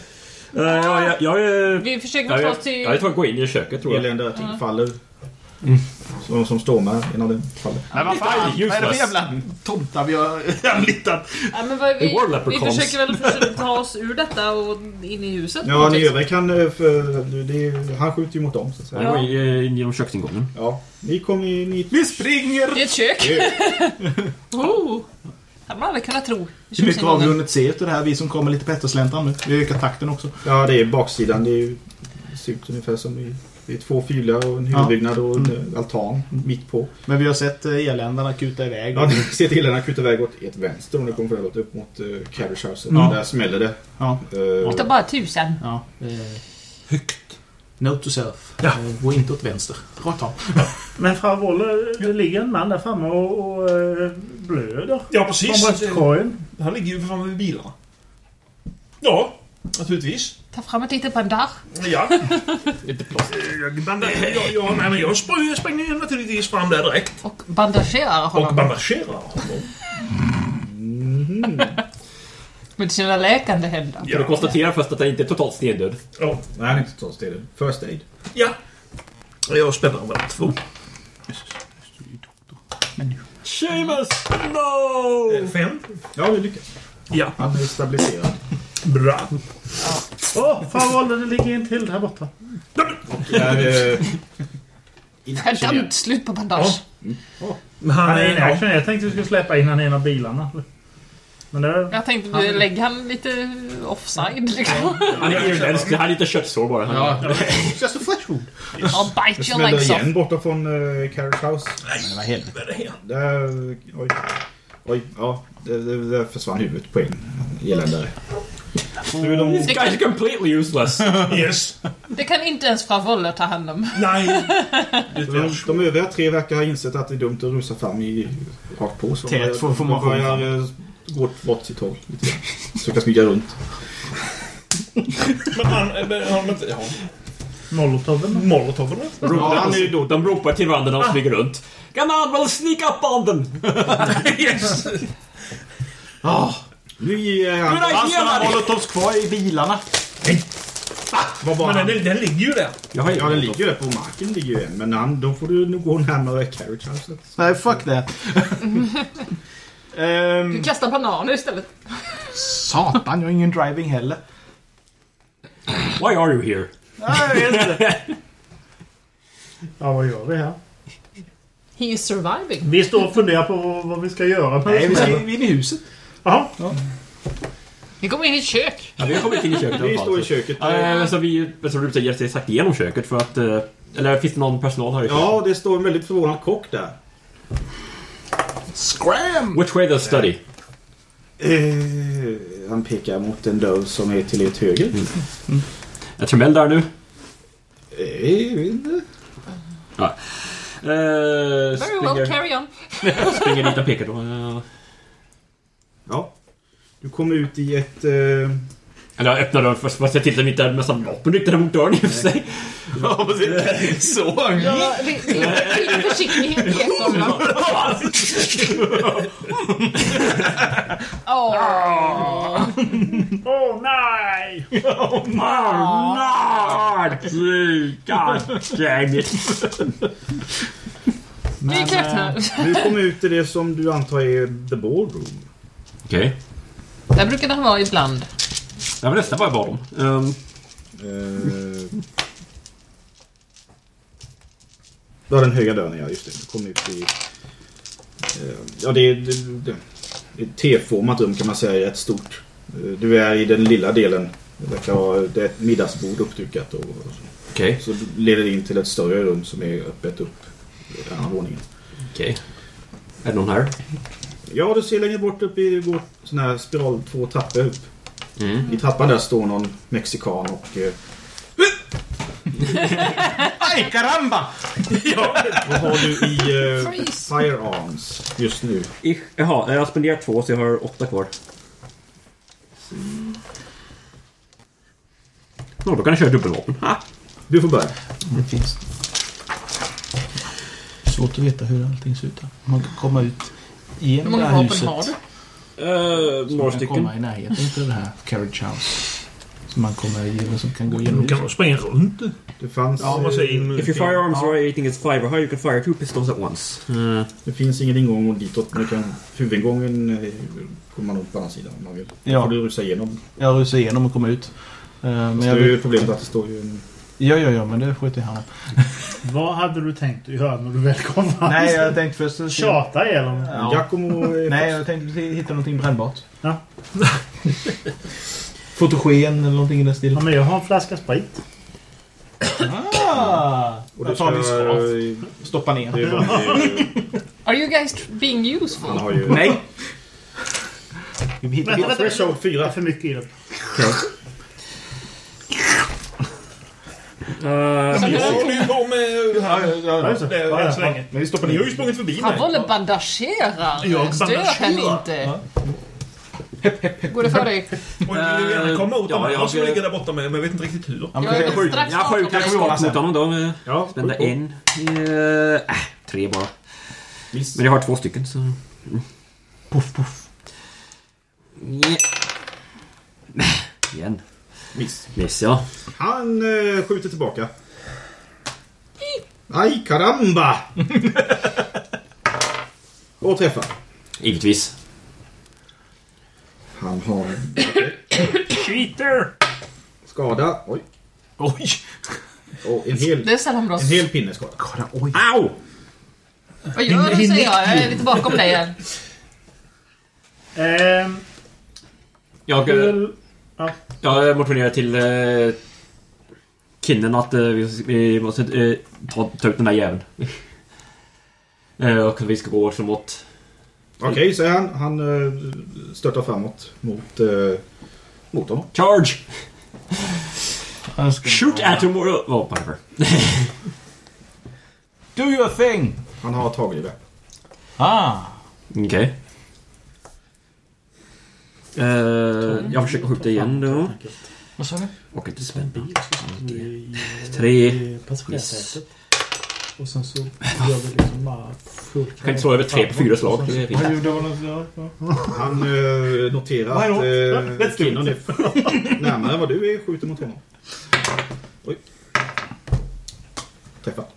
ja, jag, jag, är-
Vi försöker
jag,
ta
jag,
oss till-
jag är tvungen att gå in i köket tror jag. Mm.
Irländare till
Ja.
faller. Som, som står med. En av dem faller.
Men vad fan, vad är det för jävla tomtar vi har anlitat?
Ja, men vad,
The
vi,
War
vi
Leprechauns.
försöker väl försöka ta oss ur detta och in i huset.
Ja, ni övriga kan... eh, För, det, är- han skjuter ju mot dem så att säga.
Jag går in, eh, in genom köksingången.
Ja, ni kommer ju... Ni...
Vi springer!
I ett kök.
Det
oh. hade man aldrig kunnat tro.
Hur mycket har vi hunnit se utav det här? Vi som kommer lite på eftersläntan nu. Vi ökar takten också.
Ja, det är baksidan. Det, är, ju- det ser ut ungefär som... I, det är två fylar och en
Ja.
huvudbyggnad och en
Mm.
eh, altan mitt på.
Men vi har sett eh, eländarna kuta iväg.
Ja, ni ser till den akuta väg åt ert vänster om ni kommer förlåt, upp mot uh, Carriage House.
Ja.
Där smäller det.
Ja.
Eh,
Det bara tusen.
Ja. Högt. Note to self. Eh, Gå inte åt vänster. Rakt av.
Men Fravoller, det ligger en man där framme och, och eh, blöder.
Ja, precis.
Från bröstkorgen.
Han ligger ju för fan vid bilarna. Ja, naturligtvis.
Ta fram ett litet bandage.
Ja. Eh, Jag, bandar, jag, jag, nej, men jag sprang- jag springer ju naturligtvis fram där direkt.
Och bandagerar honom.
Och bandagerar honom.
Med sina läkande händer.
Kan du konstatera först att han inte är totalt stendöd?
Ja.
Nej, han är inte totalt stendöd. First aid.
Ja. Jag spänner över två.
Seamus! No!
Eh, Fem.
Ja, vi lyckas.
Ja.
Han är stabiliserad.
Bra.
Åh, oh, Fravoller, det ligger en till där borta.
Där, eh,
Skämt slut på bandage.
Men han,
han är en
ja.
action. Jag tänkte vi skulle släppa in han i en av bilarna. Men det...
Jag tänkte,
Han-
du, lägg han lite offside liksom.
Han är irländsk, han är lite köttsår bara. Han, ja.
Just a flashwood.
I'll
Det
bite your
smäller
legs off.
igen borta från uh, Carriage House.
Men vad helvete.
Där, oj. Oj, ja. Där, där, där försvann huvudet på en eländare. Nu är de...
This guy is completely useless.
eh, Yes.
Det kan inte ens Fravoller ta hand om.
Mm.
Nej.
De, de övriga tre verkar ha insett att det är dumt att rusa fram i rakt på. Så de
Tät
börjar-
får- får man
de börjar eh, gå åt- åt sitt håll lite grann. Försöka smyga runt.
Men han... Men, han inte, ja.
Molotoven.
Molotoven.
Ja, han är ju
De ropar till varandra när de smyger runt. Kan han väl sneak up on them?
Yes.
Nu ger jag
Good idea, Larry!
Molotovs kvar i bilarna.
Vad var
Men
han?
den, den ligger ju där.
Jag har
Ja, den ligger ju där på marken. Ligger ju en. Men han, då får du nog gå närmare carriage houset.
Nej, fuck det.
Ehm.
Du kastar bananer istället.
Satan, jag har ingen driving heller.
Why are you here?
Nej, jag vet inte.
Ja, vad gör vi här?
He is surviving.
Vi står och funderar på vad, vad vi ska göra.
Nej, vi ska
in i huset.
Jaha.
Vi kommer in i ett kök.
Ja, vi har kommit in i köket i alla
Vi
fall,
står i
så.
köket.
Ja, eh, alltså, vi, jag tror du säger att det är sagt igenom köket för att... eh, Eller finns det någon personal här i köket?
Ja, det står en väldigt förvånad kock där.
Scram! Which way does study?
Eh, han pekar mot en dörr som är till ert höger.
Mm. Är Tremell där nu?
Eh,
Ja. Eh,
Very well, carry on.
springer dit och pekar då. eh,
Ja. Du kommer ut i ett... Eh...
Eller jag öppnar dörren först. Fast jag tittar inte där med samma vapen riktade mot dörren i och för sig.
Ja, det, det är lite försiktighet i ett av dem. Åh.
Åh nej!
Oh my god! God damn it!
Det är klart
eh,
här.
Du kommer ut i det som du antar är the ballroom.
Okej.
Där brukade han vara ibland.
Det var nästan vad jag bad om. Um,
Eh, Det var den höga dörren, ja. Just det. Du kommer ut i... eh, Ja, det är det- det- det är ett T-format rum kan man säga. Ett stort. Eh, Du är i den lilla delen. Det verkar vara det är ett middagsbord uppdukat. Och, och så.
Okej.
Så leder det in till ett större rum som är öppet upp i andra våningen.
Okej. Är det någon här?
Ja, du ser längre bort upp i vår sån här spiral två trappor upp.
Mm.
I trappan där står någon mexikan och... eh,
Aj, caramba!
Vad har du i eh,
Freeze.
firearms just nu?
Ich, jaha, jag har spenderat två så jag har åtta kvar. Nå, då kan jag köra dubbelvapen. Ha!
Du får börja.
Det finns. Svårt att veta hur allting ser ut. här. Man kan komma ut genom det här huset.
du?
Man kan komma i närheten av det här carriage house. Så man kommer igenom, som kan gå igenom
Kan man springa
runt?
Det fanns...
Ja, man säger in- If your
eh,
firearms are rating is five or higher you can fire two pistols at once.
Det finns ingen ingång ditåt. Men du kan, huvudingången eh, kommer man åt på andra sidan om man vill.
Ja.
Ja. får du rusa igenom.
Jag rusar igenom och kommer ut. Eh, Men
Fast det är ju problemet att det står ju en...
Ja, ja, ja, men det skjuter jag hand
Vad hade du tänkt att göra när du väl kom fram?
Nej, jag tänkte först... att-
Tjata ihjäl honom.
Ja. Nej, jag tänkte hitta någonting brännbart.
Ja.
Fotogen eller någonting i den stilen.
Ja, men jag har en flaska sprit.
Ah!
Och
jag
det
tar min
ska-
skraf. Stoppa ner.
Det var
Are you guys being useful?
Han har ju...
Nej.
Vi
hittar-
hittar Threshold 4.
För mycket i den.
Men jag håller ju på med...
ja, just det.
Det
Ja,
är
ja.
än så länge.
Men vi stoppar ner.
Jag har ju sprungit förbi
Han
mig.
håller bandagerar.
Jag
Stör henne
bandagerar.
inte. Går det för dig?
Och jag vill gärna komma åt
Ja,
honom.
jag-
Han som ligger där borta med, men jag vet inte riktigt hur.
men Jag är skjut- strax jag skjuter- bakom jag kommer dig.
Skott mot honom då. eh,
Ja,
Spända
skjut på.
en. Eh, äh, tre bara. Men jag har två stycken så... Mm. Puff, puff. Yeah. Äh, Igen.
Miss.
Miss, ja.
Han eh, skjuter tillbaka. Aj, karamba! Och träffar.
Givetvis.
Han har
Cheater!
skada. Oj.
Oj!
Och en hel,
Det är sällan bra.
en hel pinne skada.
Oj.
Au!
Vad gör du säger jag? Jag är lite bakom dig här.
Ehm,
Jag, eh,
Hur- ja.
jag motionerar till eh, kinden att eh, vi, vi måste eh, ta, ta ut den där jäveln. eh, och att vi ska gå som åt...
Okej, säger han. Han eh, störtar framåt mot, eh, mot honom.
Charge!
Han ska-
Shoot at him or... Oh, whatever.
Do your thing!
Han har tagit det.
Ah!
Okej. Eh, jag försöker skjuta igen då.
Vad sa du?
Och inte spänna. Tre. Miss.
Och sen så gör vi liksom bara full
kan inte slå över tre på fyra slag. Det är fint.
Ja, jo, det var något- ja, ja.
Han eh, noterar
Why
att
not?
eh,
Let's do it.
kvinnan är närmare än vad du är skjuter mot honom. Oj. Träffat.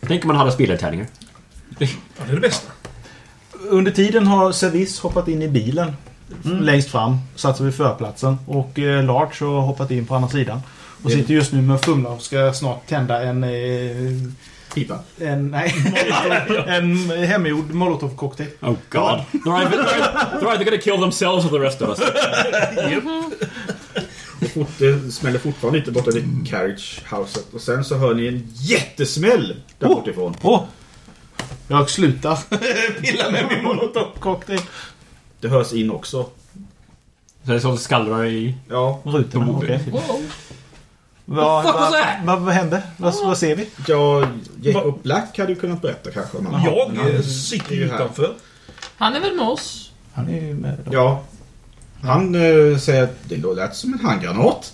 Tänk om man hade spelartärningar.
Ja, det är det bästa.
Under tiden har Service hoppat in i bilen längst fram, satt sig vid förplatsen. Och eh, Larch har hoppat in på andra sidan. Och
Det-
sitter just nu med och fumlar och ska snart tända en... Eh,
Pipa?
En, nej, en hemgjord molotovcocktail.
Oh god. They're either, they're either gonna kill themselves or the rest of us.
Och fort, det smäller fortfarande inte borta vid carriagehouset. Och sen så hör ni en jättesmäll där
Oh!
bortifrån.
Jag slutar pilla med min molotovcocktail.
Det hörs in också.
Så det är så det skallrar i...
Ja.
Rutorna, okej.
Vad-
Fuck
vad-
was that?
vad- vad hände? Vad, vad ser vi? Ja, Jacob Black hade ju kunnat berätta kanske.
han- Jag,
eh, sitter ju utanför.
Han är väl med oss?
Han är ju med
Ja. Han eh, säger att det lät som en handgranat.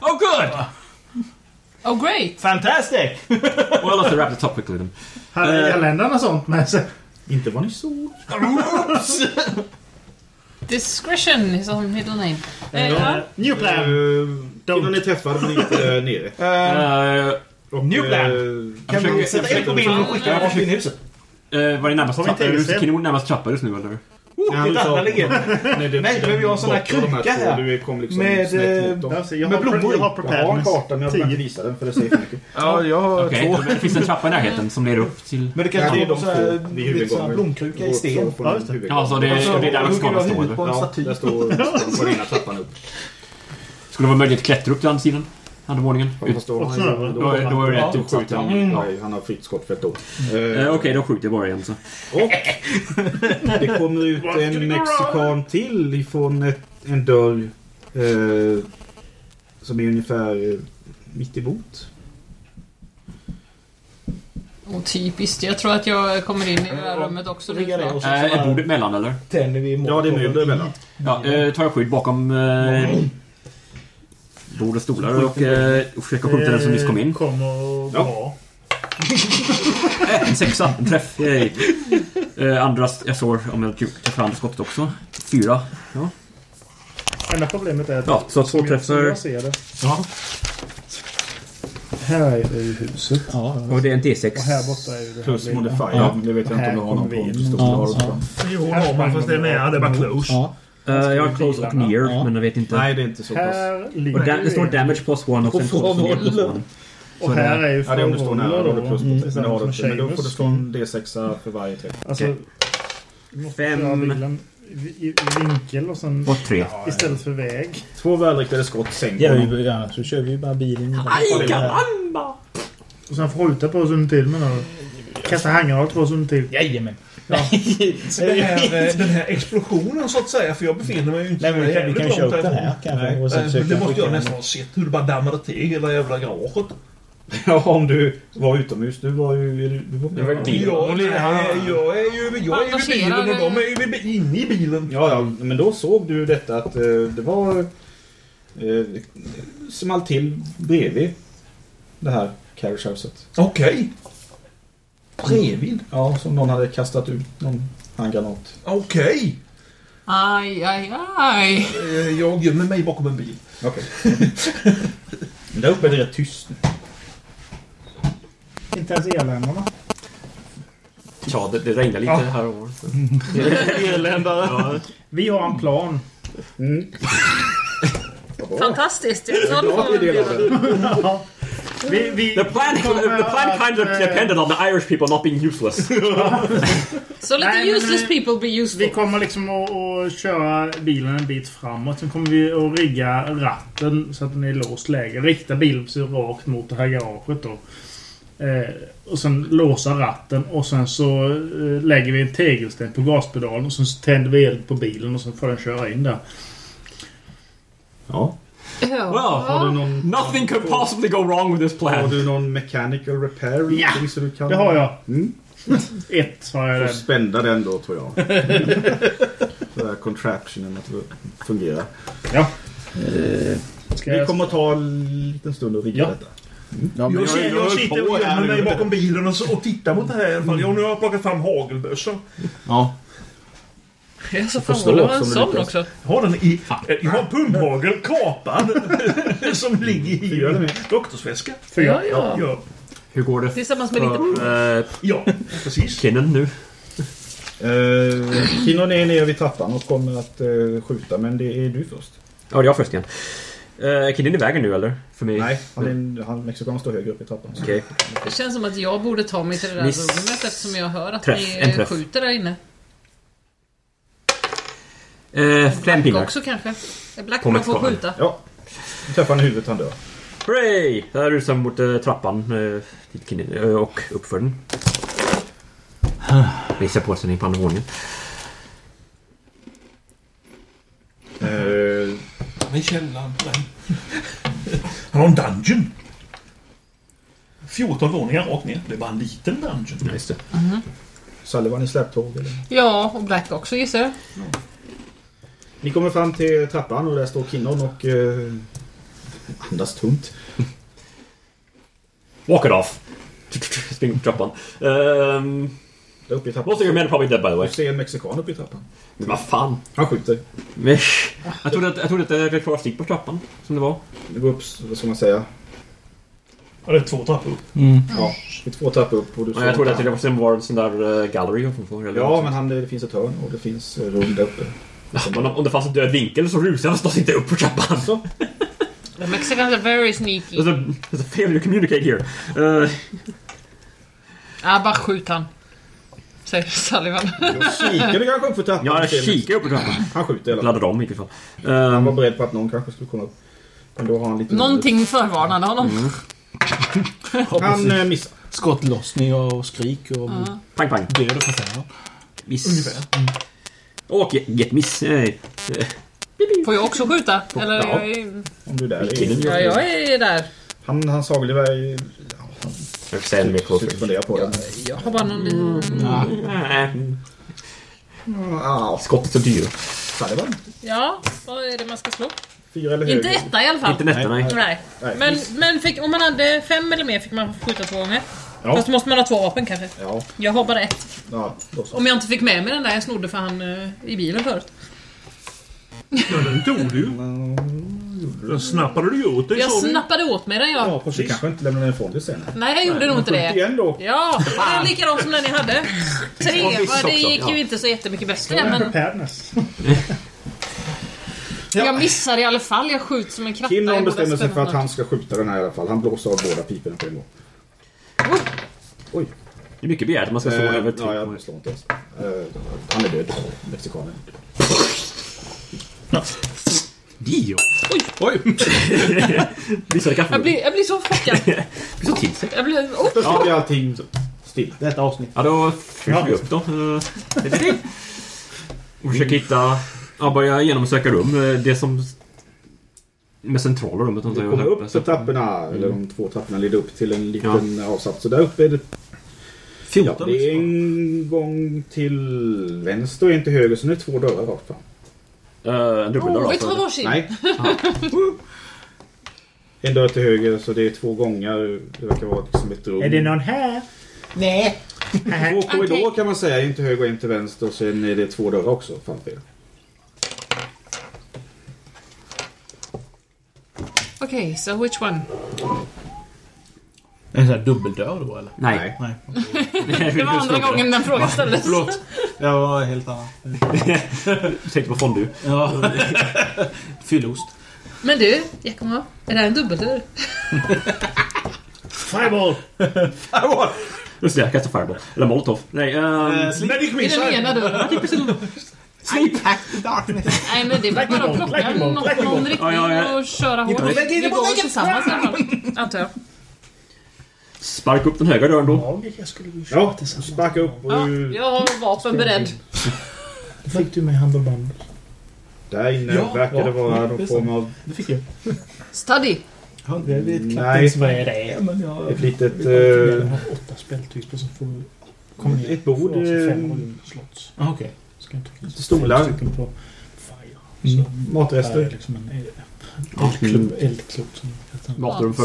Oh good!
Oh great!
Fantastic!
well, let's wrap the topic with them.
Hade
Eh.
irländarna sånt med sig?
Inte vad ni såg.
Discretion is on middle name. Eh, ja.
New plan!
Killen ni träffade men inte nere.
Eh,
Eh,
New
eh,
plan!
Kan vi sätta eld på bilen och skicka den rakt in i huset?
Uh, var det närmast
Har vi en
trapphus?
tv-serie?
Kinnemot närmast trapphus nu eller?
Nej, du tar-
Nej, det- Nej, men vi har en sån här
bortom de
kruka
två,
här.
Du kom liksom
Med,
snett
eh,
mot dem.
alltså, jag har- jag har
Jag har en
preparedness.
karta men jag kommer
Tio.
inte visa den för det säger för mycket.
Ja, jag har
Okej,
två.
men det finns en trappa i närheten som leder upp till...
Men det kan vara sån här- lite sån här blomkruka i
Eh,
sten.
Ja, just det. Ja, så det, det är där Mexikanen står eller?
där står står på ena trappan upp.
Skulle det vara möjligt att klättra upp till andra sidan? Andra våningen?
Ja,
Ut-
fast då har han ju-
då, då är det rätt
då
utsatt.
skjuter
ja.
han.
Ja.
Nej, Han har fritt skottfält då.
Eh, Okej, då skjuter jag bara igen så.
Och det kommer ut en mexikan till ifrån ett, en dörr eh, som är ungefär eh, mitt emot.
Och typiskt. Jag tror att jag kommer in i det här rummet också. nu.
Eh, är bordet mellan eller?
Tänder vi Ja,
det är möbler emellan.
Ja, eh, tar jag skydd bakom eh, bord och stolar och, eh, och försöker skjuta den som nyss kom in.
Kom och
Ja.
bra.
En sexa, en träff. Yay. Eh, andra, jag slår om jag träffar andra skottet också. Fyra. Ja.
Enda problemet är att...
Ja, så två
som jag-
träffar-
som Jag ser det.
Ja.
Här är ju huset.
Och det är en T6.
Och här borta är ju det här
Plus
lilla.
modifier, men det vet jag inte om
Här
du har någon
kommer vi
på
in.
pistol. Ja, Har du
ja.
på?
Jo, det har man, fast det är med. Det är bara close.
Eh, jag har close och near, men jag vet inte.
Nej, det är inte så pass.
Här
Och där,
ligger
det står
ju en.
damage plus one och sen close och near plus one.
Och här är ju
Ja, det är om du står nära. Då har du plus
Mm.
men, det har du, inte. men då får du
Seamus.
slå en D6 för varje träff.
Alltså,
Okej.
Fem. I, I vinkel och sen...
Och tre.
Istället för väg.
Två välriktade skott sänker
Ja,
honom.
vi- ja, så kör vi ju bara bilen.
karamba! Och sen får skjuta på oss under tiden menar du? Kasta handgranat på oss under tiden?
Jajamän.
Ja.
Så den här, eh, den här explosionen så att säga, för jag befinner mig ju inte
Nej, men vi kan- vi kan
jävligt
köra upp
långt
den här
härifrån.
kanske,
Nej,
och sen
eh,
försöka
Det måste
skicka
jag
den.
nästan ha sett, hur det bara dammade till hela jävla garaget.
Ja, om du var utomhus. Du var ju... Du var,
Jag, nej, jag är ju jag är ju vid bilen och de är ju vid bilen.
inne i bilen. Ja, ja, men då såg du detta att eh, det var... Eh, small till bredvid det här carriagehouset.
Okej.
Bredvid? Ja, som någon hade kastat ut någon handgranat.
Okej.
Aj, aj, aj.
Eh, Jag gömmer mig bakom en bil.
Okej. Men där uppe är det rätt tyst nu.
Inte ens eländarna.
Ja, det, det regnar lite
Ja.
här och var.
Irländare. Vi har en plan.
Fantastiskt. Jag är glad
Ja,
för
det är det.
det.
Mm.
Vi, vi
The plan, the plan kind of depended on the Irish people not being useless.
Så lite
Nej, men
useless
vi-
people be useful.
Vi kommer liksom att, att köra bilen en bit framåt. Sen kommer vi att rigga ratten så att den är i låst läge. Rikta bilen precis rakt mot det här garaget då. Eh, och sen låsa ratten och sen så eh, lägger vi en tegelsten på gaspedalen och sen så tänder vi eld på bilen och sen får den köra in där.
Ja.
Well, nothing could possibly go wrong with this plan.
Har du någon mechanical repair? eller
Ja,
någonting som du kan...
det har jag.
Mm.
Ett har jag
Får
den.
spända den då tror jag. Den här contraptionen att fungera.
Ja.
Vi kommer att ta en liten stund och rigga detta.
Jag, ser, jag sitter och gömmer mig bakom bilen och, så, och tittar mot det här i alla fall. Jag, nu har jag plockat fram hagelbössan.
Ja.
Jag så
förstår
fan, det var
också
en
om du
sån
lyckas.
också.
Jag har den i... eh, Jag har en pumphagel kapad som ligger i en doktorsväska.
Fyra. Ja, ja.
Hur går det
Tillsammans med ditt-
för... eh,
ja, precis.
Kinnen nu?
Eh, Kinnon är nere vid trappan och kommer att eh, skjuta, men det är du först.
Ja, det är jag först igen. Uh, Kidden i vägen nu eller? För mig?
Nej, han, är en- han, mexikanen står högre upp i trappan. så-
Okej.
Det känns som att jag borde ta mig till det där
Miss.
rummet eftersom jag hör att
Träff, en
ni
träff.
skjuter där inne.
Uh, fem
Black
pinnar.
också kanske. Black
Kommer
man får
tillbaka.
skjuta.
Ja. Träffar han i huvudet, han dör.
Hurray! Jag rusar mot eh, trappan eh, dit Kidden, eh, och uppför den. Missar påsändning på andra våningen.
Eh,
Han är i källaren på den. Han har en dungeon. 14 våningar rakt ner. Det är bara en liten dungeon. Ja,
just det.
Mhm.
Sullivan i släptåg eller?
Ja, och Black också gissar jag.
Ni kommer fram till trappan och där står Kinnon och eh, andas tungt.
Walk it off! Spring upp trappan. Um,
där uppe i trappan.
Måste jag med probably dead by the way.
Du ser en mexikan uppe i trappan.
Men vad fan?
Han skjuter.
Jag trodde att, jag trodde att det var kvar stick på trappan, som det var.
Det går upp, vad ska man säga?
det är två trappor upp.
Ja, det är två trappor upp. Och du
Ja, jag trodde att det var- sen var en sån där uh, gallery ovanför. eller
Ja,
något
men han, det finns ett hörn och det finns eh, rum där uppe.
sånt. Men om, om det fanns en död vinkel så rusade han förstås inte upp för trappan.
Så.
The Mexicans are very sneaky.
There's a, there's a failure to communicate here. Eh,
Ah, bara skjut han. Säger Sullivan.
Kikar du kanske upp för trappan?
Ja, jag kikar upp för trappan.
Han skjuter i alla
Laddar om i alla fall. Ehm,
Han var beredd på att någon kanske skulle komma upp. Men då har han lite...
Någonting förvarnade honom.
Han eh, missar.
Skottlossning och skrik och
Ja.
Pang, pang.
död och förfäran.
Miss.
Ungefär.
Och get, get miss. Nej. Eh,
Får jag också skjuta? Eller
Ja.
jag är...
Om du är där.
Vilken
Ja, jag är där.
Han, han sagelgevär...
Jag får säga en mer
Försöker fundera på det.
Jag har bara någon liten...
Mm. Ja.
Skottet är dyrt.
Sullivan.
Ja, vad är det man ska slå?
Fyra eller
Inte
högre.
etta i alla fall.
Inte en etta, nej.
nej.
Nej.
Men, men fick, om man hade fem eller mer fick man skjuta två gånger.
Ja.
Fast då måste man ha två vapen kanske.
Ja.
Jag har bara ett.
Ja, då så.
Om jag inte fick med mig den där jag snodde för han eh, i bilen förut.
Ja, den tog du Den snappade du ju åt dig
Jag
sa du.
snappade åt mig den jag.
Du kanske inte lämnar den ifrån dig sen.
Nej, jag gjorde nog inte det.
igen då.
Ja, det är likadant som den ni hade. Tre,
Och miss
va? det
också,
gick
ja.
ju inte så jättemycket
Det
bättre.
är
Men
preparedness.
jag missar i alla fall. Jag skjuter som en kratta. Jag
Kinnon
borde ha
bestämmer sig
spänt
för att
honom.
han ska skjuta den här i alla fall. Han blåser av båda piporna på en gång. Oj.
Det är mycket begärt att man ska slå
Eh,
över typ- tre.
Ja, jag slår inte ens. Eh, han är död, mexikanen.
Dio! Oj! Oj! Visade
Jag
kaffemuggen.
blir, jag blir så chockad.
Blir så till sig.
Jag blir... Oh.
Då sitter allting still. Detta avsnitt.
Ja, då flyger vi upp då. Eh, Och försöker hitta... Ja, börja genomsöka rum. Eh, Det som... Med centrala rummet antar
Du
jag.
kommer upp för trapporna, eller de två trapporna leder upp till en liten avsats. Så där uppe är det... ja, det är en gång till vänster och en till höger, så nu är det två dörrar rakt fram.
Uh, en
dubbeldörr Oh, vi rakt fram. tar varsin.
Nej. en dörr till höger, så det är två gångar. Det verkar vara liksom ett rum.
Är det någon här?
Nej. Två korridorer kan man säga. En till höger och en till vänster. Och sen är det två dörrar också framför er.
Okej, so which one?
Är det så här dubbeldörr då eller?
Nej.
Nej.
Det var andra gången den frågan ställdes.
Förlåt. Jag var helt annan.
Jag tänkte på fondue.
Ja. Fyllost.
Men du, jag kommer ihåg. Är det här en dubbeldörr?
Fireball!
Fireball! Just det, jag kastar fireball. Eller molotov. Nej,
Eh,
ehm...
Eh.
I den ena dörren.
Sleep hack the darkness.
Nej men det var bara att plocka någon, någon riktning
Ja, ja, ja.
och köra
Ni
hårt.
får lägga in
Vi
det på
går
väggen.
tillsammans i alla fall. Antar jag.
Sparka upp den högra dörren då.
Jag skulle ju
Ja, sparka upp och...
Jag har vapen beredd.
Då fick du med handbollbandet. Där inne
Ja,
verkar det
ja,
vara
ja, det är
någon form
sant.
av...
Det fick jag.
Study.
Jag vet knappt
Nej.
ens vad det är. Men jag...
Ett litet...
Jag
Eh,
har åtta speltyper som får...
Kommer ner. Ett bord,
Får alltså
eh,
fem runda slots. Ah, Okej. Ska jag ta-
Stolar.
fem stycken på fire.
Mm.
Så Mm.
Matrester.
här är Liksom en
eh,
eldklump. Eldklump som
Matrum för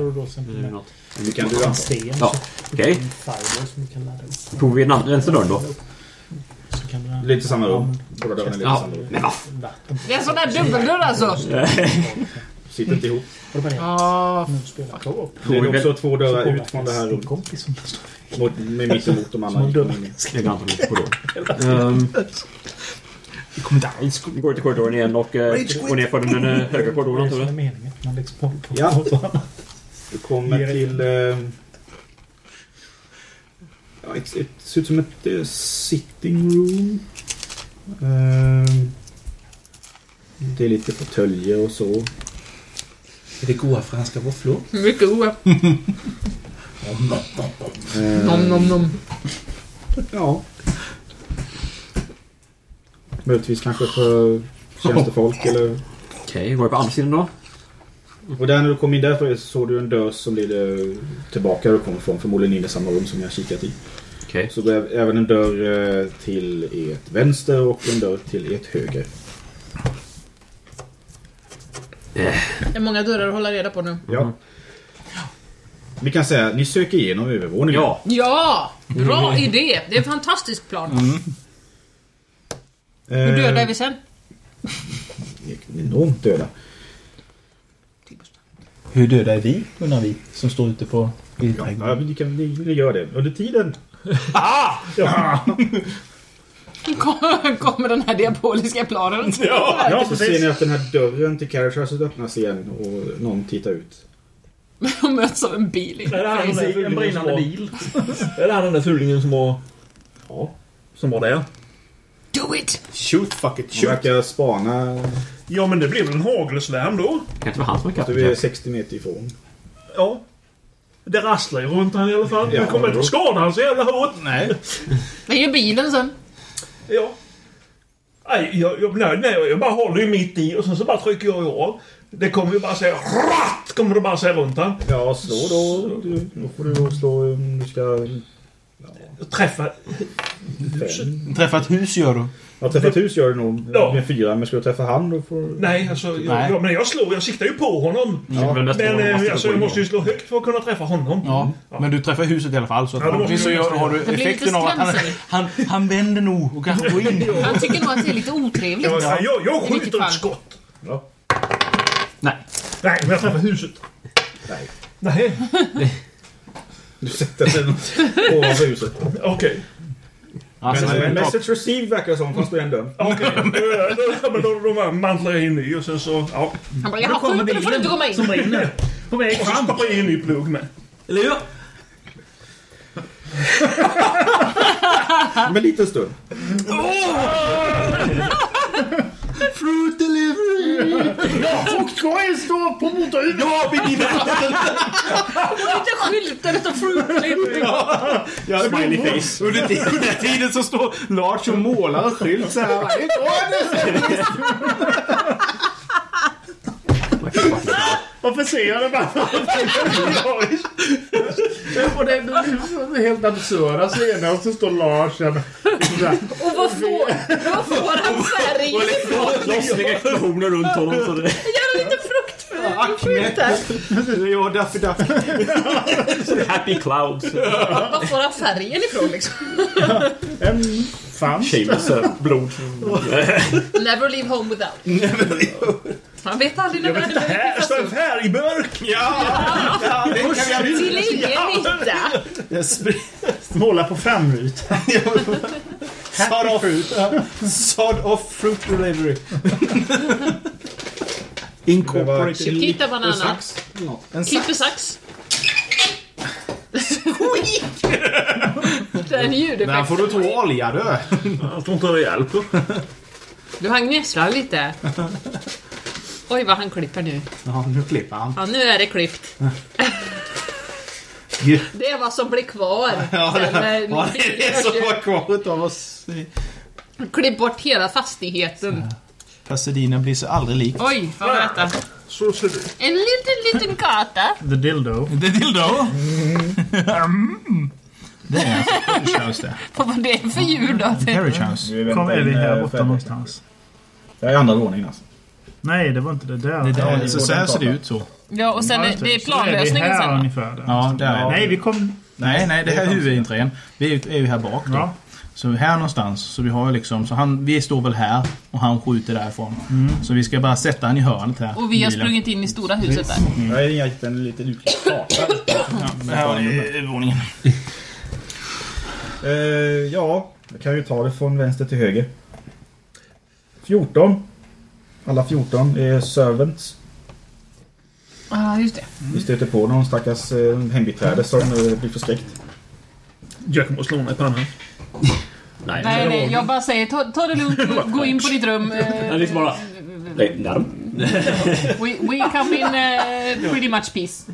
Och då sen
Eller något.
Det kan du göra.
en sten.
Ja,
så-
okej.
en fireball som du kan ladda upp.
Provar vi den andra- vänster dörren då?
Så kan du-
Lite samma rum.
Ja, men-
Båda dörrarna är lite
Ja.
samma rum.
Men vad
Det är en sån där dubbeldörr alltså.
Sitter inte ihop.
Ah, spela co-op.
Det är också två dörrar ut från det här rummet.
Kompis som
Mot, med mitt emot de andra.
Som en dörr.
Ehm,
Vi kommer inte alls...
Vi går till korridoren igen och eh,
Rage quit.
går ner för den eh, högra korridoren antar jag.
meningen. Man läggs på på
Ja.
något annat.
Du kommer till... Eh, ja, ett, ett, ser ut som ett eh, sitting room. Ehm, det är lite fåtöljer och så.
Är det goda franska våfflor?
Mycket E. goda.
Ehm,
Nom, nom, nom.
Ja. Möjligtvis kanske för tjänstefolk eller... Okej,
var är på andra sidan då?
Och där när du kom in där såg du en dörr som leder tillbaka där du kom från. Förmodligen in i samma rum som jag kikat i.
Okej.
Så det är även en dörr eh, till ert vänster och en dörr till ert höger.
Det är många dörrar att hålla reda på nu.
Ja. Vi kan säga ni söker igenom övervåningen. Ja.
Ja! Bra idé! Det är en fantastisk plan. Hur döda är vi sen?
Enormt döda.
Hur döda är vi, undrar vi, som står ute på... I
Ja, men ni, kan, ni, ni gör det. Under tiden...
Ah!
Ja.
Kommer kommer den här diaboliska planen.
ja, så ser ni att den här dörren till carriage houset öppnas igen och någon tittar ut.
De möts av en bil.
Är det han den där fulingen som var- Är det han den där fulingen som var... Ja. Som var där?
Do it!
Shoot fuck it,
shoot. verkar spana...
Ja, men det blev väl en hagelsvärm då?
Kan inte vara han som
Att du är 60 meter ifrån.
Ja. Det rasslar ju runt han i alla fall.
Ja,
Vi kommer inte att skada han så jävla hårt.
Nej.
Vad gör bilen sen?
Ja. Nej, jag, jag, nej, nej, jag bara håller ju mitt i och sen så bara trycker jag ju av. Det kommer ju bara säga RATT! Kommer det bara säga runt han.
Ja, slå då. Du, då får du slå om du ska...
Träffa...
Träffa ett hus gör du.
Ja, träffa ett hus gör du nog
Ja.
med fyra, men ska du träffa han då får
Nej, alltså... Jag,
Nej. Mm.
Ja, men jag slår, jag siktar ju på honom.
Ja, men
men
nästa gång måste
eh,
du
alltså,
gå
jag
in.
måste ju slå högt för att kunna träffa honom.
Ja, men du träffar huset i alla fall. Så att
Ja, det
förhoppningsvis
måste
så gör,
jag
har du
göra. Det blir lite
effekten av att han,
skrämsel.
han, han vänder nog och kanske går in.
Han tycker nog att det är lite otrevligt.
Ja, ja, jag- jag
I vilket
skjuter
fall.
ett skott.
Ja.
Nej.
Nej, men jag träffar huset.
Nej.
Nej.
du sätter sig ovanför huset.
Okej.
Alltså,
Men, eh,
men-
message received verkar det som, fast det är en dörr.
Okej, då, då, då, då mantlar jag in i och sen så... Ja.
Han bara, jag skjuter, då får du inte komma in.
Som brinner. På väg fram. Och så stoppar jag in en ny plugg med. Eller hur?
Om en liten stund.
Fruit delivery! Ja, fruktkorgen står på motorhuven! Ja, Birgitta!
Lite skyltar utan fruktklippt.
Ja, smiley face. Under tiden, under tiden så står Lars och målar en skylt så här.
Varför säger jag det bara? Och det är helt absurda scener och så står Lars där.
Och vad får, vad får han färg
Lossning explosioner runt honom. Så det...
Gör lite fruktskjutar.
Ja, Daffy Duck.
Happy clouds.
Vad får han färgen ifrån liksom?
En fan.
Shameless eh, blod.
Never leave home without. Man vet aldrig när världen
Här står en färgburk!
Ja,
Ja, det kan vi aldrig-
Till ingen nytta.
Måla på framrutan.
Sod off, sod off fruit delivery. Incorporated.
Titta banana.
En
Klipper sax. Squeak! Den
Där får
ljudeffekten.
du två olja du.
Jag tror inte det hjälper.
Du han gnisslar lite. Oj vad han klipper nu.
Ja, nu klipper han.
Ja, nu är det klippt. Det är vad som blir kvar.
Ja,
Sen
det,
när-
ja, det är så var kvar utav oss.
Klipp bort hela fastigheten.
Pasadena blir så aldrig lik.
Oj, vad var detta?
Så ser du.
En liten, liten gata.
The dildo. The dildo? Mm. Det är alltså carriage house det.
Vad var det för ljud då?
Carriage house.
Kom Ellie
eh,
eh,
här borta
någonstans.
Det är andra våningen alltså.
Nej, det var inte det där.
Det där,
Ja,
så, så här ser det
gatan.
ut så.
Ja, och sen är, det är planlösningen
Så är vi
sen.
här
va?
ungefär. Där.
Ja, där är det.
Nej, vi kom...
Nej, nej, det här är huvudentrén. Vi är ju- är ju här bak då.
Ja.
Så här någonstans. Så vi har ju liksom, så han, vi står väl här och han skjuter därifrån.
Mm.
Så vi ska bara sätta han i hörnet här.
Och vi
bilen.
har sprungit in i stora huset där.
Mm.
Jag har hittat en liten utklädd karta.
Det här var övervåningen.
Eh, ja, jag kan ju ta det från vänster till höger. 14. Alla 14 är servants.
Ja, ah, just det.
Vi stöter på någon stackars eh, hembiträde som eh, blir förskräckt.
Jag kommer att slå mig i pannan.
Nej, nej, jag bara säger ta, ta det lugnt, gå in på ditt rum. eh,
är liksom bara... Nej, larm.
We, we come in eh, pretty much peace.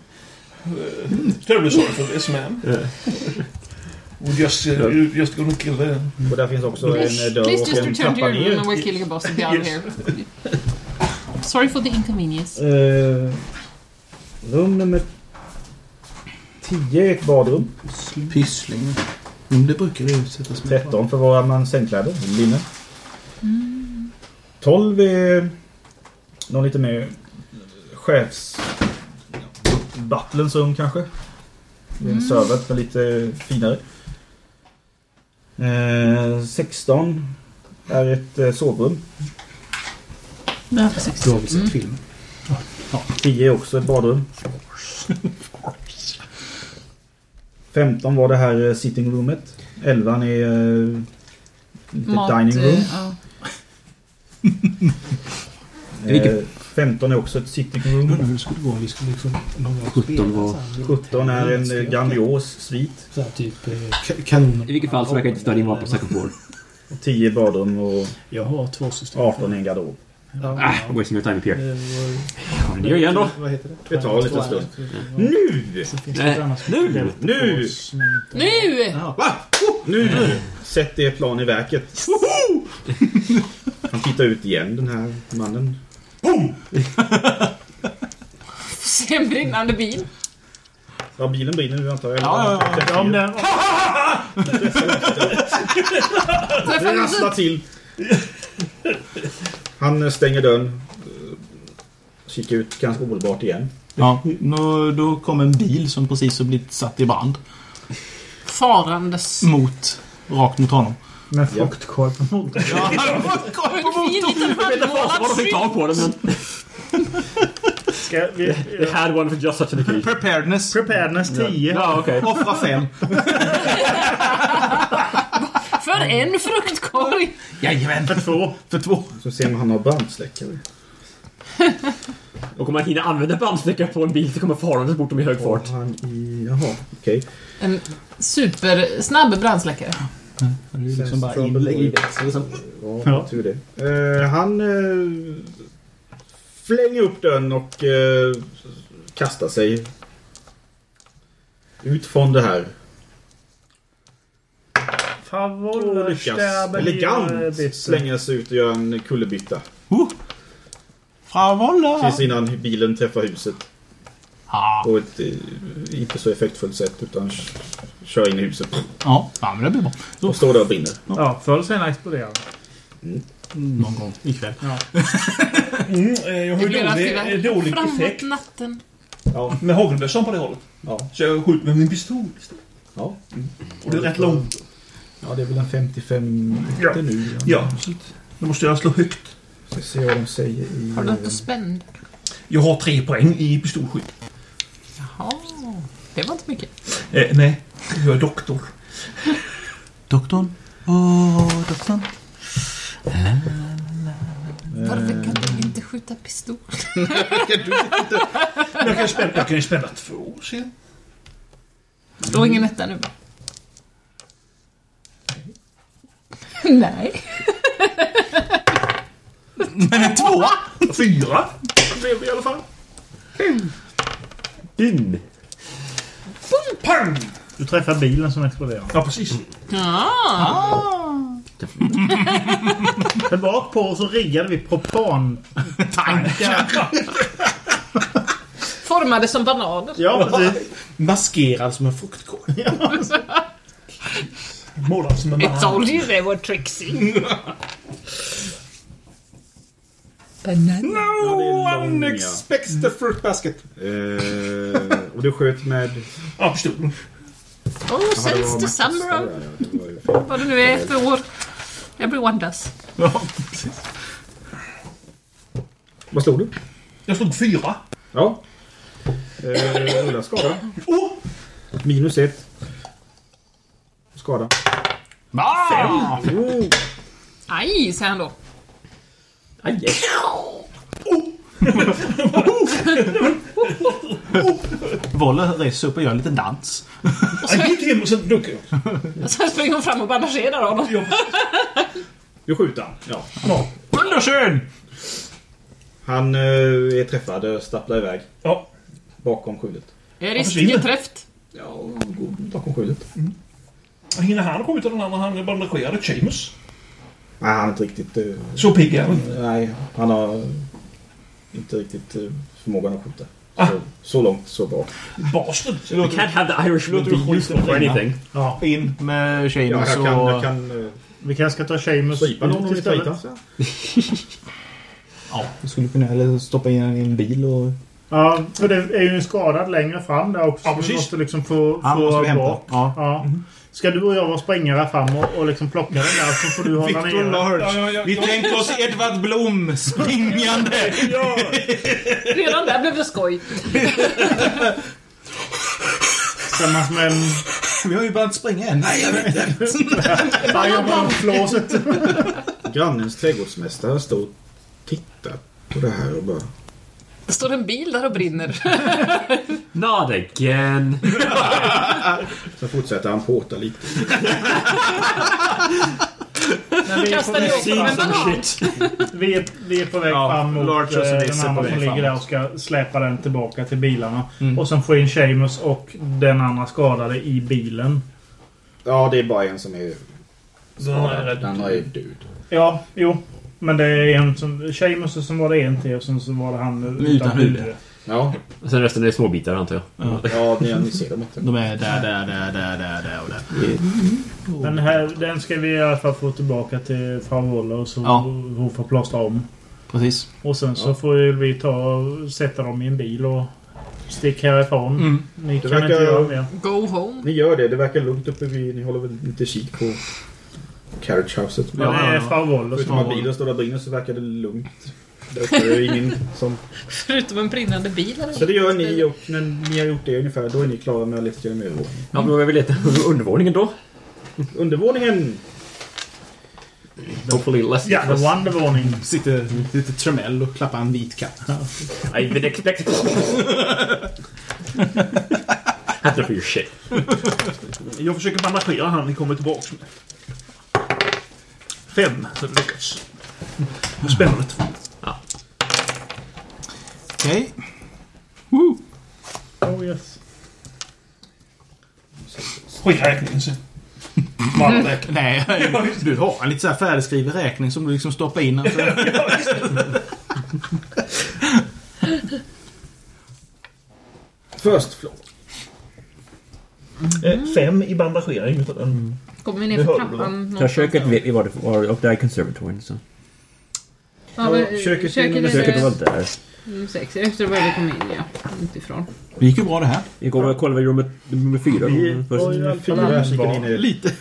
Terribly sorry for this man. We just, uh, you just gonna kill the...
Och där finns också
Please, please just return to your room and we're killing a boss and be out of
Yes.
here. Sorry for the inconvenience.
Eh, rum nummer 10 är ett badrum. Pyssling. det brukar det utsättas 13 förvarar man sängkläder, linne. 12 är någon lite mer chefs... Butlens rum kanske. Det är en
Mm.
servant men lite finare. Eh, 16 är ett eh, sovrum.
Ja, precis.
Då har vi sett filmen. 10 är också ett badrum. 15 var det här eh, sitting roomet. 11 är eh, lite
Mat,
dining room.
eh, ja.
Eh, 15 är också ett sitting room. Undrar hur det skulle gå om vi skulle liksom...
17 var...
17 är en eh, grandios svit. Så typ
eh,
kanon- I vilket fall så verkar inte Stalin vara på second floor.
10 badrum och...
Jag har två system.
18 är en garderob.
Ah, wasting your time up here. Ja, men det gör jag ändå.
Vad heter det?
Det tar en liten stund. Nu!
Eh,
Nu! Nu!
Nu!
Va? Nu! Sätt er plan i verket. Han tittar ut igen, den här mannen. Boom!
Se en brinnande bil.
Ja, bilen brinner nu antar jag.
Ja, ja, ja.
Om den...
Träffar
Det rasslar
huset.
till. Han eh, stänger dörren. eh, Kikar ut ganska omedelbart igen.
Ja, då, då kom en bil som precis har blivit satt i brand.
Farandes.
Mot, rakt mot honom.
Med fruktkorv på motorn.
Kom på
på den men...
Ska vi...
They had one for just such an occasion.
Preparedness.
Preparedness 10.
Ja, okej.
Offra 5.
För en fruktkorg.
Jajamän.
För två.
För två.
Så ser man han har brandsläckare.
Och om man hinner använda brandsläckare på en bil så kommer farandes bort dem i hög fart.
Han i... Jaha, okej.
En supersnabb brandsläckare.
liksom bara in-
Lägg i växeln liksom.
Ja, tur det. Eh, han eh, flänger upp dörren och eh, kastar sig ut från det här. Och
Favoller,
lyckas
stäber,
elegant
bitter.
slänga sig ut och göra en kullerbytta.
Fravolla!
Precis innan bilen träffar huset.
Ja.
På ett eh, inte så effektfullt sätt utan k- kör in i huset.
Ja, ja men det blir bra.
Och står där och brinner.
Ja, förr eller senare exploderar
Någon gång ikväll.
Ja.
Mm, eh, jag har
Det
ju
blir allt
dålig,
tyvärr.
eh, dålig
Framåt
effekt
natten.
med hagelbössan på det hållet. Så jag skjuter med min pistol.
Ja.
Och det är rätt långt.
Ja, det är väl en 55
Ja.
nu.
Ja, så då måste jag slå högt.
Ska se vad de säger i...
Har du något att spända?
Jag har tre poäng i pistolskytt.
Jaha. Det var inte mycket.
Eh, nej, jag är doktor.
Doktorn? Åh, doktorn.
Eh.
Varför kan du inte skjuta pistol?
Men jag kan spänna, jag kan ju spänna två sen.
Slå ingen etta nu. Nej.
Men två?
Fyra. blev det i alla fall.
Din!
Boom, pang!
Du träffar bilen som exploderar.
Ja, precis.
Ah.
Det var ett par så riggade vi propantankar.
Formade som bananer.
ja, precis.
Maskerad som en fruktkorg.
Målad som en
It's only they were tricksy. Banan.
No one
ja.
expects the fruit basket.
Eh, och du sköt med...
Ja, pistolen.
Oh, since the summer of... Vad det nu är för år. Everyone does.
Ja,
precis. Vad slog du?
Jag slog fyra.
Ja. Eh, rulla skada.
Oh!
Minus ett. Skada.
Ah! Aj, säger han då.
Aj!
Volle reser upp och gör en liten dans.
Jag gick hem och sen duckade
Och sen springer hon fram och bandagerar honom.
Du skjuter han. Ja.
Undersön!
Han eh, är träffad och stapplar iväg.
Ja.
Bakom skjulet.
Är
Han försvinner.
risketräft.
Ja, går bakom skjulet.
Hinner han skjuta den andra? Han är bandagerad. Seamus.
Nej, han är inte riktigt... eh,
Så pigg är han.
Nej, han har inte riktigt eh, förmågan att skjuta.
Ah!
Så, så låmt, så bra.
Bastard.
You can't have the Irishman be useful for anything.
Ja.
In med Seamus
Ja, jag kan-
och...
jag kan,
Vi kanske ska ta Seamus
Slipa någon om vi
istället.
fightar.
Ja.
Vi skulle kunna eller stoppa in den i en bil och...
Ja, för det är ju en skadad längre fram där också.
Ja,
vi
precis.
måste liksom få,
Han
få
måste vi hämta. Mhm.
bak.
Ja.
Ja. Ska du och jag vara sprängare fram och, och liksom plocka den där så får du hålla
Victor Large. Vi tänker oss Edvard Blom springande.
Redan där blev det skoj.
Tillsammans med en...
Vi har ju börjat springa än. Nej, jag vet inte.
Fireball-flåset.
Grannens trädgårdsmästare står och tittar på det här och bara...
Det står en bil där och brinner.
Not again.
Sen fortsätter han påta lite.
Kastar ni åt honom en banan?
Vi är, vi är på väg
Ja,
fram mot
Large och
eh, den
Sinise är på
andra
väg
som ligger
framåt.
där och ska släpa den tillbaka till bilarna. Och sen få in Seamus och den andra skadade i bilen.
Ja, det är bara en som är...
Den andra är
Den andra är död.
Ja, jo. Men det är en som... Seamus och sen var det en till och sen så var det han utan,
huvud.
huvud.
Ja.
Och sen resten är små bitar antar jag.
Ja, ni, ni ser dem inte.
De är där, där, där, där, där, där och där.
Den, här, den ska vi i alla fall få tillbaka till Favola och så
Ja.
hon får plåstra om.
Precis.
Och sen så får ju vi ta och sätta dem i en bil och sticka härifrån.
Mm.
Ni
Det
kan
verkar-
inte göra mer.
Go home.
Ni gör det. Det verkar lugnt uppe vid... Ni håller väl lite kik på carriage houset.
Men det är Favola som
Förutom att
har
bilen står där och brinner så verkar det lugnt. Där uppe är det ingen som...
Förutom en brinnande bil eller
Så det gör ni och när ni har gjort det ungefär, då är ni klara med lite grann övervåning.
Ja, men då är vi leta undervåningen då.
Undervåningen!
Hopefully less
Ja, the Wondervåning.
Sitter lite tremell och klappar en vit katt.
I've been expected. Had to be shit.
Jag försöker bandagera han ni kommer tillbaks med. Fem, så det lyckas. Spännande.
Okej.
Oh yes.
Skiträkningen sen. Bara räkna.
Nej, du har en lite så här färdigskriven räkning som du liksom stoppar in. Alltså.
First floor.
Eh, Fem i bandagering Mm. utav den.
Kommer vi
Det
ner för
hör du då.
trappan?
Så köket vet vi var det var och det är konservatorien så.
Ja, men, eh,
Köket är
köket
nummer
Köket var
är
där.
nummer sex. Efter det började vi komma in, ja. Utifrån.
Det gick ju bra det här.
Vi går och kollar rummet nummer fyra.
Vi
först.
var i alla fall där kikade in i...
Lite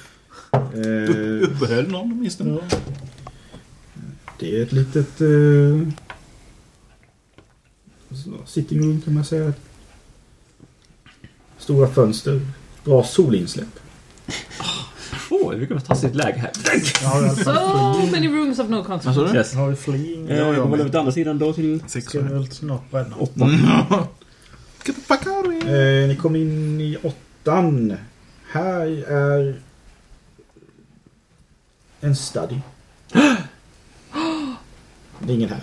Eh,
uppehöll någon åtminstone.
Det är ett litet... Uh, sitting room kan man säga. Stora fönster. Bra solinsläpp.
Åh, vi kommer ta sitt läge här.
So many rooms of no
Vad
consequence.
Mm.
sa du?
Yes.
Har vi fleeing?
Eh, Går man över till andra sidan då till...
Ska vi väl snart bränna.
Åtta.
Get the fuck out of here.
Eh, ni kom in i åttan. Här är... En study. Det är ingen här.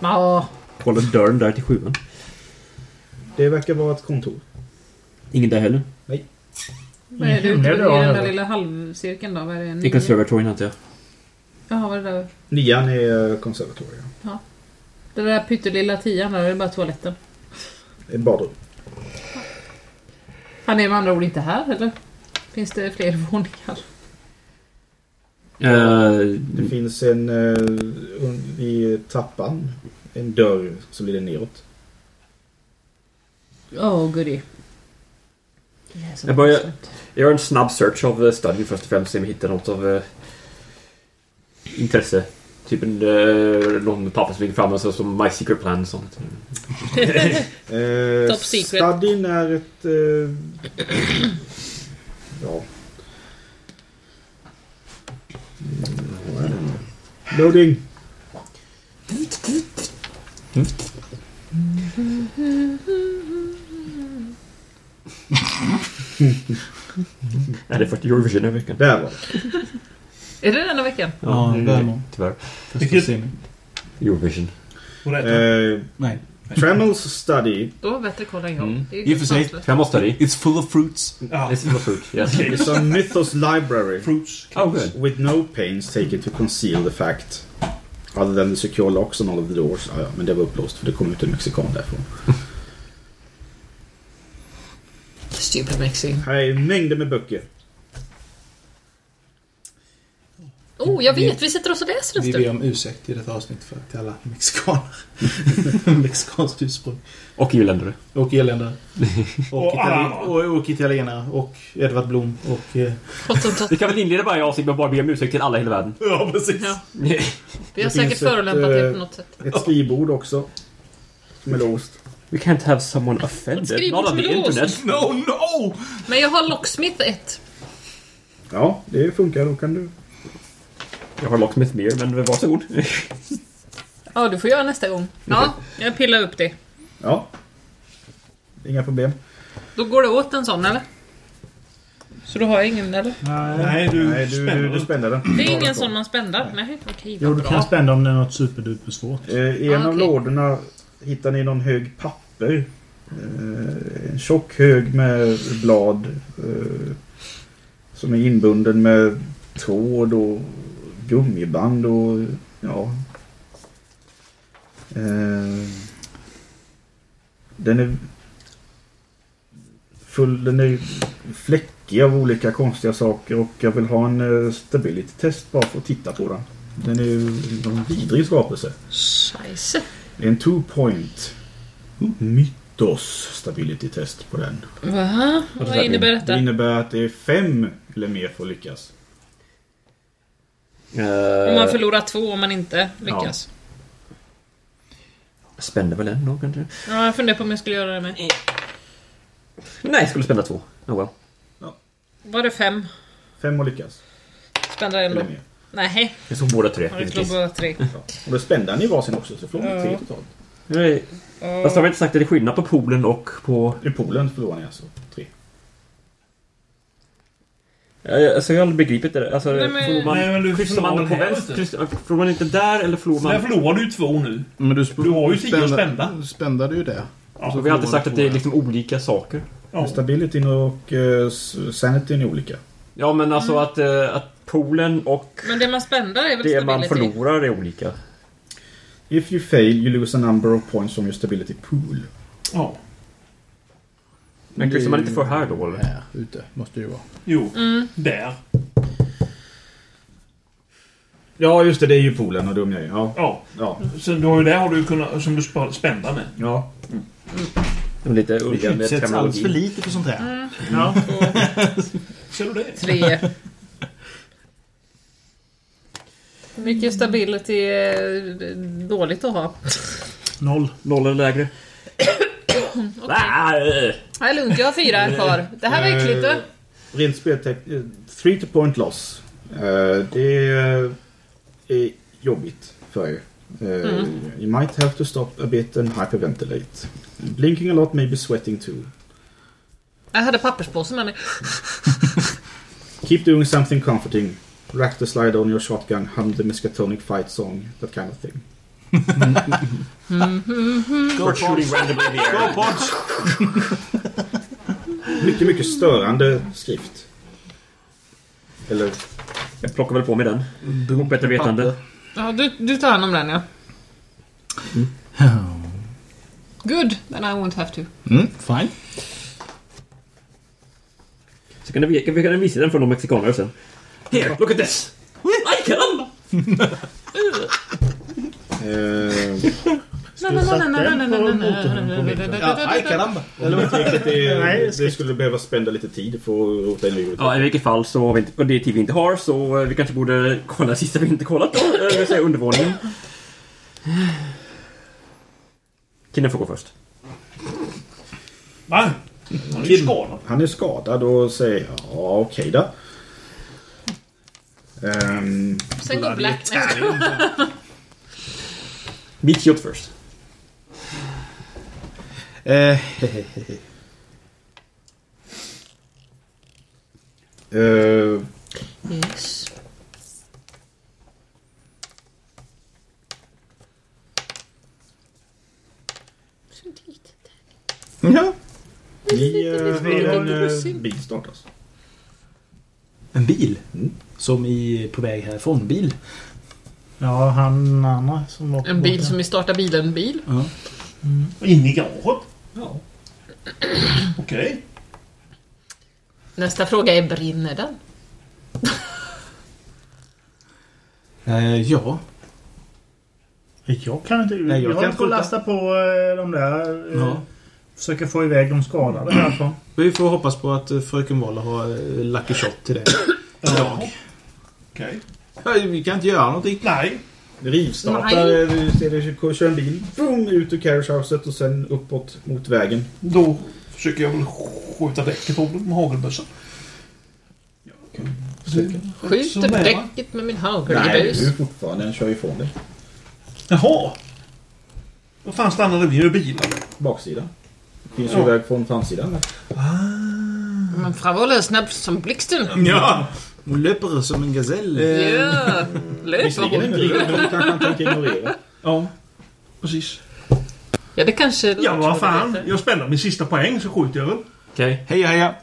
Ja,
Kollar dörren där till sjuan.
Det verkar vara ett kontor.
Ingen där heller.
vad är Mm. det
Himla
ute i
bra,
den där
eller?
lilla halvcirkeln då? Vad är det?
I
Nio?
konservatorien antar jag.
Jaha, vad är det där?
Nian är konservatorium.
Det där pyttelilla tian där, det är bara toaletten.
Ett badrum.
Han är med andra ord inte här, eller? Finns det fler våningar?
Eh,
Det finns en... eh, un- Vid trappan. En dörr som leder neråt.
Åh, goody. så
Jag, börjar, jag gör en snabb search av eh, study först och främst, se om jag hittar något av eh, intresse. Typ en, eh, någon papper som ligger framme, så som My Secret Plan och sånt.
Eh,
Top secret.
Stadin är ett... Eh, ja. Mm, vad är det? Loading.
Nej, det är 40 Eurovision den här veckan.
Där var
Är det denna veckan?
Ja,
Ja,
det är
där var.
det. Tyvärr.
Vilket- Första
Eurovision.
det. Eh,
Nej.
Trammels study
Då har bättre koll än jag. Det är ju
I och för sig.
sanslöst.
Jag måste ha det.
It's full of fruits.
Eh,
It's full of fruit. Yes.
is a mythos library.
Fruits.
Oh, good.
With no pains taken to conceal the fact. Other than the secure locks on all of the doors. Ah, ja, men det var upplåst för det kom ut en mexikan därifrån.
Stupid Mexican.
Här är mängder med böcker.
Oh, jag vet. Vi sätter oss och läser en
Vi ber
stund.
om ursäkt i detta avsnitt för till alla mexikaner. Mexikanskt ursprung.
Och irländare.
Och irländare. Och,
Och alla
itali-
andra.
och, och italienare. Och Edvard Blom. Och... Eh,
Vi kan väl inleda varje avsnitt med att bara be om ursäkt till alla i hela världen.
ja, precis.
Ja. Vi
Det
har säkert
finns ett,
förolämpat er
eh,
på något sätt.
Ett skrivbord också. Som är låst.
We can't have someone offended.
Skriv
Not on
bort
the internet.
No, no! Men jag har Locksmith 1.
Ja, det funkar. Då kan du...
Jag har Locksmith mer, men varsågod.
Ja, du får göra nästa gång. Ja, jag pillar upp det.
Ja. Inga problem.
Då går det åt en sån, eller? Så då har jag ingen, eller?
Nej, du
Nej, du, du, du spänner den.
Det är ingen sån man spändar. Nej, okej,
Jo,
vad
du kan
bra.
spända om det är något superduper svårt.
Eh, I en
Ah,
av
okej.
lådorna hittar ni någon hög papper. Eh, en tjock hög med blad. Eh, som är inbunden med tråd och gummiband och ja. Eh, den är full, den är fläckig av olika konstiga saker och jag vill ha en eh, stability test bara för att titta på den. Den är ju en vidrig skapelse.
Scheisse.
Det är en two point. Mytos stability test på den.
Va? Vad innebär
Det
detta?
innebär att det är fem eller mer för att lyckas.
Om man förlorar två om man inte lyckas.
Spände väl en då kanske?
Ja, jag funderar på om jag skulle göra det med.
Nej, jag skulle spända två. Oh well.
Var det fem?
Fem och lyckas.
Spända en
Eller
då?
mer.
Nej,
Jag såg båda tre.
har du slog båda tre.
Och då spände ni varsin också så förlorade ni tre totalt.
Nej, Fast har vi inte sagt att det är skillnad på poolen och på...
I poolen förlorade ni alltså tre.
Ja, Alltså jag har aldrig begripit det där. Alltså,
Nej, men-
förlorar man,
Nej, men du
kryssar man
förlorar
på
här
vänster?
inte.
kryssar- Förlorar man inte där eller förlorar
Där
man...
förlorar du ju två nu.
Men du,
Du har ju tio spända.
spändade ju det.
Så vi har alltid sagt att det är liksom olika saker.
Ja.
Stabilityn och uh, sanityn är olika.
Ja, men alltså
Mm.
att, eh, att poolen och
Men det man spändar är väl
det man
stability?
förlorar är olika.
If you fail you lose a number of points from your stability pool.
Ja.
Men kryssar man inte för här då eller?
Här ute måste det ju vara.
Jo. Där.
Ja just det, det är ju poolen och dum jag är. Ja.
Ja.
Ja.
Så du har ju där har du kunnat, som du spar- spända med.
ja.
Det är Lite udda med
Utsätts alldeles för
terminologi.
lite för sånt här.
Ja. Ser du det?
Tre. Mycket stability är eh, dåligt att ha.
Noll.
Noll eller lägre. Nej. Eh.
Det är lugnt, jag har fyra här kvar. Det här var äckligt du.
Rent speltekniskt. Three to point loss. Eh, det är, är jobbigt för er. Eh, You might have to stop a bit and hyperventilate. Blinking a lot, maybe sweating too.
Jag hade papperspåsen med mig.
Keep doing something comforting. Rack the slide on your shotgun, hum the Miskatonic fight song, that kind of thing.
Start shooting randomly in the air.
Mycket, mycket störande skrift. Eller,
Jag plockar väl på mig den. Mot bättre vetande.
Ja, du, du tar hand om den ja.
Mm.
Good, then I won't have to.
Mm, fine.
Så kan vi, kan vi kan visa den för de mexikaner sen. Here, look at this! I can!
eh,
Nej, nej, nej, nej, nej, nej, nej, nej, nej, nej, nej.
Ja, aj caramba! Eller vad tänker att det,
Nej,
det skulle behöva spända lite tid för att rota in i huvudet.
Ja, i vilket fall så har vi inte, och det är tid vi inte har så eh, vi kanske borde kolla sista vi inte kollat då. eh, Det vill säga undervåningen. Kinden får gå först.
Va?
Han är skadad. Han är skadad och säger ja, okej då. Ehm,
Sen går
bloody
Black.
Italian.
Meet you up first.
Eh, Eh,
Yes.
ja. Vi eh,
Vi har
har
en
en eh,
russin.
bil startas.
En bil? Som i På väg härifrån? Bil?
Ja, han Anna som var
En bil som vi startar bilen bil.
Ja.
In i garaget?
Ja.
Okej.
Nästa fråga är brinner den?
Eh, ja.
Jag kan inte...
Nej, jag
jag
kan
håller på att
skjuta.
lasta på eh, de där... eh,
Ja.
Försöka få iväg de skadade härifrån.
Vi får hoppas på att eh, fröken Waller har eh, lucky shot till det. Idag.
Okej.
Ja, vi kan inte göra någonting.
Nej.
Rivstartar, eh, ser det, kör en bil, boom, ut ur carriagehouset och sen uppåt mot vägen.
Då försöker jag väl skjuta däcket på den med hagelbössan.
Skjuter
nära.
däcket med min
Nej,
hagelbus.
du är fortfarande, den kör ifrån dig.
Jaha! Vad fan stannade vi? Är det bilar?
Baksidan. Finns
Ja.
ju väg från framsidan.
Men Fravolle är snabb som blixten.
Ja! Hon löper som en gazell.
Ja, löper
Visserligen en grill, men det kanske han tänker ignorera.
Ja, precis.
Ja, det kanske
Ja, vad fan.
Woo!
Jag spänner min sista poäng så skjuter jag väl.
Okej.
Heja, heja!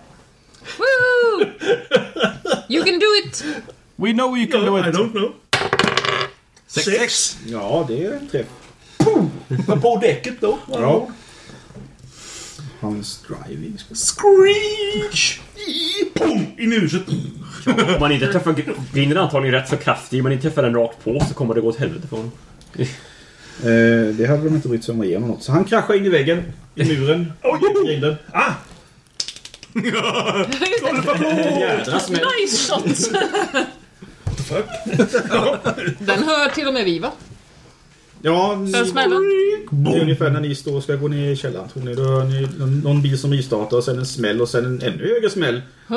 You can do it!
We know you can do it!
I don't know.
Sex.
Ja, det är en träff.
Men på däcket då?
Ja. Hans driving.
Screech! I- Pum! In i Eh, huset.
Ja, om man inte träffar gr- grinden är antagligen rätt så kraftig, om man inte träffar den rakt på så kommer det gå åt helvete för honom.
Eh, det hade de inte brytt sig om att ge honom något. Så han kraschar in i väggen, i muren, i grinden.
Ah!
Jädra smäll.
Nice shot! Den hör till och med vi va?
Ja,
Den smällen.
det är ungefär när ni står och ska gå ner i källaren tror ni. Då hör ni någon- någon bil som rivstartar och sen en smäll och sen en ännu högre smäll.
Ah,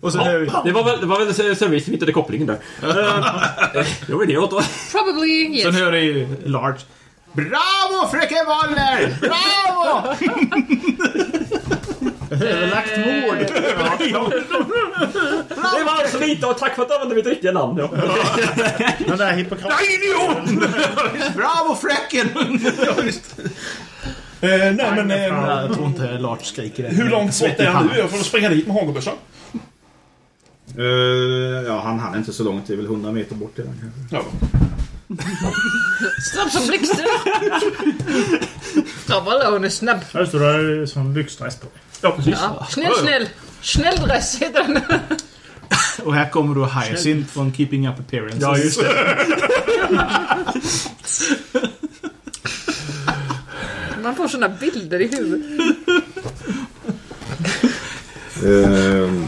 Och sen är vi...
Det var väl, det var väl så- service som hittade kopplingen där. Eh, Det var det jag åt då.
Probably
Sen
yes.
hör du Large. Bravo fröken Waller! Bravo!
Överlagt mord!
Det var allt som vi inte har. Tack för att du använde mitt riktiga namn. Ja.
Den där hippokraten.
Bravo fröken!
Eh, nej, men... Eh,
jag tror inte Large skriker det.
hur långt bort är han nu? Jag får springa dit med hagelbössan.
Eh, ja, han hann inte så långt. Det är väl 100 meter bort redan kanske.
Ja.
Snabb som blixten. Fravolle hon är snabb.
Här står det som byxdress på.
Ja, precis.
Ja. Snäll, snäll. Snälldress heter den.
Och här kommer då Hyacinth från Keeping Up Appearances.
Ja, just det.
Man får såna bilder i huvudet.
Ehm,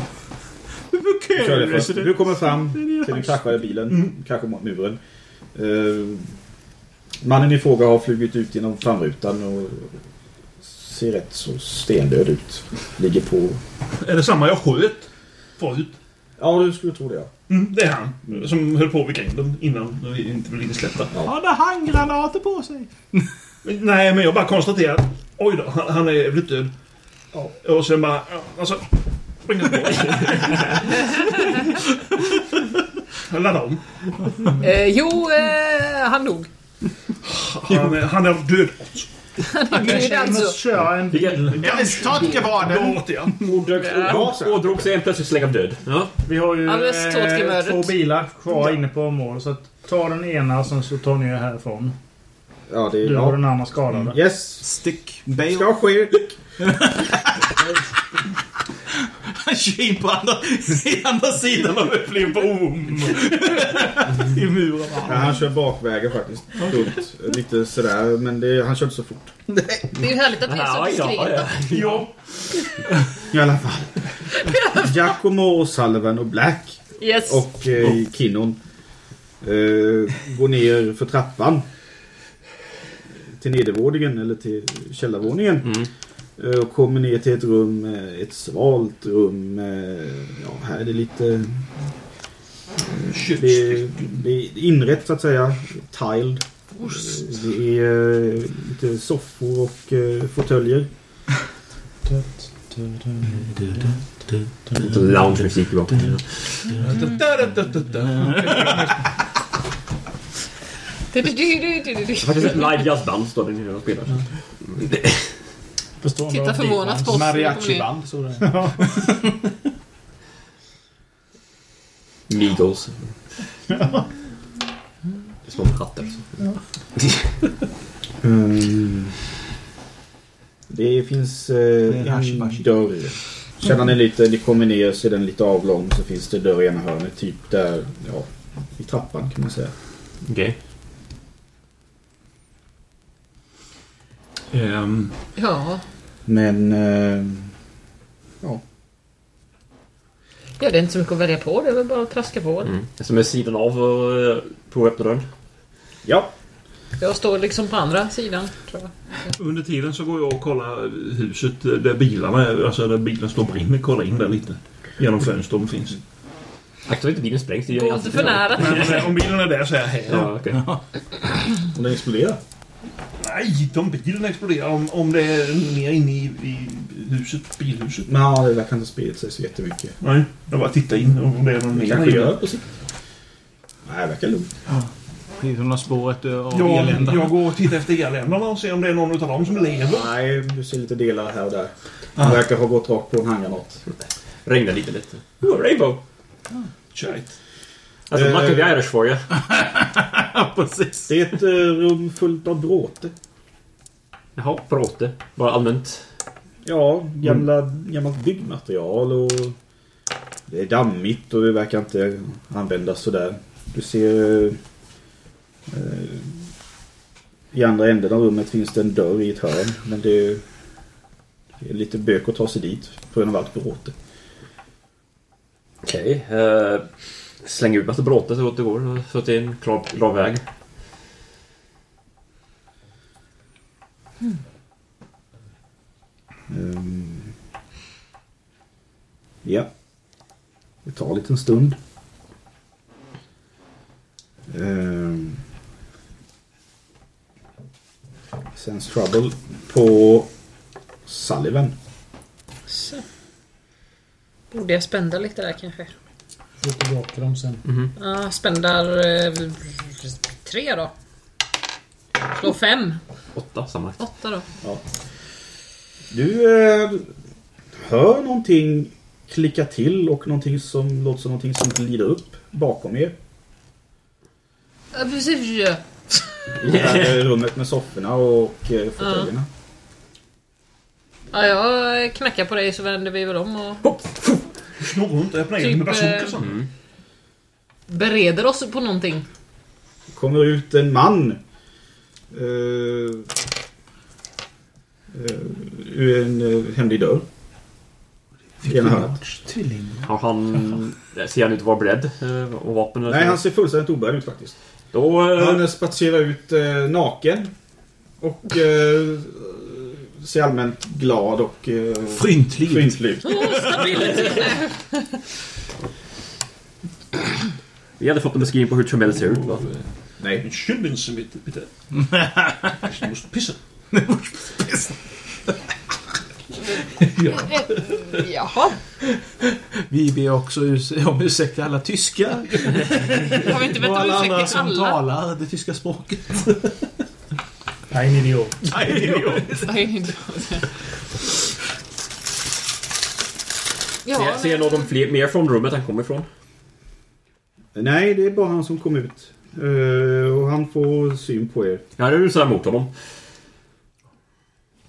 jag kör det först. Du kommer fram till den kraschade bilen, kanske mot muren. Ehm, mannen i fråga har flugit ut genom framrutan och ser rätt så stendöd ut. Ligger på...
Är det samma jag sköt förut?
Ja, du skulle tro det ja.
Mm, det är han. Som höll på vid grinden innan när vi inte blev insläppta.
Hade handgranater på sig?
Nej, men jag bara konstaterar att oj då, han, han är jävligt död. Och sen bara, ja, alltså... springer på. Han laddade om.
Eh, jo, eh, han dog.
Han, är- han är död.
Han dog
Vi måste
alltså.
köra en bil.
Hennes tolke var den!
Åt jag.
Ådrog sig en plötslig släng av död. Ja.
Vi har ju
Ja, men stå till
eh,
möret.
två bilar kvar inne på området. Så att ta den ena sen så tar ni er härifrån.
Ja, det är...
Du och
Ja.
den andra skadade.
Yes!
Stick Bale.
Ska ske!
Han kör in på andra, i andra sidan av öppningen på om. I muren.
Ja, han kör bakvägen faktiskt. Dumt. Lite sådär, men det, han körde så fort.
Det är ju härligt att det är så diskret.
ja. I alla fall. Giacomo, Sullivan och Black.
Yes.
Och eh, Kinnon. Eh, går ner för trappan. Till nedervåningen eller till källarvåningen. Eh, och kommer ner till ett rum, eh, ett svalt rum. Eh, ja, här är det lite... Det är, det är inrett så att säga. Tiled. Eh, Det är eh, lite soffor och eh, fåtöljer.
Lite lounge-musik i bakgrunden.
Du, du, du, du, du, du.
Det är Faktiskt ett live jazzband står det nere och spelar. Mm.
Titta förvånat på oss.
Mariachi-band,
så
Migos. Små hattar.
Mm. Det finns eh, en dörr. Källan är lite, ni kommer ner så är den lite avlång så finns det dörr i ena hörnet. Typ där, ja, i trappan kan man säga.
Okej.
Ja.
Men... Eh,
ja, det är inte så mycket att välja på. Det är väl bara att traska på.
Mm. Som är sidan av och eh, på öppna dörren.
Ja.
Jag står liksom på andra sidan, tror jag.
Under tiden så går jag och kollar huset där bilarna är, alltså där bilen står brinner. Kolla in där lite. Genom fönstret om det finns.
Akta inte bilen sprängs.
Gå inte för nära.
Nej, men om bilen är där så är jag hej då.
Ja, okej.
Om den exploderar?
Nej, de bilen exploderar om, om det är mer inne i, i huset, bilhuset.
ja, det verkar inte ha spridit sig så jättemycket.
Nej, jag bara tittar in om det är någon mer.
kanske
inne.
gör på sikt. Nej, det verkar lugnt.
Det är som något spåret eh, av
Jag,
elände.
jag går och tittar efter eländarna och ser om det är någon av dem som lever.
Nej, du ser lite delar här och där. Den verkar ha gått rakt på en handgranat.
Regnar lite lite. Oh, rainbow!
Shit.
Alltså,
Eh.
Mac of the Irish Warrior.
Precis.
Det är ett eh, rum fullt av bråte.
Jaha, bråte. Bara allmänt.
Ja, gamla, gammalt byggmaterial och det är dammigt och det verkar inte användas sådär. Du ser eh, eh, i andra änden av rummet finns det en dörr i ett hörn men det är, det är lite bök att ta sig dit på grund av allt bråte.
Okej. eh, släng ut massa bråte så gott det går. Så att det är en klar, klar väg.
Ehm, ja. Det tar en liten stund. Ehm. Sense Trouble på Sullivan.
Så. Borde jag spända lite där kanske?
Få tillbaka dem sen.
Mhm.
Ja, spändar eh, tre då. Slå fem.
Åtta sammanlagt.
Åtta då.
Du eh, hör någonting klicka till och någonting som låter som någonting som glider upp bakom er.
Ja, precis.
I det här rummet med sofforna och eh, fåtöljerna.
Ja, jag knackar på dig så vänder vi väl om och
Snurrar runt och öppnar in med
Typ,
bazooka så.
bereder oss på någonting.
kommer ut en man. eh, eh, ur en eh, hemlig dörr. I ena hörnet.
Har han... Ser han ut att vara beredd? eh, Och vapen? eller
Nej,
så?
han ser fullständigt obärd ut faktiskt.
Då... eh,
Han spatserar ut eh, naken. Och eh, ser allmänt glad och eh,
Fryntlig.
fryntlig ut.
Åh, stabilt!
Vi hade fått en beskrivning på hur Trumell ser ut va?
Nej.
Kymbin som inte... bitte. Jag måste pissa.
Jaha,
Vi ber också us- om ursäkt till alla tyskar.
har vi inte bett
Och
om
alla andra
ursäkt till
som
alla?
talar det tyska språket.
Nej, en idiot.
Nej,
Ser-
Ja,
Ser jag någon fler, mer från rummet han kommer ifrån?
Nej, det är bara han som kom ut. Eh, och han får syn på er.
Ja, det rusar mot honom.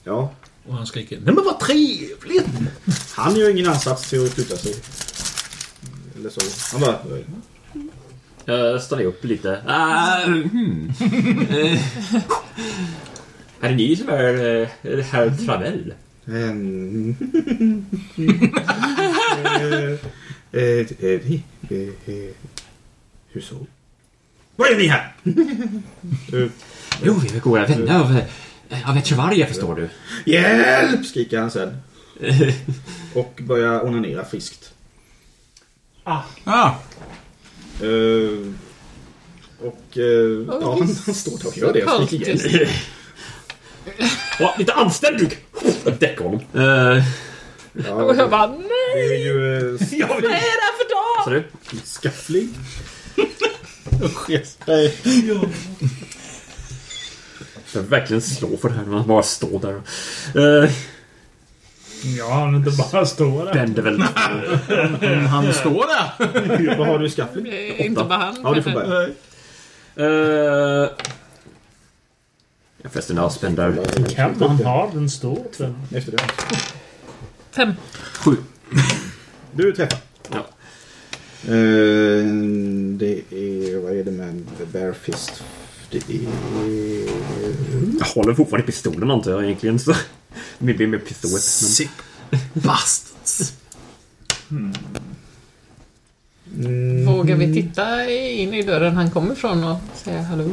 Ja.
Och han skriker Nej men vad trevligt!
Han gör ingen ansats till att flytta sig. Eller så. Han bara...
Jag stannar upp lite. Ah, hmm. Eh, är det ni som är eh, herr Travell?
Mm. Eh, eh, ni, eh, eh, hur så? Vad är ni här?
Jo, vi är goda vänner av, eh, av Echevarria förstår du.
Hjälp! skriker han sen. Och börjar onanera friskt.
Ah.
Eh, och eh, ja, han, han står där och gör det och skriker ihjäl sig.
Ja, lite anständig! Jag däckar honom. Eh.
Och jag bara nej!
Det är ju... eh,
Vad är det här för dag?
du?
Skaffling? Usch, nej.
Jag vill verkligen slå för det här när man bara står där.
Eh.
Uh,
Ja, han inte bara står där.
Vänder väl.
Han- han står
där. Vad har du i skaffling?
Eh, Inte bara han.
Ja, du får
kanske.
börja. Eh, jag fäster en avspänd där.
Kan man ha den står den?
Efter det.
Fem.
Sju.
Du träffar.
Ja.
Eh, det är... Vad är det med en bare fist? Det är...
Jag håller fortfarande i pistolen antar jag egentligen. Så. Maybe med pistolet. Men...
Sick bastards.
Vågar vi titta in i dörren han kommer ifrån och säga hallå?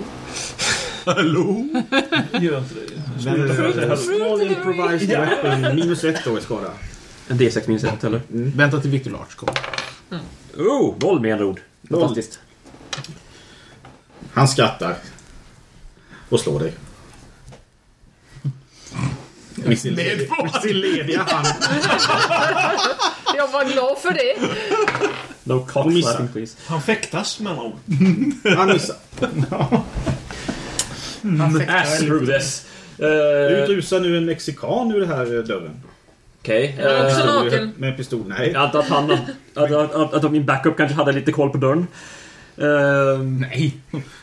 Hallå? Gör inte
Small improvised weapon. Minus ett då i skada.
En D6 minus 1 eller?
Mm. Vänta till Victor Larch kommer.
Oh, noll med andra ord.
Noll.
Fantastiskt.
Han skrattar. Och slår dig. Med sin med sin lediga hand.
Jag var glad för det.
No cock slapping please.
Han fäktas med någon.
Han missar.
Mm. Ass
Mm.
through this. Eh,
Det utrusar nu en mexikan ur den här eh, dörren.
Okej.
Är han också
eh,
naken?
Med en pistol. Nej.
Jag antar att han... Att, att, att, att min backup kanske hade lite koll på dörren. Nej.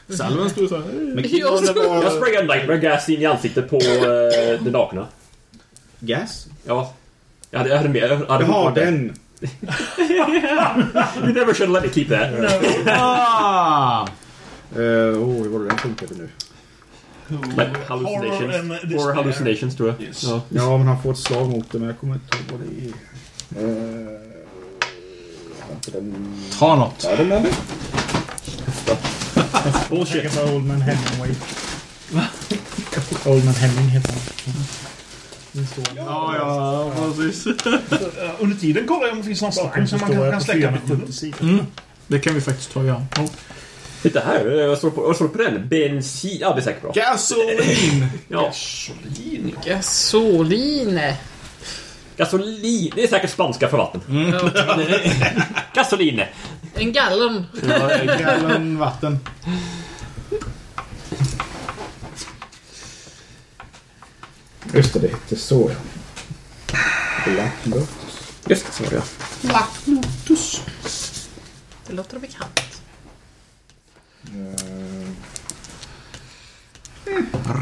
Salven stod såhär.
Mexikan det
Jag
var...
sprayade nightmare gas in i ansiktet på uh, den nakna.
Gas?
Ja. Jag hade, jag hade med... Jag hade
Jaha, den.
You never should let me keep that.
Ah!
Åh, uh, oh, hur var det den funkade nu?
Like
Horror and
hallucinations.
despair.
Horror hallucinations tror jag.
Yes.
Ja.
Ja, men han får ett slag mot det, men jag kommer inte ihåg vad det är. Eh, jag har inte den...
Ta något.
Ja, den med mig.
Bullshit. Jag bara Oldman Hemingway. Oldman Heming heter han.
Ja, ja, precis.
Eh, Under tiden kollar jag om det finns någon vakuum som man kan, kan släcka med.
Mm. Det kan vi faktiskt ta och göra.
Titta här, jag slår på, jag slår på den. Bensin. Ja, det är säkert bra.
Gasolin!
Ja.
Gasolin.
Gasoline.
Gasolin. Det är säkert spanska för vatten.
Ja.
Gasoline.
En gallon.
Gallon vatten.
Just det, det hette så ja. Black Lotus.
Just det, så var det ja.
Black Lotus. Det låter bekant.
Eh,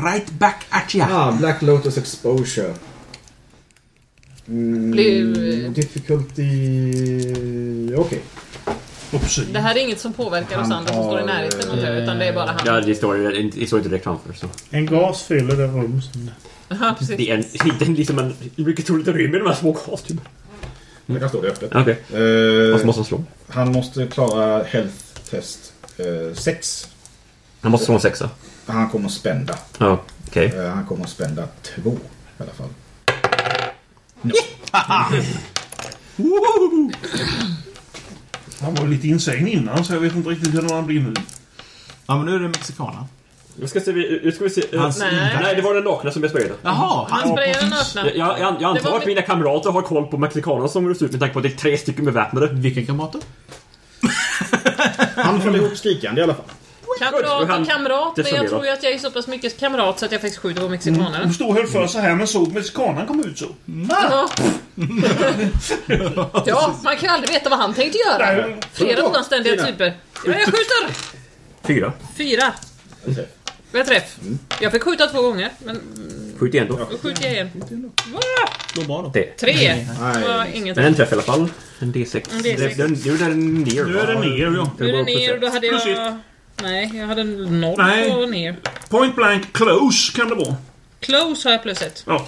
Right back at ya.
ah, Black Lotus Exposure. Mm,
Blir-
Difficulty... Okej.
Uppsyn.
Det här är inget som påverkar oss
Han
andra som står i
har,
närheten av det, utan det är bara
Ja,
han.
det står, det står inte direkt framför. Så.
En gas fyller det rum. som-
Ja, precis.
Det är en, det är liksom en... Mycket troligt att rymmer de här små gastuberna.
Det kan stå det öppet.
Okej. Okay.
Eh,
Vad måste han slå?
han måste klara Health Test 6.
Han måste slå en sexa.
han kommer att spända.
Ja, okej.
Eh, han kommer att spända två i alla fall.
Han var lite insane innan så jag vet inte riktigt hur han blir nu.
Ja, men nu är det mexikanen.
Nu ska, se, nu ska vi se... eh,
Hans
Nej.
Nej, det var den nakna som jag sprayade.
Jaha!
Han
Han...
sprayar den öppna.
Jag, jag, jag
Det var
antar att
min-
mina kamrater har koll på mexikanerna som röstar ut med tanke på att det är tre stycken beväpnade.
Vilka kamrater?
Han håller ihop skrikande i alla fall.
Och
Kamrat
han-
och kamrat,
det Mm.
men
summerar.
jag tror ju att jag är så pass mycket kamrat så att jag faktiskt skjuter på mexikanaren.
De stod och höll för så här men såg mexikanen kom ut så.
Ja. Alltså, ja, man kan aldrig veta vad han tänkte göra. Flera oanständiga typer. Ja, jag skjuter!
Fyra.
Fyra. Jag träff. Jag fick skjuta två gånger, men mm,
71 då.
Och 71. Va?
Då Mm. var de.
Tre. Det var ingenting.
Men en träff i alla fall. En D6.
En D6.
Den- Nu är den ner.
Nu är den
ner ja.
Nu är det ner och då hade
Plus
jag... Nej, jag hade noll
Nej.
på ner.
Point blank close kan det vara.
Close har jag plus ett.
Ja.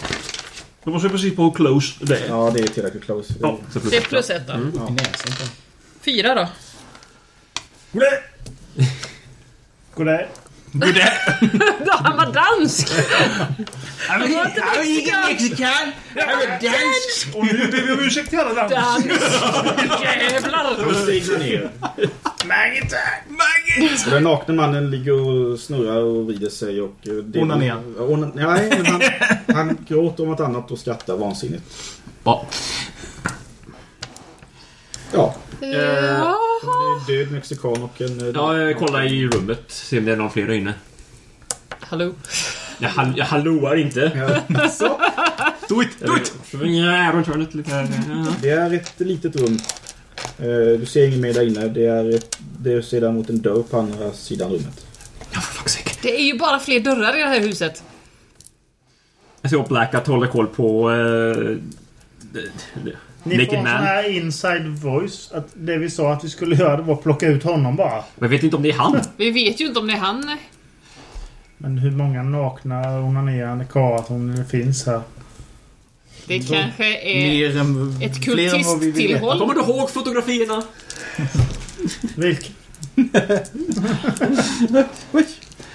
Då måste jag precis på hur close det är.
Ja, det är tillräckligt close.
Ja.
Det är plus ett då. Fyra då.
Goddag!
Goddag!
Goddag!
Han var dansk!
I'm
Han var inte mexikan.
mexican. I'm a dansk.
Och nu ber vi om ursäkt till alla
Dans.
Då
Jävlar!
stiger den ner.
Maggie time. Maggie
Och den nakne mannen ligger och snurrar och vrider sig och... eh, det-
Onanerar.
Ja, onan- Nej, men han, han gråter om något annat och skrattar vansinnigt.
Ja.
Ja.
Ja.
En död mexikan och en... eh,
Ja, jag kollar i rummet. Se om det är någon fler där inne.
Hallå?
Jag, hall jag hallåar inte.
Så.
Do it! Do it! Svinga runt hörnet lite.
Det är ett litet rum. Eh, Du ser ingen mer där inne. Det är, ett, det ser däremot en dörr på andra sidan rummet.
Det är ju bara fler dörrar i det här huset.
Jag ser Blackat håller koll på... eh, d- d-
Ni får
Naked
en sån
Man.
här inside voice. Att det vi sa att vi skulle göra det var att plocka ut honom bara.
Men jag vet inte om det är han.
Vi vet ju inte om det är han. nej.
Men hur många nakna onanerande karlar som det finns här?
Det
Då-
kanske är
än,
Eh, ett
fler än vad vi vill veta.
kultisttillhåll.
Kommer du
ihåg fotografierna?
Vilk?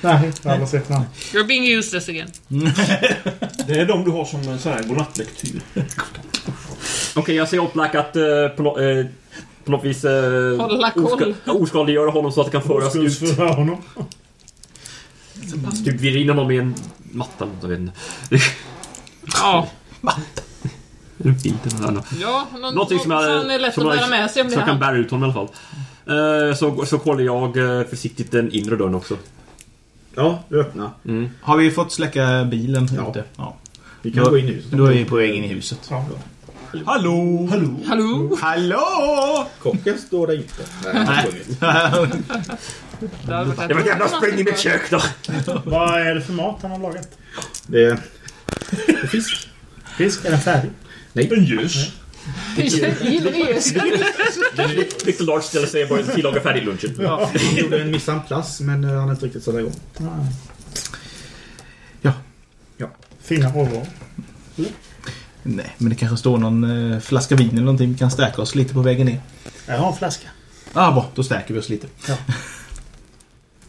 Nej, jag har aldrig sett någon.
You're being useless again.
Det är de du har som en sån här godnattlektyr.
Okej, jag ser Oplak att eh, på, nå- eh, på något vis... Eh,
Hålla koll.
oska- Oskadliggöra honom så att det kan föras ut.
Oskuldsföra honom.
Typ virra in honom i en matta. eller något, Jag vet inte.
Ja.
En filt eller något.
Ja, någon,
Någonting som,
någon som,
jag,
är lätt
som
att
jag-
bära med sig om det
Som
är
jag kan
han.
bära ut honom i alla fall. Eh, så, så kollar jag eh, försiktigt den inre dörren också.
Ja, du öppnar.
Mm.
Har vi fått släcka bilen
Ja.
ute? Ja.
Vi kan
då,
gå in i huset.
Då är vi på väg in i huset.
Hallå! Hallå!
Hallå!
Hallå!
Kocken står där inte. Nej, han har sprungit.
Det
var ett jävla spring i mitt kök då.
Vad är det för mat han har lagat?
Det är... det är Fisk.
Fisk? Är den färdig?
Nej.
En ljus.
Victor Large ställer sig och börjar tillaga färdig lunchen.
Ja, han gjorde en missan plats men eh, han har inte riktigt satt igång.
Fina råvaror.
Nej, men det kanske står någon eh, flaska vin eller någonting. Vi kan stärka oss lite på vägen ner.
Jag har en flaska.
Ah, bra. Då stärker vi oss lite.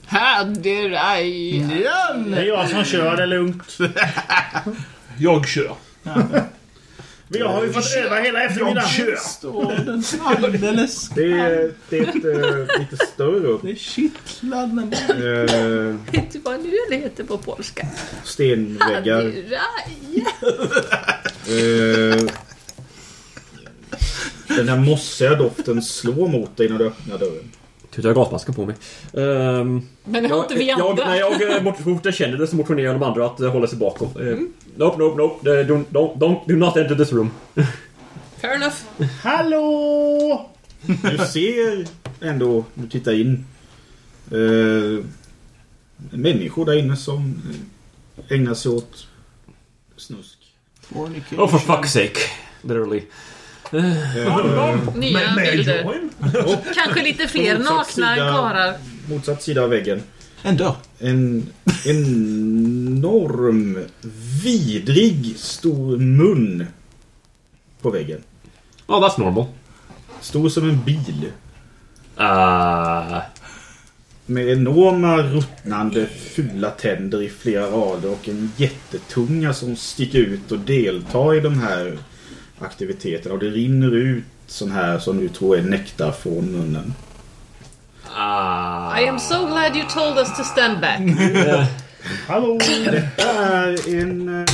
Hade dig.
Det är jag som kör, det är lugnt.
Jag kör.
Vi har ju fått öva hela eftermiddagen.
kör.
Alldeles
Det är, det är ett eh, lite större rum.
Det är kittlande.
Eh,
Vet du vad nu det heter på polska?
stenväggar.
Hade dig.
Eh, den här mossiga doften slår mot dig när du öppnar dörren.
Tutar jag gasmasken på mig. Ehm,
Men det har inte vi
jag,
andra.
när jag eh, mot- så fort jag känner det så motionerar jag de andra att eh, hålla sig bakom. Eh, Nope, nope, nope. Eh, don't, don't, don't, do not enter this room.
Fair enough.
Hallå!
Du ser ändå, du tittar in. Eh, människor där inne som eh, ägnar sig åt snusk.
Oh for fuck's sake. Literally.
Eh,
Nya bilder. Kanske lite fler
Motsatt
nakna
sida.
karlar.
motsatt sida av väggen.
En dörr.
En enorm, vidrig, stor mun på väggen.
Ja, that's normal.
Stor som en bil.
Ah.
Med enorma ruttnande fula tänder i flera rader och en jättetunga som sticker ut och deltar i de här aktiviteterna. Och det rinner ut sån här som du tror är nektar från munnen.
Ah.
I am so glad you told us to stand back.
Hallå!
Det är en... Eh,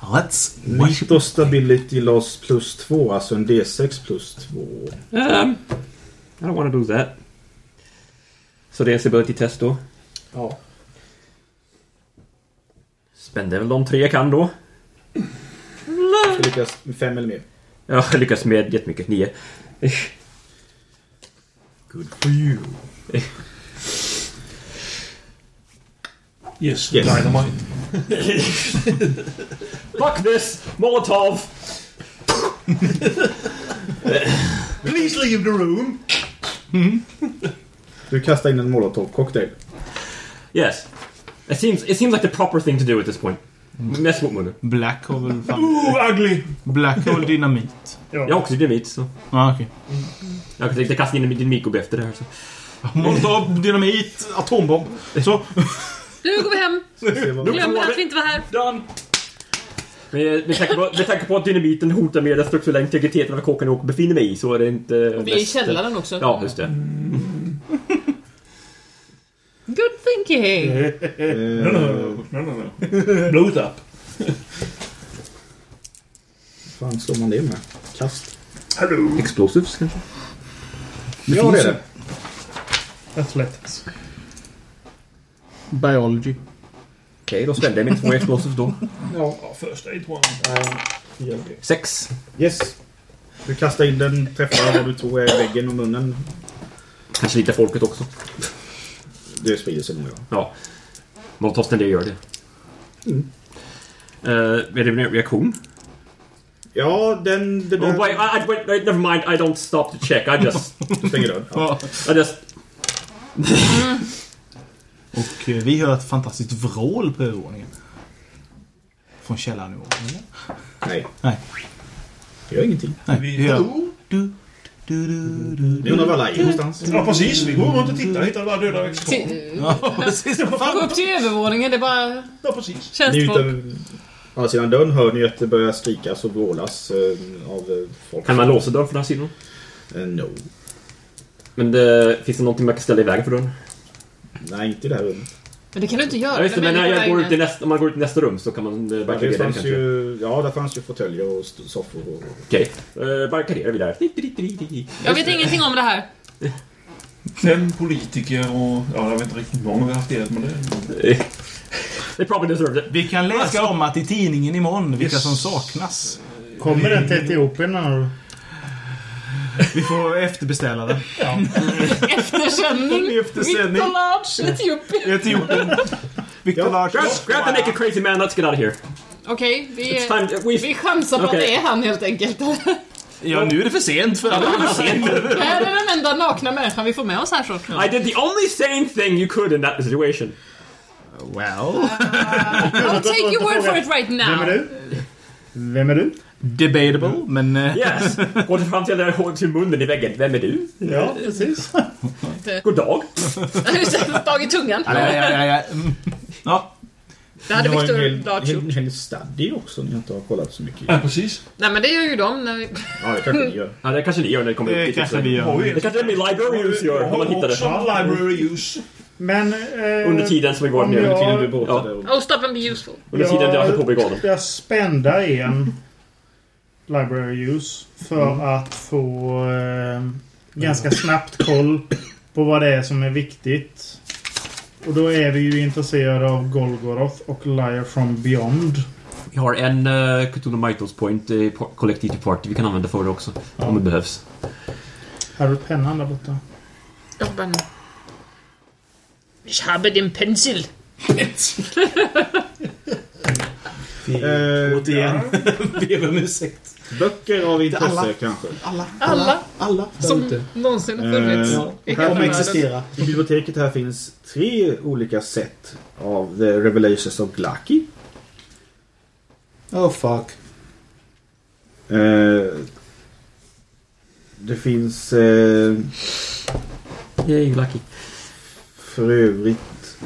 Let's...
Micro Stability Loss plus 2, alltså en D6 plus 2.
Um, I don't want to do that. Så det är stability test då.
Ja.
Spände väl de tre jag kan då.
Du lyckas med 5 eller mer.
Jag lyckas med jättemycket. Nio.
Good for you.
Yes,
Yes.
dynamite.
Fuck this! Molotov!
Please leave the room! Du kastar in en molotov-cocktail.
Yes. It seems, it seems like the proper thing to do at this point. Nästa motmulle.
Black hole. fan.
Ooh, ugly!
Black hole dynamit.
Jag har också dynamit så.
Ah,
Ja, okej.
Jag tänkte kasta in en dynamikgubbe efter det här så.
Molotov, dynamit, atombomb. Så.
Nu går vi hem.
Nu
Glömmer
går vi.
att vi inte var här.
Men eh, med tanke, på, med tanke på att dynamiten hotar mer den strukturella integriteten av kåken och befinner mig i så är det inte...
Och vi är i källaren också.
Ja, just det.
Mm.
Good thinking.
Eh,
No, no, no, no, no, no. Blow it up.
fan slår man det med? Kast.
Hallå!
Explosives kanske?
Ja, det är det.
Athletics.
Biology.
Okej, då ställde jag mig två explosives då.
Ja, first aid one.
Sex.
Yes. Du kastar in den, träffar vad du tror är väggen och munnen.
Kanske lite folket också.
Det sprider sig nog, ja.
Ja. Molotovsten det gör det.
Mm.
Eh, är det en reaktion?
Ja, den... den
Oh, wait, I, I, wait, wait, never mind. I don't stop to check. I just...
Du stänger dörren. Ja.
I just...
Och eh, vi hör ett fantastiskt vrål på övervåningen. Från källaren i år, eller?
Nej.
Nej.
Det gör ingenting.
Nej, det gör...
Ni undrar var Laila är någonstans?
Ja, precis. Vi går runt och tittar. Hittar bara döda växter.
Till- Gå
Ja,
upp till övervåningen, det är bara
precis.
Ni är
tjänstfolk.
utan... Å andra sidan dörren hör ni att det börjar skrikas och vrålas eh, av eh, folk.
Kan man låsa dörren från den här sidan?
Eh, no.
Men det, finns det någonting man kan ställa i vägen för dörren?
Nej, inte i det här rummet.
Men det kan du inte göra.
Ja, just det,
de
men
är
när
ju på
jag
väg
går ut i
ner.
nästa, om man går ut i nästa rum så kan man eh,
Det
barrikadera den
fanns
kanske.
ju, ja, där fanns ju fåtöljer och st- soffor. Och...
Okej, eh, barrikadera vi där.
Jag vet ingenting om det här.
Fem politiker och... Ja, jag vet inte riktigt hur många vi har haft hjälp med det.
Det probably deserved it.
Vi kan läsa om att i tidningen imorgon vilka som saknas.
Kommer den till Etiopien när
Vi får efterbeställa den.
Eftersändning.
Eftersändning.
Victor Large, Etiopien.
Etiopien. Victor Larsson.
Grab, grab the naked crazy man, let's get out of here.
Okej, vi,
It's time, we...
vi chansar på
Okej.
att det är han helt enkelt.
Ja, nu är det för sent för alla.
det här är den enda nakna människan vi får med oss härifrån.
I did the only sane thing you could in that situation.
Well.
I'll take your word for it right
Vem är
now.
du? Vem är du?
Debatable, men... eh,
Yes! Går fram till, den där- till munnen i väggen. Vem är du?
Ja, precis.
God dag.
Dag i tungan.
ja, ja, ja, ja. Mm. Ja,
Det hade
Ni har ju en
Victor
hel,
Large gjort.
hel, hel study också ni inte har kollat så mycket i.
Ja, precis.
Nej men det gör ju de när vi...
Ja, det kanske ni gör.
Ja, det kanske ni gör när det kommer
det
upp. typ
kanske vi gör.
Det kanske min library use gör, om man hittar det.
Också library use.
Men... Eh,
Under tiden som vi går
Om
ner.
jag-
Under tiden du båtade. och-
Oh stop and be useful.
Under tiden jag är på brigaden.
Jag spända en library use för att få eh, ganska snabbt koll på vad det är som är viktigt. Och då är vi ju intresserade av Golgoroth och Liar from Beyond.
Vi har en uh, Cthulhu Mythos Point i po- Collective Party vi kan använda för det också. Om det behövs.
Har du pennan där borta?
Doch dann. Ich habe den Pencil.
Eh,
Återigen. Ber om ursäkt.
Böcker av intresse
alla.
kanske.
Alla
Alla där
som
ute.
någonsin har funnits.
Eh,
i hela
här
världen.
existera. I biblioteket här finns tre olika set av The Revelations of Glaki.
Oh fuck.
Eh, det finns eh,
Yay, lucky.
för övrigt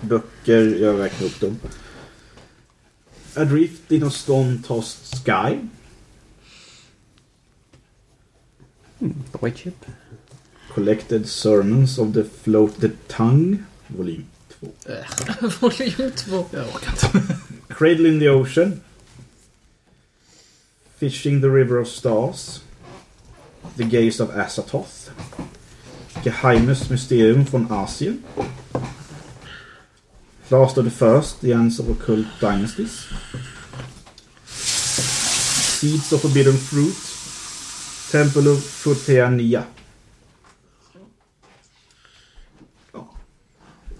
böcker, jag räknar upp dem. Adrift in a storm tossed sky.
White chip.
Collected Sermons of the Floated Tongue, volym 2.
Volym 2.
Cradle in the Ocean. Fishing the River of Stars. The Gaze of Asatoth. Geheimes Mysterium från Asien. Last of the First, The Ends of Occult Dynasties. Seeds of Forbidden Fruit. Temple of Futeania.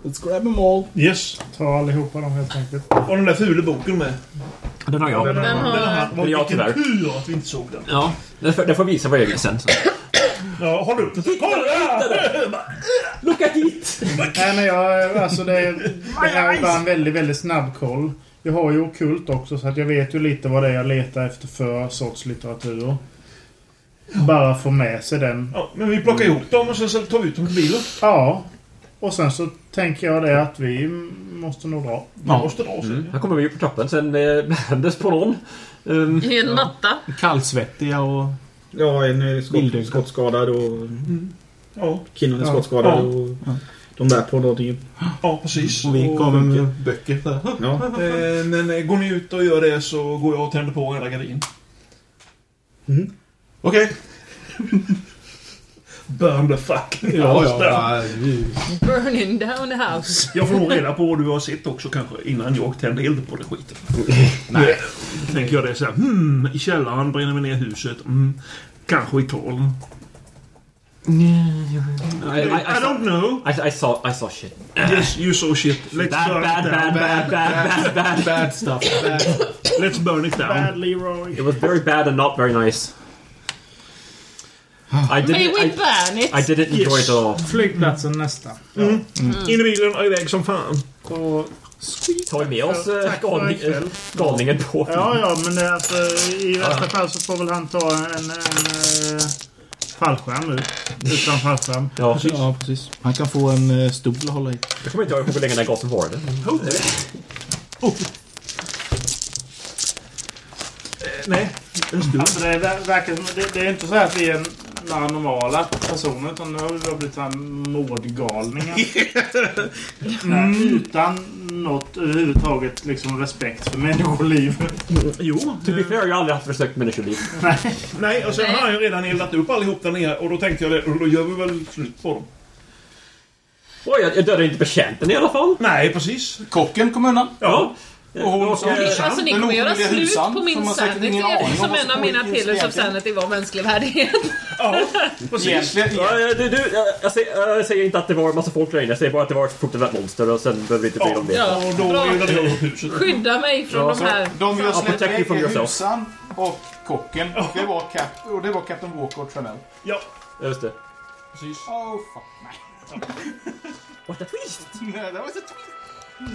Let's grab them all.
Yes.
Ta allihopa dem helt enkelt.
Och den där fula boken med.
Den har jag.
Den, den,
Den har-
den, har-
Det är jag
Vilken
tyvärr.
tur att vi inte såg den.
Ja, den får, den får visa vad jag gör sen.
Ja, håll upp den. Kolla!
Locka hit!
Nej, men jag, alltså det, det här är bara en väldigt, väldigt snabb koll. Jag har ju okult också så att jag vet ju lite vad det är jag letar efter för sorts litteratur. Bara få med sig den.
Ja, men vi plockar ihop dem och sen så tar vi ut dem till bilen.
Ja. Och sen så tänker jag det att vi måste nog dra.
Mm. Här kommer vi upp på trappan sen eh, bärandes på någon. Um,
I en matta.
Kallsvettiga och...
Ja, en eh, skott, skottskadad och...
Ja.
Kinnan är
Mm. Ja.
skottskadad
Ja.
och... De bär på någonting.
Ja, precis.
Och vi kommer med böcker.
Ja.
Eh, Men eh, går ni ut och gör det så går jag och tänder på hela gardin.
Mm.
Okej. Burn the fucking house down.
Burning down the house.
Jag får nog reda på vad du har sett också kanske innan jag tänder eld på det skiten.
Nej.
Nu Tänker jag det så här, hmm, i källaren bränner vi ner huset. Mm, kanske i tolv.
I, I,
I don't know.
I, I, saw, I saw shit.
Yes, you saw shit. Let's
Bad,
burn
bad,
it
bad,
down.
bad, bad, bad, bad, bad stuff.
Let's burn it down.
Leroy.
It was very bad and not very nice. I
May
didn't,
we
I,
burn it?
I didn't enjoy
Yes.
it at all.
Flygplatsen nästa.
Mm.
Mm.
In i bilen och iväg som fan.
Och
Tar vi med oss
Tack
eh,
för
galning-
ikväll.
eh, galningen på?
Ja, ja, men det är att, eh, i värsta fall så får väl han ta en, en, eh, fallskärm ut. Utan fallskärm.
Ja, precis.
Ja, precis. Han kan få en eh, stol att hålla i.
Jag kommer inte ihåg hur länge den gasen varade.
Nej, en stol.
Alltså det, ver- verkar som, det, det är inte så här att vi är en- några normala personer utan nu har vi bara blivit så här mårdgalningar. mm. Utan något överhuvudtaget liksom respekt för människoliv.
Jo.
To be fair, jag har aldrig haft försökt människoliv.
Nej, och sen har han ju redan eldat upp allihop där nere och då tänkte jag det, och då gör vi väl slut på dem.
Oj, jag, jag dödade inte betjänten i alla fall.
Nej, precis.
Kocken kom undan.
Ja.
Och hon
som husan.
Alltså ni
Den
kommer göra
oskyldiga
slut
husan,
på
som
min
har säkert
sanity
ingen aning om
eftersom
vad
en av
som
mina
pågår i
pillars av
Sverige.
sanity var mänsklig värdighet.
Ja, precis.
Egentligen,
Ja, ja, du, du, jag, jag, säger, jag säger inte att det var en massa folk där inne. Jag säger bara att det var ett fruktansvärt monster och sen behöver vi inte bry oss om det.
Ja,
Och då
bra.
eldade jag upp huset.
Skydda mig från
Ja,
de
så
här...
De vi har
Ja,
släppt
protect you from
iväg är
yourself.
husan och kocken. Det var, Cap- och det var Captain Walker och Tranell.
Ja,
Ja, Just det.
precis.
Oh, fuck. Nej.
What a twist!
Nej, det var så twist.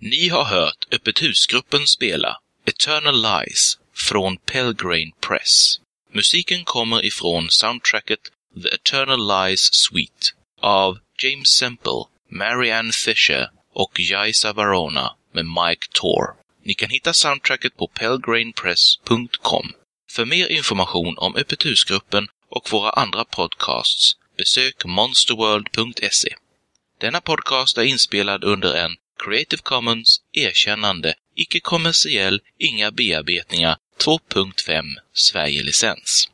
Ni har hört Öppet husgruppen spela Eternal Lies från Pelgrane Press. Musiken kommer ifrån soundtracket The Eternal Lies Suite av James Semple, Marianne Fisher och Jaisa Varona med Mike Tor. Ni kan hitta soundtracket på pelgranepress.com. För mer information om Öppet husgruppen och våra andra podcasts besök monsterworld.se. Denna podcast är inspelad under en Creative Commons erkännande, icke-kommersiell, inga bearbetningar 2.5 Sverige-licens.